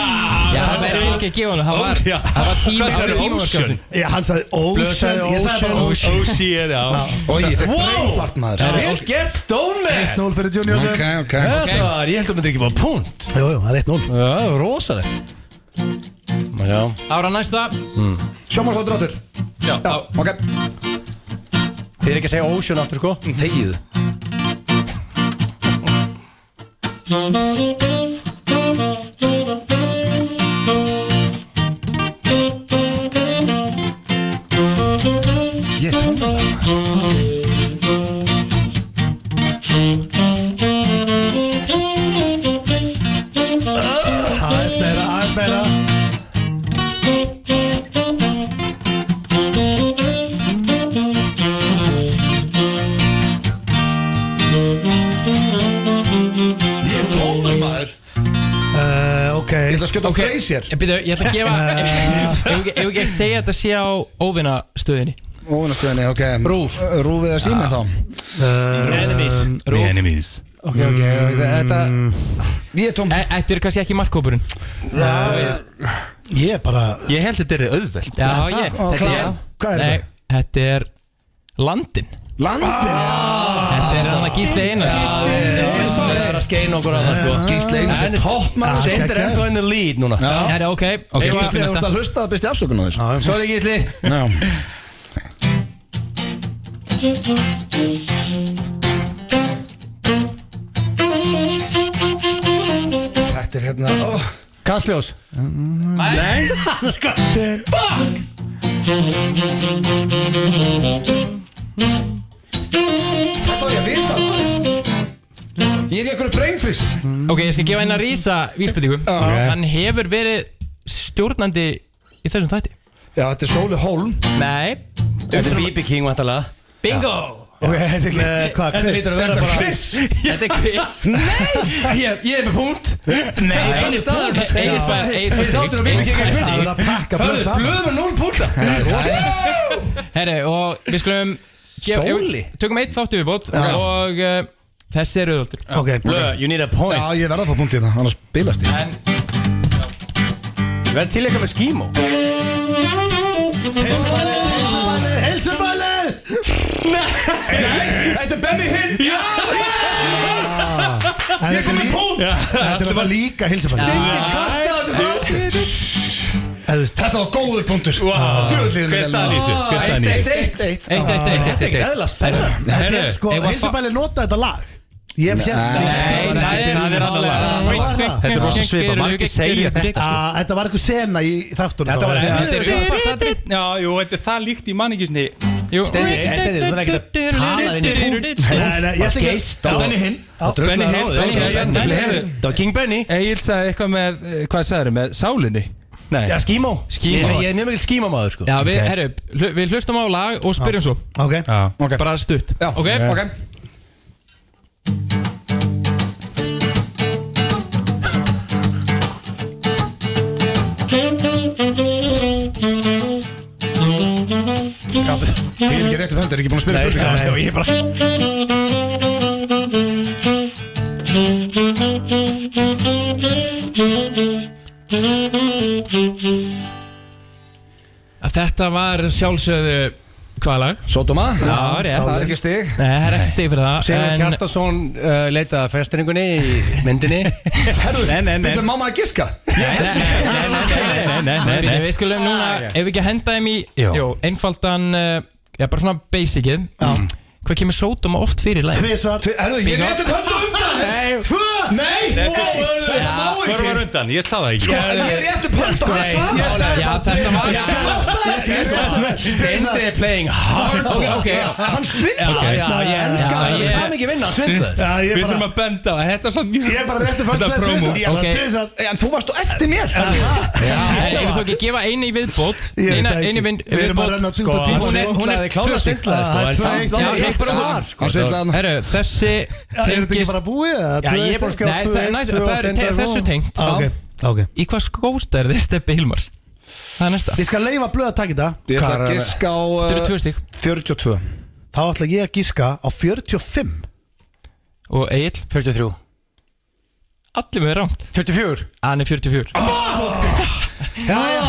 Speaker 7: það verður ekki að gefa hann Það var,
Speaker 2: Já.
Speaker 7: það var tíma
Speaker 2: Hvað
Speaker 7: Það
Speaker 2: sagði
Speaker 7: var tíma
Speaker 2: Ocean?
Speaker 7: Ocean.
Speaker 3: Já, hann sagði Ocean Ég sagði bara Ocean
Speaker 7: Ocean, já
Speaker 1: Og ég fekk dreifart maður
Speaker 2: Það er vel gert stón með
Speaker 3: 1-0 fyrir Junior
Speaker 1: Ok, ok
Speaker 2: Þetta var, ég held að myndi ekki fá punkt
Speaker 3: Jú, jú, það er 1-0
Speaker 2: Já, það var rosalegt Já
Speaker 7: Ára næsta
Speaker 1: Sjómanstáttur áttur
Speaker 7: Já, já
Speaker 1: Ok
Speaker 2: Þið er ekki að segja Ocean aftur, sko
Speaker 1: Þegið
Speaker 3: Ég er tónlega Aðeins meira, aðeins meira
Speaker 1: Ég er tónur maður Ég
Speaker 3: Eh, Ok
Speaker 1: ætla að skjóta á Frasier
Speaker 7: Ég byrja, eh, ég ætla að gefa Ef ef ekki- ef ekki að segja að þetta sé á óvinnastöðinni
Speaker 1: Óvinnastöðinni, ok Rúf Rúf eða sími þá
Speaker 7: Enemies
Speaker 6: The Enemies
Speaker 1: Ok, ok, þetta Ég er tóm
Speaker 7: eh, Þetta eru kannski ekki markkópurinn
Speaker 3: Ég er bara
Speaker 6: Ég held þetta er auðveld
Speaker 7: Já, ég
Speaker 1: Ó,
Speaker 7: Þetta er
Speaker 1: klá- hvað er
Speaker 7: Nei,
Speaker 1: þetta?
Speaker 7: Þetta er Landin
Speaker 1: Landin
Speaker 7: Þetta er þannig að gísli einars
Speaker 2: Það er að skeina okkur að það, sko
Speaker 1: Gísli Einars er topp maður
Speaker 2: Seindir er ennþá in the lead núna
Speaker 7: Það er ok
Speaker 6: Ok,
Speaker 7: Ef að-
Speaker 1: Gísli, þú ert að hlusta að besti afsökun á þér
Speaker 2: Sorry Gísli
Speaker 1: Já Þetta er hérna ó,
Speaker 2: Kastljós
Speaker 1: Nei Þetta á ég að vita Ég er í einhverju brain freeze
Speaker 7: Ok, ég skal gefa eina rísa vísbendingu Hann hefur verið stjórnandi í þessum þætti
Speaker 1: Já, þetta er Sóli Hólm
Speaker 7: Nei
Speaker 2: Þetta er BB King vantalega
Speaker 7: Bingo!
Speaker 2: Ok, þetta er
Speaker 3: Eh, Hvað,
Speaker 2: Þetta
Speaker 3: Chris?
Speaker 2: lítur að vera bara
Speaker 7: Þetta er quiz
Speaker 2: Ég, ég er með punkt
Speaker 7: Nei, einir staður Einir staður Einir
Speaker 2: Fyrst áttur og BB King er
Speaker 3: Það er
Speaker 2: kvist
Speaker 3: að pakka blöð
Speaker 2: Hörðu,
Speaker 3: saman
Speaker 2: blöðum er núl punkta
Speaker 7: Herri, og við skulum gef-
Speaker 2: Sóli?
Speaker 7: ef- Tökum eitt þáttu viðbót Og uh, þessi er auðvöldur
Speaker 3: Ok,
Speaker 2: Blöð, you need a point
Speaker 1: Já, ég verða að fá punktið það, annars bilast ég
Speaker 7: En
Speaker 2: Verð til eitthvað með skímó
Speaker 3: Hilsumballi
Speaker 1: Þetta er Benny Hinn Já,
Speaker 3: Ég kom með punkt Þetta var líka hilsumballi
Speaker 1: Þetta var góður punktur Djöðliðin
Speaker 6: Hver staðan í þessu? Hver staðan í þessu?
Speaker 1: Eitt, eitt
Speaker 7: eitt, eitt, eitt, eitt, eitt
Speaker 2: eðla spenna
Speaker 6: Herru,
Speaker 3: Sko,
Speaker 7: Ef að fa-
Speaker 3: hilsumballi nota þetta lag Ég fjart
Speaker 7: Nei, það er
Speaker 6: það er annað lag.
Speaker 3: Þetta
Speaker 6: er rosa svipað, margir segja
Speaker 7: þetta
Speaker 3: Þetta var eitthvað sena í þáttunum
Speaker 2: Þetta var
Speaker 3: Þá-
Speaker 2: erfitt.
Speaker 7: Þetta er svona bara satri
Speaker 6: Já, jú, þetta er það líkt í manningisni
Speaker 2: Steini, Steini, þú þarf ekki að tala þinn í punkt sko.
Speaker 3: Nei, nei, ég
Speaker 2: Bara
Speaker 3: ætla ekki-
Speaker 2: skeist á-
Speaker 3: Benny
Speaker 2: Hinn. Það
Speaker 6: Benny
Speaker 2: dröglaði ráðið.
Speaker 6: Hinn, Benny Hinn,
Speaker 2: Það
Speaker 6: Benny
Speaker 2: var-
Speaker 6: Hinn.
Speaker 2: Það var King Benny
Speaker 6: Egil sagði eitthvað með, eh, hvað sagði með, sálinni? Nei,
Speaker 2: Já, skímó
Speaker 7: Skímó.
Speaker 2: Ég- Ég er nefnilega skímamaður sko
Speaker 7: Já, við, herru, hlu- við hlustum á lag og spyrjum svo
Speaker 3: Ok
Speaker 1: Ok.
Speaker 7: Bara stutt
Speaker 1: Já,
Speaker 7: Ok?
Speaker 1: ok Þið er ekki rétt um höndur, er ekki búin að spila spurninga
Speaker 2: Já, ég bara
Speaker 7: þetta var sjálfsögðu hvaða lag?
Speaker 1: Sotoma
Speaker 7: Já, rétt.
Speaker 1: Það er ekki stig
Speaker 7: Nei, það er ekkert stig fyrir það
Speaker 2: Sigur
Speaker 7: en-
Speaker 2: Kjartason um uh, leitaði að festringunni í myndinni
Speaker 1: Herðu,
Speaker 7: Nei, nei, nei.
Speaker 1: byrjuðu mamma að giska
Speaker 7: Nei, nei, nei, nei, nei, nei, nei, nei. Við skulum núna, ef við ekki að henda þeim í Jó, einfaldan, uh, já bara svona basicið Hvað kemur sótuma oft fyrir í læg?
Speaker 3: Tvisvar
Speaker 1: Herðu, ég veit um hvað þú undan
Speaker 3: Tvö
Speaker 1: Nei, wow, herðu, þetta má
Speaker 6: Hvað var
Speaker 1: ekki
Speaker 6: undan? Ég sá það ekki
Speaker 1: En ég er rétt um pönta
Speaker 7: Nei, ég sagði bara þetta var
Speaker 2: Svindri er playing hard
Speaker 7: Ok, ok,
Speaker 1: Hann svindla
Speaker 7: ok
Speaker 2: Já, ég elska
Speaker 7: Já,
Speaker 2: það
Speaker 7: ég-
Speaker 2: Það er mikið vinna, svindla
Speaker 3: Já, ég
Speaker 6: Við
Speaker 3: bara
Speaker 6: þurfum að benda á að þetta er svona mjög
Speaker 3: Ég er bara rétti
Speaker 6: Þetta er promo.
Speaker 7: Ok.
Speaker 3: Tvisvar
Speaker 1: En þú varst á eftir mér Það
Speaker 7: Já, en ef þú ekki gefa einu í viðbót
Speaker 3: Ég veit
Speaker 7: Eina,
Speaker 3: það
Speaker 7: einu
Speaker 3: ekki.
Speaker 7: vind,
Speaker 3: Við erum að
Speaker 7: viðbót
Speaker 3: renna út á tíma
Speaker 7: Hún er, hún er tvö stygg
Speaker 2: svindlaði sko
Speaker 3: Ah,
Speaker 2: en
Speaker 3: tvö
Speaker 2: samt- Já,
Speaker 3: eitt, tvö
Speaker 2: ég er
Speaker 3: eitt.
Speaker 2: bara
Speaker 1: var
Speaker 2: var
Speaker 1: Hann svindlaði hann
Speaker 7: Herru, þessi
Speaker 3: Er þetta ekki
Speaker 7: tengist
Speaker 3: bara búið? eða?
Speaker 2: Já,
Speaker 3: Tvö
Speaker 2: ég er
Speaker 3: eitt,
Speaker 2: bara að skjóða
Speaker 7: Nei, það er næst- það er te- þessu tengt
Speaker 3: Ah, Ok, ok
Speaker 7: Í hvað skóstærði steppi Hilmars? Það er næsta
Speaker 3: Ég skal leifa blöð að taka þetta
Speaker 1: Ég ætla að giska á
Speaker 7: Þetta eru
Speaker 1: uh,
Speaker 7: tvö stygg
Speaker 1: 42
Speaker 3: Þá ætla ég að giska á 45
Speaker 7: Og Egil
Speaker 2: 43
Speaker 7: Allir með rámt
Speaker 2: 44
Speaker 7: Hann er 44
Speaker 1: Jæja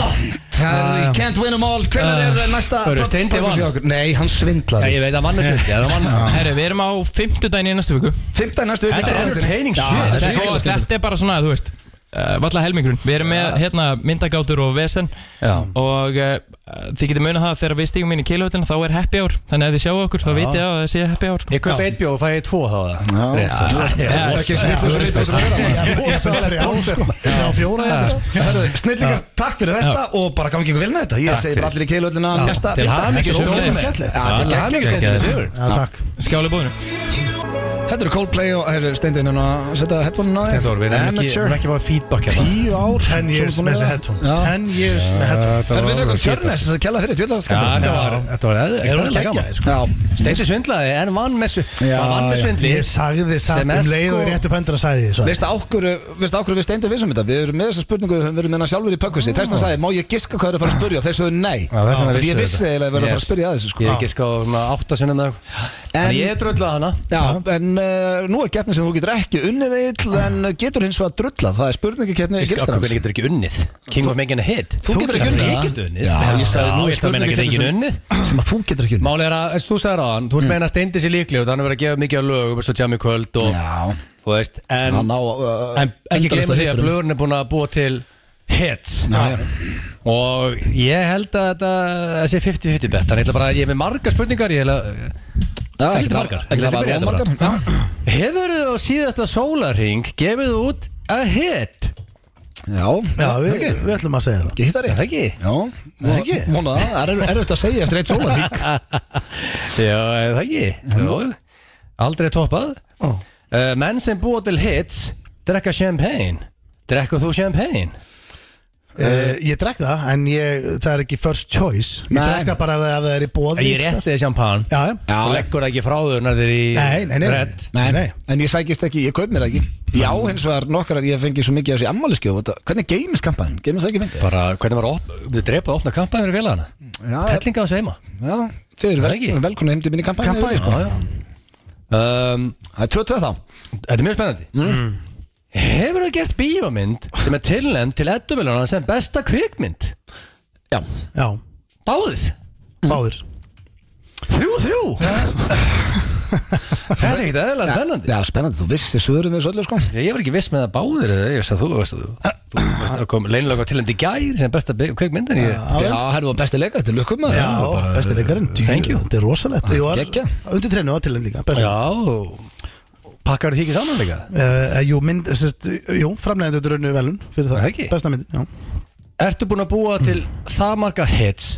Speaker 1: Herru, you can't win them all Hvernig er næsta
Speaker 2: Hörru, Steindi vann.
Speaker 1: hjá okkur? Nei, hann
Speaker 2: Já,
Speaker 1: svindlaði
Speaker 2: ég veit að mann er svindli Það mann
Speaker 7: Herri, við erum á fimmtudaginn í næstu viku
Speaker 1: 15 næstu viku
Speaker 2: Þetta er entertaining shit
Speaker 7: Ah, Þetta er, og þetta er bara svona, þú veist uh, Valla helmingrun Við erum með hérna, myndagátur og vesen
Speaker 2: Já.
Speaker 7: Og uh, þið getur munið það að Þegar við stígum inn í keiluhöllina þá er happy hour Þannig að ef þið sjáu okkur, þá vitið að það sé happy hour sko.
Speaker 2: Ég köp eitt bjóð og fæ ég tvo þá það Rétt svo
Speaker 1: Það er ekki snillu sem við tókum að vera
Speaker 3: Rósalegri ásko Það er sko. fjóra hérna
Speaker 1: Herru, snillingar, takk fyrir þetta Og bara gangi ykkur vel með þetta Ég segi bara allir í keilöldina Næsta
Speaker 2: Til
Speaker 1: fimmta.
Speaker 2: hamingju,
Speaker 1: Þetta er
Speaker 2: Steindi.
Speaker 1: ógeðslega skemmtilegt. Já,
Speaker 2: Það
Speaker 1: þetta
Speaker 2: er
Speaker 1: er
Speaker 2: hægni
Speaker 1: geggjað.
Speaker 2: stendur sigur
Speaker 3: Já, takk
Speaker 7: Skjáli búðinu
Speaker 1: Þetta eru Coldplay og herru, Steindi hérna að setja headphone-una á þig
Speaker 2: Þór, við erum ekki, við erum
Speaker 1: Amateur.
Speaker 2: ekki bara feedback hérna
Speaker 1: Tíu ár
Speaker 3: 10 years
Speaker 1: Svo
Speaker 3: með
Speaker 1: búin
Speaker 3: þessi
Speaker 1: að-
Speaker 3: headphone 10 years með headphone
Speaker 1: Herru, við tökum Kjörnes Þess að kella fyrir Tjóðlega skemmtilegt
Speaker 2: Þetta var
Speaker 3: Þeir eru
Speaker 2: eðlilega gaman
Speaker 3: geggjaði sko
Speaker 1: Já,
Speaker 2: Steinsi svindlaði en vann með, svi-
Speaker 1: Já,
Speaker 2: hann vann með
Speaker 1: já.
Speaker 2: svindli
Speaker 3: Ég sagði þið samt
Speaker 2: Sem er
Speaker 3: um leið og
Speaker 2: sko-
Speaker 3: ég réttu pöndina sagði því
Speaker 1: veistu á hverju Veistu á hverju við Steindi vissum þetta Við erum með þessa spurningu Við höfum verið með hana sjálfur í pökkusi Þess vegna sagði ég, Má ég giska hvað eru að fara að spurja Og þeir sögðu nei
Speaker 2: Já, þess vegna
Speaker 1: Því
Speaker 2: vissu
Speaker 1: Ég
Speaker 2: þau
Speaker 1: vissi eiginlega að vera að fara
Speaker 2: þetta.
Speaker 1: að
Speaker 2: Yes.
Speaker 1: spyrja að þessu
Speaker 2: Ég
Speaker 1: sko.
Speaker 2: er ekki sko svona átta sinna með En
Speaker 1: En-
Speaker 2: ég dröllaði hana
Speaker 1: Já, en uh, nú er keppni sem þú getur ekki unnið eill en getur hins vegar drullað, það er spurningakeppni
Speaker 2: Ég
Speaker 1: Gilsdans.
Speaker 2: hvernig getur ekki unnið King of Megan a hit
Speaker 1: Þú getur ekki unnið
Speaker 2: Ég
Speaker 1: það?
Speaker 2: get unnið
Speaker 1: Já, ég sagði nú er
Speaker 2: ég ætla að meina getur
Speaker 1: spurningakeppni
Speaker 2: ekki
Speaker 1: sem-
Speaker 2: unnið
Speaker 1: sem að þú getur ekki unnið.
Speaker 2: Málið er að, eins og þú sagði ráðan, þú ert
Speaker 1: Mm.
Speaker 2: meina að steindi sér líkli og þannig verið að gefa mikið á lögum eins og Jammy Kvöld og,
Speaker 1: Já,
Speaker 2: þú veist, en,
Speaker 1: hann á uh,
Speaker 2: en ekki gleyma því að blöðurinn er búin að búa til hits og ég held að þetta það sé 50-50 bet, þannig ég ætla bara, ég er með margar spurningar, ég ætla, Ekkert margar.
Speaker 1: Ekki það
Speaker 2: Ég ætla að
Speaker 1: var
Speaker 2: byrja þetta
Speaker 1: ómargar. Já.
Speaker 2: hefur þú á síðasta sólarring gefið út a hit?
Speaker 1: Já,
Speaker 3: Já, við,
Speaker 1: ekki.
Speaker 3: við ætlum að segja það
Speaker 1: Ekki hittar ég.
Speaker 2: Það ekki?
Speaker 1: Já,
Speaker 3: Það ekki?
Speaker 1: Mónu það, það er erfitt að segja eftir eitt sólarhík.
Speaker 2: Já, er það ekki? Jó, aldrei toppað.
Speaker 3: Ó.
Speaker 2: Uh, menn sem búa til hits, drekka champagne. Drekkur þú champagne?
Speaker 3: Uh, ég drekk það, en ég, það er ekki first choice Ég
Speaker 1: Nei.
Speaker 3: drekk það bara að það er í bóði
Speaker 2: Ég rétti þið champagne.
Speaker 3: Já, já
Speaker 1: Já,
Speaker 2: Þú leggur það ekki frá þau nær þeir í
Speaker 3: Nei, nei, nei, nei.
Speaker 2: redd.
Speaker 1: Nei,
Speaker 3: Nei.
Speaker 1: en ég sækist ekki, ég kaup mér það ekki. Já, hins vegar nokkrar, ég fengi svo mikið af þessi ammaliskjóð. Hvernig geimist kampaðin? Geimist það ekki myndið?
Speaker 2: Bara hvernig var op, við drepaði að opna kampaði fyrir félagana Tellinga á þessu heima
Speaker 1: Já, þau eru
Speaker 2: Það ekki?
Speaker 1: vel, velkona heim til minni kampaðin.
Speaker 3: Kampavín,
Speaker 1: Kampaðin, sko.
Speaker 2: já. um,
Speaker 1: Það er 22 þá.
Speaker 2: Þetta er mjög spennandi Hefur þú gert bíómynd sem er tilnæmt til edduveluna sem besta kvikmynd?
Speaker 1: Já,
Speaker 3: Já,
Speaker 2: Báðis?
Speaker 3: báður
Speaker 2: Þrjú, þrjú Þetta er ekkert eðlilega spennandi
Speaker 1: Já, spennandi, þú vissir svörum við svolítið sko
Speaker 2: Ég var ekki viss með að báðir eða ég veist að þú veist að þú þú veist að kom leinlega tilnæmt í gær sem besta bi- kvikmynd en ég
Speaker 1: Já, herðu var besti leika, þetta er lukkum maður
Speaker 3: Já, besti leikarinn
Speaker 2: Thank you.
Speaker 3: Þetta er rosalegt Ég var
Speaker 1: Geggjað.
Speaker 3: undir treinu á til þeim líka besti.
Speaker 2: Já og Pakkar því ekki saman líka?
Speaker 3: Uh, jú, mynd, sérst, jú, framlegðandi drönnu velun fyrir það,
Speaker 2: Það ekki?
Speaker 3: besta myndin já.
Speaker 2: Ertu búin að búa til það marga hits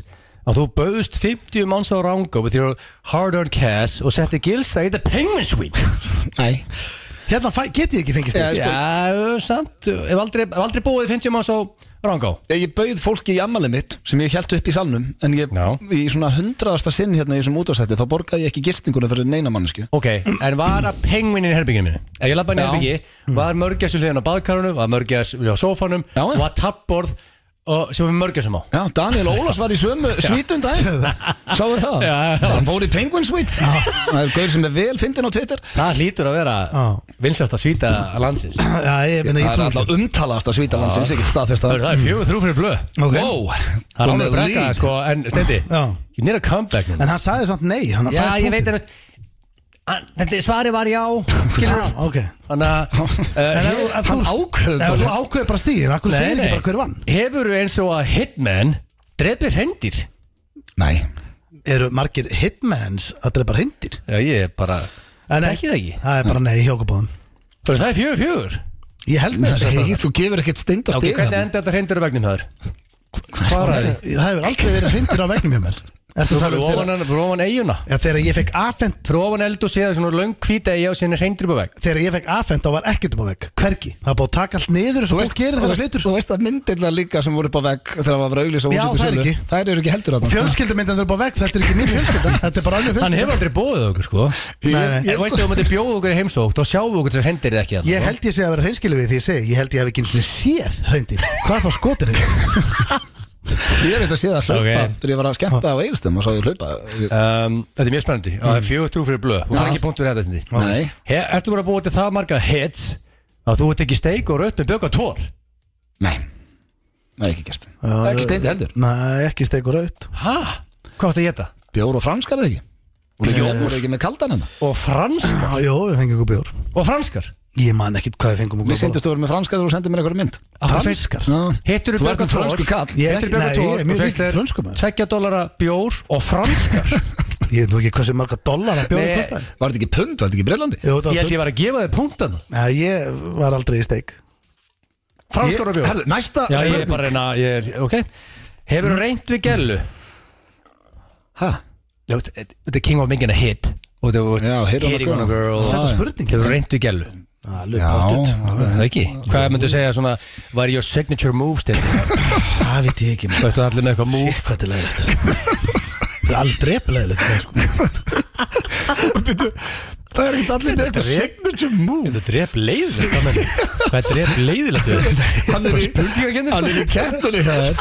Speaker 2: að þú bauðst 50 manns á ranga with your hard-earned cash og setti gilsa í the penguin suite?
Speaker 1: Nei,
Speaker 3: Hérna fæ, get ég ekki fengist
Speaker 1: Já, sko,
Speaker 3: yeah.
Speaker 2: Já, samt, ef aldrei, ef aldrei búið 50 manns á ranga
Speaker 1: ég bauð fólki í ammalið mitt sem ég held upp í salnum en ég,
Speaker 2: Já.
Speaker 1: í svona hundraðasta sinn hérna í þessum útastætti þá borgaði ég ekki gistinguna fyrir neina mannesku
Speaker 2: Ok, en var að penguinin í herbygginu minni? Ef ég lappa inn í
Speaker 1: Já.
Speaker 3: Mm.
Speaker 2: herbyggi, var mörgjast við hliðan á baðkarunum, var mörgjast við á sófanum
Speaker 1: Já.
Speaker 2: og var tappborð og sem við mörgjum á
Speaker 1: Já, Daniel Ólafs var í sömu svítund aðeins Sáðu það?
Speaker 2: Já, já.
Speaker 1: Hann fór í Penguin Suite Það er gaur sem er vel fyndin á Twitter
Speaker 2: Það hlýtur að vera
Speaker 3: Já.
Speaker 2: vinsjast að svíta landsins Það
Speaker 3: Já, ég meina,
Speaker 1: Það
Speaker 3: ég
Speaker 1: er
Speaker 3: trú
Speaker 1: alltaf umtalast að svíta landsins Ekki staðfest
Speaker 2: er-
Speaker 1: að
Speaker 2: það er fjögur þrjú fyrir blöð
Speaker 3: Ok.
Speaker 1: Wow,
Speaker 2: Það er
Speaker 1: komið
Speaker 2: alveg að brekka
Speaker 1: lík.
Speaker 2: sko, en stendi
Speaker 3: Já.
Speaker 2: You need a comeback núna
Speaker 3: En hann sagði samt nei hann
Speaker 2: Já,
Speaker 3: fær
Speaker 2: ég veit
Speaker 3: punktinn.
Speaker 2: en að- Þetta svari var já
Speaker 3: Já, Ah, ok
Speaker 2: Þannig að
Speaker 3: En ef
Speaker 2: uh,
Speaker 3: þú- ef þú
Speaker 1: Hann ákveður
Speaker 3: Ef þú
Speaker 1: bara.
Speaker 3: ákveður bara stíðin, akkur segir ekki bara hver vann
Speaker 2: Hefurðu eins og að Hitman drefið hendir
Speaker 1: Nei,
Speaker 3: Eru margir hitmans að drepa hindir?
Speaker 2: Já, ég er bara
Speaker 3: En
Speaker 2: Þekki það ekki.
Speaker 3: Það er bara nei, hjá okkur báðum
Speaker 2: Fyrir það er fjögur fjögur
Speaker 3: Ég held með þess að
Speaker 1: Hey, þú gefur ekkert steinda
Speaker 2: Ok,
Speaker 1: stig
Speaker 2: hvernig enda þetta hendur á vegnum þar?
Speaker 3: það Það hefur aldrei verið hindir á vegnum hjá mér Ertu
Speaker 2: Þú
Speaker 3: að tala
Speaker 2: fyrir
Speaker 3: um
Speaker 2: ofan,
Speaker 3: þegar-
Speaker 2: hann- fyrir ofan eiguna
Speaker 3: Já, þegar ég fekk afhent
Speaker 2: Fyrir ofan eld og séða svona löng hvita eiga og síðan er hendur upp á veg
Speaker 3: Þegar ég fekk afhent, þá var ekkert upp á veg Hvergi, það er búið að taka allt niður Svo fólk gerir þegar það slitur
Speaker 1: Þú veist að myndirlega líka sem voru upp á vegg Þegar það var auðlýs og
Speaker 3: Já,
Speaker 1: úrslit í
Speaker 3: þær
Speaker 1: sölu.
Speaker 3: ekki.
Speaker 1: Þær eru ekki heldur að
Speaker 3: Fjölskyldumyndan er upp á veg, þetta er ekki mín fjölskylda Þetta er bara annir
Speaker 2: Hann hefur aldrei bóðið
Speaker 3: fjölskylda
Speaker 2: okkur sko
Speaker 3: Nei, nei.
Speaker 2: En veistu, ef maður bjóð okkur í heimsók þá sjáum við okkur þess hendir ekki þarna,
Speaker 3: Ég
Speaker 2: sko.
Speaker 3: held ég sé að vera hreinskilu við því ég segi Ég held ég hef ekki einu sinni séð hreindir Hvað þá skotir þig?
Speaker 1: Ég veit að sé það hlaupa
Speaker 2: Ok.
Speaker 1: Þegar ég var að skemmta á eirstum og sá ég hlaupa
Speaker 2: um, Þetta er mjög spennandi Það
Speaker 3: Mm.
Speaker 2: er fjögur trú fyrir blöð
Speaker 3: Ah.
Speaker 2: og það er
Speaker 1: Já.
Speaker 2: ekki punktur eða þetta
Speaker 1: Nei,
Speaker 2: He, Ertu bara að búa til það marga hits að þú ert ekki steik og rött með bjöka tól
Speaker 1: nei Það er ekki gert Ekki steindi heldur
Speaker 3: Nei, ekki stegur raut
Speaker 2: Hæ? Hvað áttu að geta?
Speaker 1: Bjór og franskar eða ekki Þú eru ekki, með- voru ekki með kaldan hérna. hennar
Speaker 2: Og franskar?
Speaker 3: Já, Jó, við fengum okkur bjór
Speaker 2: Og franskar?
Speaker 3: Ég man ekkit hvað við fengum okkur
Speaker 1: Við sendist þú verið með franskar þegar þú sendir mér eitthvað mynd
Speaker 3: Ah, Franskar?
Speaker 1: Já.
Speaker 2: Hittur
Speaker 1: Þú
Speaker 2: þú
Speaker 1: ert
Speaker 2: bjöka
Speaker 1: með fransku
Speaker 2: tól?
Speaker 1: kall
Speaker 3: Ég
Speaker 2: Hittur
Speaker 3: er ekki-
Speaker 2: bjöka
Speaker 3: nei, ég
Speaker 2: tól?
Speaker 3: er mjög
Speaker 2: Þú fegst
Speaker 3: lítill
Speaker 2: þér
Speaker 3: franskur maður.
Speaker 2: 2 dólara bjór og franskar
Speaker 3: Ég veit nú ekki hversu marga dollara bjóri
Speaker 2: Nei.
Speaker 3: kostar
Speaker 1: Var þetta ekki pund, var þetta ekki brellandi?
Speaker 3: Jú, það
Speaker 2: Ég held ég
Speaker 3: var
Speaker 2: var að gefa þér punktan
Speaker 3: Nei, ég var aldrei í steik
Speaker 2: Franskar og bjór
Speaker 1: Herðu, næsta
Speaker 2: Já, ég er
Speaker 1: spurning.
Speaker 2: bara að reyna ég er, Ok Hefur þú reynt við gellu?
Speaker 1: Ha?
Speaker 2: Já, Þetta þetta er King of Mingin a hit Og þú
Speaker 1: Já, hit on a
Speaker 2: hitting on a
Speaker 1: girl.
Speaker 2: girl
Speaker 3: Þetta er Ah,
Speaker 2: Já, já.
Speaker 3: spurning.
Speaker 2: Hefur þú reynt við gellu?
Speaker 1: Já,
Speaker 2: Það er ekki Hvað myndu segja svona Var your signature move stil
Speaker 3: Það veit ég ekki maður.
Speaker 2: Hvað er allir með eitthvað move
Speaker 3: Hvað til leiðilegt Það er aldrei leiðilegt sko.
Speaker 1: það er ekki allir með eitthvað
Speaker 2: Signature move Þetta er drep leiðilegt hvað meinarðu? Hvað er drep leiðilegt við
Speaker 1: Hann er í-
Speaker 2: spurningar að
Speaker 1: Hann er í kettunni hér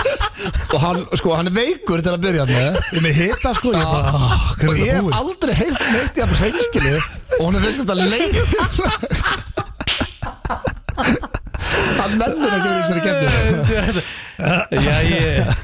Speaker 1: Og hann, sko, hann er veikur til að byrja með
Speaker 3: Ég er með hita sko Ég er bara ah,
Speaker 1: Og
Speaker 3: Hvernig
Speaker 1: ég hef
Speaker 3: er það búið?
Speaker 1: aldrei heilt neitt í að sænskili Og hún er veist þetta leið Hann nefnir ekki verið þessari kettunni
Speaker 2: kenna Já ég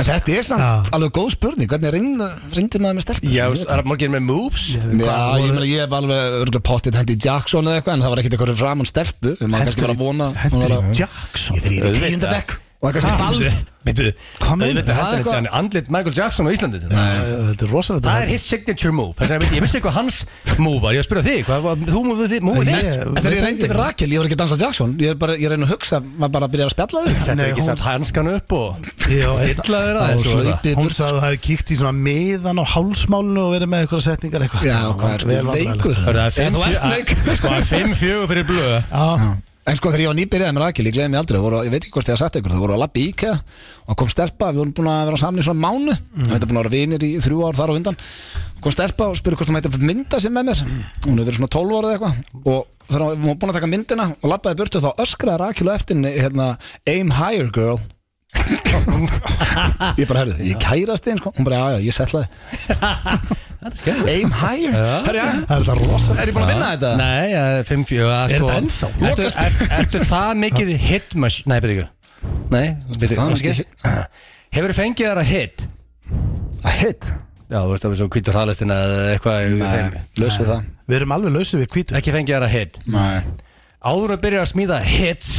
Speaker 1: En þetta er samt
Speaker 3: Já.
Speaker 1: alveg góð spurning Hvernig reynd, reyndi maður með stelpum?
Speaker 2: Já það er morgin með moves
Speaker 1: Já, ég meina ég hef alveg örgulega pottit hendi Jackson eða eitthvað En það var ekkert eitthvað framann um stelpu Við maður kannski var að vona hún var
Speaker 3: Henry
Speaker 1: að-
Speaker 3: Jackson
Speaker 1: Ég þegar ég er í
Speaker 2: Auðvitað. Ah.
Speaker 1: tíunda bekk Og það er kannski ball
Speaker 2: Myndu
Speaker 3: Hvað meinarðu?
Speaker 2: Þetta
Speaker 1: Það er
Speaker 2: er
Speaker 1: eitthvað-
Speaker 2: hann Andlit Michael Jackson á Íslandi þetta.
Speaker 3: Æ, Þetta er rosalegt
Speaker 2: Það er his signature move Þess að ég veit- ég vissi hvað hans move var Ég var að spyrja þig Hvað var þú move þið Move
Speaker 3: Ég-
Speaker 2: þitt
Speaker 1: En þegar ég reyndi við Rakel, ég voru ekki að dansa Jackson Ég er bara, ég reyna að hugsa, maður bara byrjar að spjalla þig
Speaker 2: Þetta
Speaker 3: Nei,
Speaker 2: er ekki
Speaker 3: hún-
Speaker 2: satt hanskan upp og
Speaker 3: Já, einn-
Speaker 2: Illa þeirra
Speaker 1: Og svo
Speaker 2: aðeins
Speaker 1: yppið
Speaker 3: Hún sagði að þú hefði kíkt í svona miðan á hálsmálinu og verið með eitthvað setningar eitthvað
Speaker 1: Já,
Speaker 3: Það
Speaker 1: hvað
Speaker 3: var
Speaker 1: er
Speaker 3: vel vandræðalegt.
Speaker 1: veikur En þú ert veik
Speaker 2: Það er fimm fjö- Sko, það er fimm fjögur fyrir blöð
Speaker 3: Já,
Speaker 1: En sko þegar ég var nýbyrjaði með Rakel, ég gleyði mig aldrei það voru, Ég veit ekki hvort ég hafði sagt ykkur, það voru að lappi í IKEA Og kom stelpa, við vorum búin að vera saman í svona mánu Við hefði búin að vera vinir í þrjú ár þar á undan Kom stelpa og spurði hvort hún mætti mynda sér með mér Hún hefur verið svona 12 ára eða eitthvað Og þegar hún var búin að taka myndina og lappaði burtu Þá öskraði Rakel á eftir henni, hérna, Aim higher girl Ég bara herðu, ég kærast einn sko Hún bara, já, já, ég setlaði Aim higher Herru, já,
Speaker 3: það Ah, er þetta rosalegt
Speaker 1: er ég búin að vinna þetta?
Speaker 2: Nei, ja, fimm fjögur sko-
Speaker 3: Er þetta ennþá?
Speaker 2: Ertu, er, ertu það mikið hit machine? Nei, byrju ekki Nei, byrju
Speaker 1: það mikið
Speaker 2: ekki Hefur þið fengið þar að hit?
Speaker 1: A hit?
Speaker 2: Já, þú veist það við svo hvítur hraðlistina eða eitthvað í þeim.
Speaker 1: Nei, laus við það
Speaker 3: Við erum alveg lausið við hvítu
Speaker 2: Ekki fengið þar að hit
Speaker 1: Nei
Speaker 2: Áður að byrja að smíða hits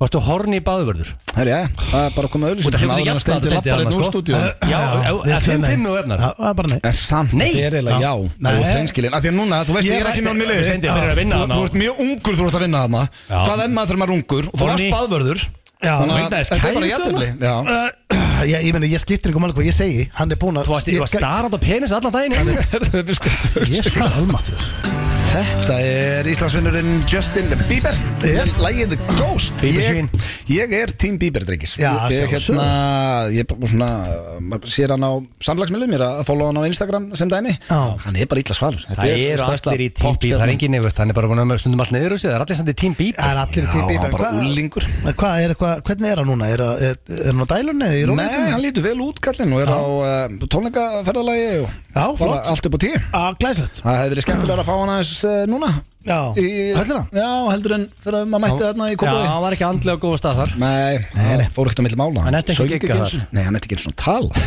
Speaker 2: Varstu horni í baðvörður?
Speaker 1: Herri, já, það er bara að koma að auðlýsing
Speaker 2: Þetta hlýtur jafn
Speaker 1: steindi
Speaker 2: að þetta
Speaker 1: lappar
Speaker 2: er
Speaker 1: einn úr
Speaker 2: annars, sko.
Speaker 1: stúdíu
Speaker 2: Já,
Speaker 3: við
Speaker 2: að
Speaker 3: sögðum
Speaker 2: fimm
Speaker 3: nei.
Speaker 2: fimm og
Speaker 3: Já,
Speaker 2: efnar
Speaker 3: Það er bara nei
Speaker 1: En samt,
Speaker 2: Nei.
Speaker 1: þetta er eiginlega já
Speaker 3: Nei.
Speaker 1: Þú ert reynskilinn, af því að núna, þú veist,
Speaker 3: Ég
Speaker 1: ég er
Speaker 3: er
Speaker 1: ekki náðum í
Speaker 2: Þú
Speaker 1: liði
Speaker 2: stendur fyrir að vinna
Speaker 1: Þú-
Speaker 2: þarna.
Speaker 1: Þú ert mjög ungur, þú ert að vinna þarna
Speaker 2: Já.
Speaker 1: Hvað er maður þegar maður er ungur? Þú
Speaker 2: Og
Speaker 1: varst
Speaker 2: ný.
Speaker 1: baðvörður
Speaker 3: Já.
Speaker 1: Þannig að
Speaker 2: Myndaðist
Speaker 1: þetta er bara
Speaker 2: kærustu
Speaker 1: jættefli Já,
Speaker 3: Uh, ég, ég meina, ég skiptir einhver máli hvað ég segi Hann er búinn að
Speaker 2: Þú varst
Speaker 3: ég-
Speaker 2: starrand og penis allan daginn
Speaker 1: þetta er biskutt
Speaker 3: Jesús almáttur
Speaker 1: Þetta er Íslandsvinnurinn Justin Bieber
Speaker 3: Yeah.
Speaker 1: Lægið The Ghost
Speaker 2: Bieber
Speaker 1: ég,
Speaker 2: svín.
Speaker 1: ég er Team Bieber, drengir
Speaker 3: Já,
Speaker 1: Ég er
Speaker 3: sjálfsögðu.
Speaker 1: hérna Ég er bara svona maður Sér hann á samlagsmiðlum Ég er að followa hann á Instagram sem dæmi
Speaker 3: Já.
Speaker 1: Hann er bara illa svalur Þetta
Speaker 2: Það eru
Speaker 1: stærsta
Speaker 2: allir í Team
Speaker 1: popstjarnan.
Speaker 2: Bieber Það er enginn, ég veist, hann er bara búin að með stundum allt niður úr sig hérna. Það er allir samt í Team Bieber
Speaker 3: Það er allir í
Speaker 1: Já,
Speaker 3: típi
Speaker 1: hann bara úlingur
Speaker 3: Hvað er, hvað, hvernig er hann núna? Er, er, er hann á dælunni? eða í
Speaker 1: Nei,
Speaker 3: rólegheitunum?
Speaker 1: hann lítur vel út kallinn og er á uh, tónleikaferðalagi og
Speaker 3: Já,
Speaker 1: bara
Speaker 3: flott.
Speaker 1: allt upp á tíu
Speaker 3: Á, glæslegt
Speaker 1: Það hefði verið skemmtilega að fá hann aðeins uh, núna
Speaker 3: Já,
Speaker 1: Í-
Speaker 3: höllina
Speaker 1: Já, heldur en þegar maður mætti þarna í Kópaví
Speaker 2: hann var ekki andlega á góða stað þar
Speaker 1: Nei, nei, fór ekkert á milli mála
Speaker 2: Hann ætti ekki að
Speaker 1: söng
Speaker 2: gigga
Speaker 1: einu
Speaker 2: þar.
Speaker 1: sinni. Nei, hann ætti ekki einu svona tala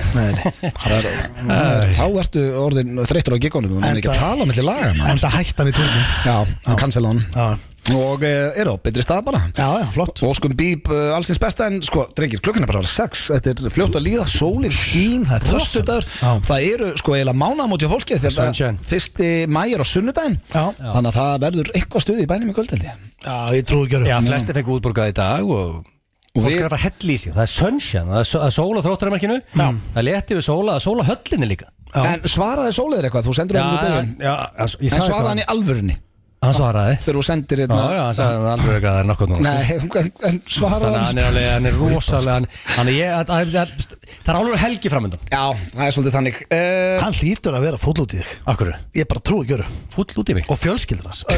Speaker 1: Það er- það er- Þá ertu orðin þreyttur á gigonum Þú er ekki að
Speaker 3: Enda-
Speaker 1: tala á milli laga maður.
Speaker 3: En það hægt hann í tólum
Speaker 1: Já, hann cancela hann
Speaker 3: Já,
Speaker 1: Og eh, er á betri stað bara
Speaker 3: já, já, flott
Speaker 1: Og skum bíp eh, allsins besta En sko, drengir, klukkan er bara orðin sex Þetta er fljótt að líða, sólin skín Það er þröstudagur
Speaker 3: Já.
Speaker 1: Það eru sko eiginlega mánamóti fólki Þegar
Speaker 2: Sunshine.
Speaker 1: það fyrsti mæjar á sunnudaginn
Speaker 3: Já.
Speaker 1: Þannig að það verður eitthvað stuði í bænum í kvöldinni
Speaker 3: Já, ég trúi ekki að
Speaker 2: Já,
Speaker 3: gera
Speaker 2: flesti fengi útborgað í dag og
Speaker 1: Og
Speaker 2: Fólk
Speaker 1: við-
Speaker 2: er að fara hell í sig Það er sunshine, það er só- það er sól á þróttaramarkinu Það er létti við sóla, það er sóla höllinni líka
Speaker 3: Já.
Speaker 1: En svaraði sóliðir eitthvað, þú sendur hann í daginn
Speaker 2: já, já, ég
Speaker 1: En
Speaker 2: sagði
Speaker 1: svaraði
Speaker 2: hvað
Speaker 1: hann í alvörunni
Speaker 2: Hann svaraði
Speaker 1: þegar þú sendir
Speaker 2: Já,
Speaker 1: hérna
Speaker 2: já, hann sagði aldrei eitthvað að það er nokkuð núna
Speaker 1: Nei, en, en svarar
Speaker 2: Þannig að
Speaker 1: hann
Speaker 2: hann er alveg, hann er rosalega hann- Hann er, ég, að- að- að- það er alveg helgi framöndan
Speaker 1: Já, það er svolítið þannig uh,
Speaker 3: Hann hlýtur að vera fúll út í þig
Speaker 2: Akkur,
Speaker 3: Ég bara trúi ekki að gera
Speaker 2: full út í mig
Speaker 3: Og fjölskyldur hans Ö,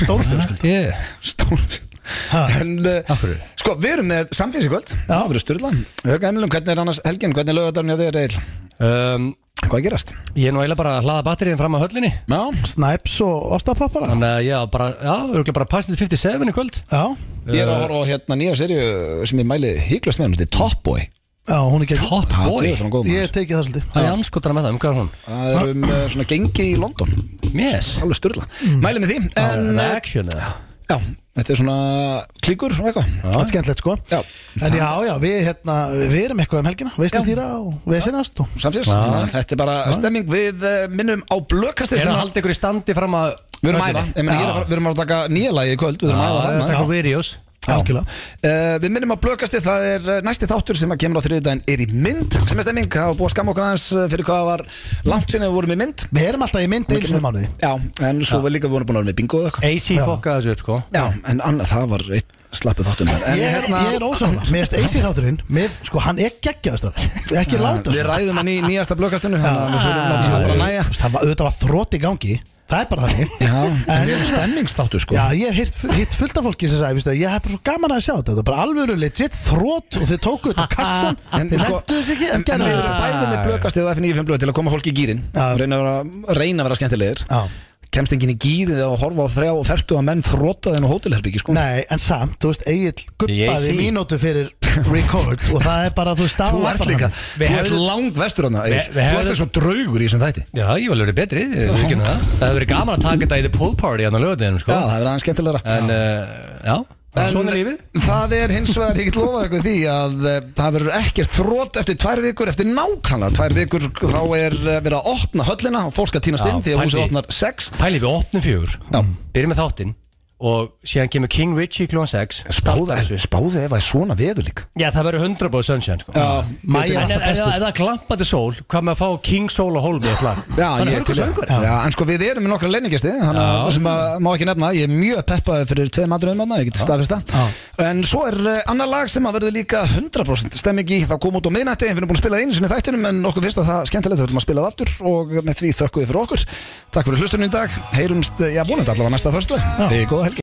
Speaker 3: Stór fjölskyldur
Speaker 1: yeah. Stór
Speaker 3: Ha.
Speaker 1: En uh,
Speaker 2: Af hverju?
Speaker 1: sko, við erum með samfélgs í kvöld Það verður styrla Hauka Emilum, hvernig er annars helgin? Hvernig er lögadagurinn hjá þér, Eil?
Speaker 2: um,
Speaker 1: Hvað er að gerast?
Speaker 2: Ég er nú eiginlega bara að hlaða batteríin fram að höllinni
Speaker 1: Já,
Speaker 3: Snipes og ostapappara
Speaker 2: Þannig að ég á bara, já, örgulega bara passið 57 í kvöld
Speaker 3: Já,
Speaker 1: ég er að horfa á hérna nýja serju sem ég mæli hygglast með hann Þetta er Top Boy
Speaker 3: já, hún er ekki
Speaker 2: Top
Speaker 1: Ha,
Speaker 2: boy
Speaker 1: djöfull er hann góð,
Speaker 3: Ég
Speaker 1: maður.
Speaker 3: teki það svolítið
Speaker 2: Það er anskotan með það, um hvað er hún?
Speaker 1: Það er um uh, svona gengi í London
Speaker 2: Yes
Speaker 1: Alveg styrla
Speaker 2: Mm.
Speaker 1: Mæli með því En
Speaker 2: En
Speaker 1: uh,
Speaker 2: action eða?
Speaker 1: já, þetta er svona klíkur og eitthvað
Speaker 3: Það er skemmtilegt sko
Speaker 1: Já.
Speaker 3: En já, já, við, hérna, við erum eitthvað um helgina Veistu stýra og vesinast og...
Speaker 1: Samfélgs Þetta er bara
Speaker 3: Ah.
Speaker 1: stemming Við uh, minnum á blökastir
Speaker 2: Er það haldið ykkur í standi fram að
Speaker 1: Við erum að æfa, Ég meina, ég er að fara- við erum að taka nýja lagi í kvöld Við erum að æfa
Speaker 2: Það er
Speaker 1: það
Speaker 2: takk á videos
Speaker 3: Algjörlega
Speaker 1: Eh, Við minnum að blökasti, það er eh, næsti þáttur sem að kemur á þriðudaginn er í mynd sem er stemming, það var búið að skamma okkur aðeins eh, fyrir hvað það var langt sinni við vorum í mynd
Speaker 3: Við erum alltaf í mynd einu sinni í mánuði
Speaker 1: Já, en svo við líka vorum búin að vera með bingo og eitthvað
Speaker 2: AC fokkaði þessu upp sko
Speaker 1: Já, en annað, það var eitt slappu þáttum þar En
Speaker 3: Ég er,
Speaker 1: hérna-
Speaker 3: ég er ósána Mér erst eisi þátturinn mér, Sko, hann er geggjaðustur Ekki láta
Speaker 1: Við
Speaker 3: svo
Speaker 1: ræðum hann í nýjasta blökastinu Þannig að við fyrir að það bara að næja
Speaker 3: Það var, auðvitað var þrótt í gangi Það er bara þannig
Speaker 1: Já, en við
Speaker 3: en, hérna-
Speaker 1: erum stemmingsþáttur sko
Speaker 3: Já, ég hef heyrt, hitt fullt af fólki sem sagði veistu, Ég hef bara svo gaman að sjá þetta Það er bara alvöru legit þrótt Og þið tóku þetta á kassan
Speaker 1: En,
Speaker 3: Þið
Speaker 1: sko,
Speaker 3: nefndu þessu ekki
Speaker 1: en,
Speaker 3: En
Speaker 1: en við
Speaker 3: gerðu
Speaker 1: erum
Speaker 3: þetta
Speaker 1: bæðið með blökastið og FNÍ 5 blöð til að koma fólki í gýrin
Speaker 3: Já.
Speaker 1: reyna að vera, reyna að vera skemmtilegir
Speaker 3: Já.
Speaker 1: kemst enginn í gýrið og horfa á þrjá og fertu að menn þróta þenn og hótelherbyggi sko.
Speaker 3: Nei, en samt, þú veist, Egil guppaði
Speaker 2: Ég sé.
Speaker 3: mínútu fyrir record og það er bara, þú
Speaker 1: þú
Speaker 3: veist, staðan var
Speaker 1: ert
Speaker 3: bara
Speaker 1: líka,
Speaker 3: þannig.
Speaker 1: þú ert lang vestur hana
Speaker 2: Við-
Speaker 1: Egill.
Speaker 2: við
Speaker 1: þú ert
Speaker 2: hefðum-
Speaker 1: eins og draugur í þessum þætti
Speaker 2: Já, ég var alveg betri, ég veit ekki um það Það hefur verið gaman að taka þetta í the pool party hann á lögutinum sko
Speaker 1: Já, það er aðeins skemmtilegra
Speaker 2: En, uh, já, svona er lífið
Speaker 1: það er hins vegar, ég get lofað ykkur því að eh, það verður ekkert þrótt eftir tvær vikur eftir nákvæmlega tvær vikur þá er eh, verið að opna höllina og fólk að týnast
Speaker 2: Já,
Speaker 1: inn því að húsið
Speaker 2: pældi-
Speaker 1: opnar sex
Speaker 2: Pæli við opnum fjögur
Speaker 1: Já.
Speaker 2: Byrjum með þáttinn Og síðan kemur King Richie klúan 6
Speaker 1: spáði, spáði ef það er svona veður líka
Speaker 2: Já, það verður 100 bóð sunshine sko
Speaker 1: Já,
Speaker 3: Maja er
Speaker 2: En
Speaker 3: alltaf
Speaker 2: ef
Speaker 3: bestur
Speaker 2: það glampandi sól, hvað með að fá King Soul og Holmi eitthvað
Speaker 1: Já, ég er til í
Speaker 2: hörkusöngur
Speaker 1: það. Já, en sko við erum með nokkra leiningisti þannig að
Speaker 2: Já.
Speaker 1: sem að má ekki nefna ég er mjög peppaði fyrir tveim aðröðum aðna ég get staðfesta en svo er uh, annar lag sem að verður líka 100% stemming í það kom út á miðnætti en við erum búin að spila það einu sinni í þættinum en okkur finnst að það skemmtilegt við viljum að spila það aftur og með því þökkum við fyrir okkur Takk fyrir hlustunum í dag heyrumst, eh, já, vonandi allavega næsta föstu Góða helgi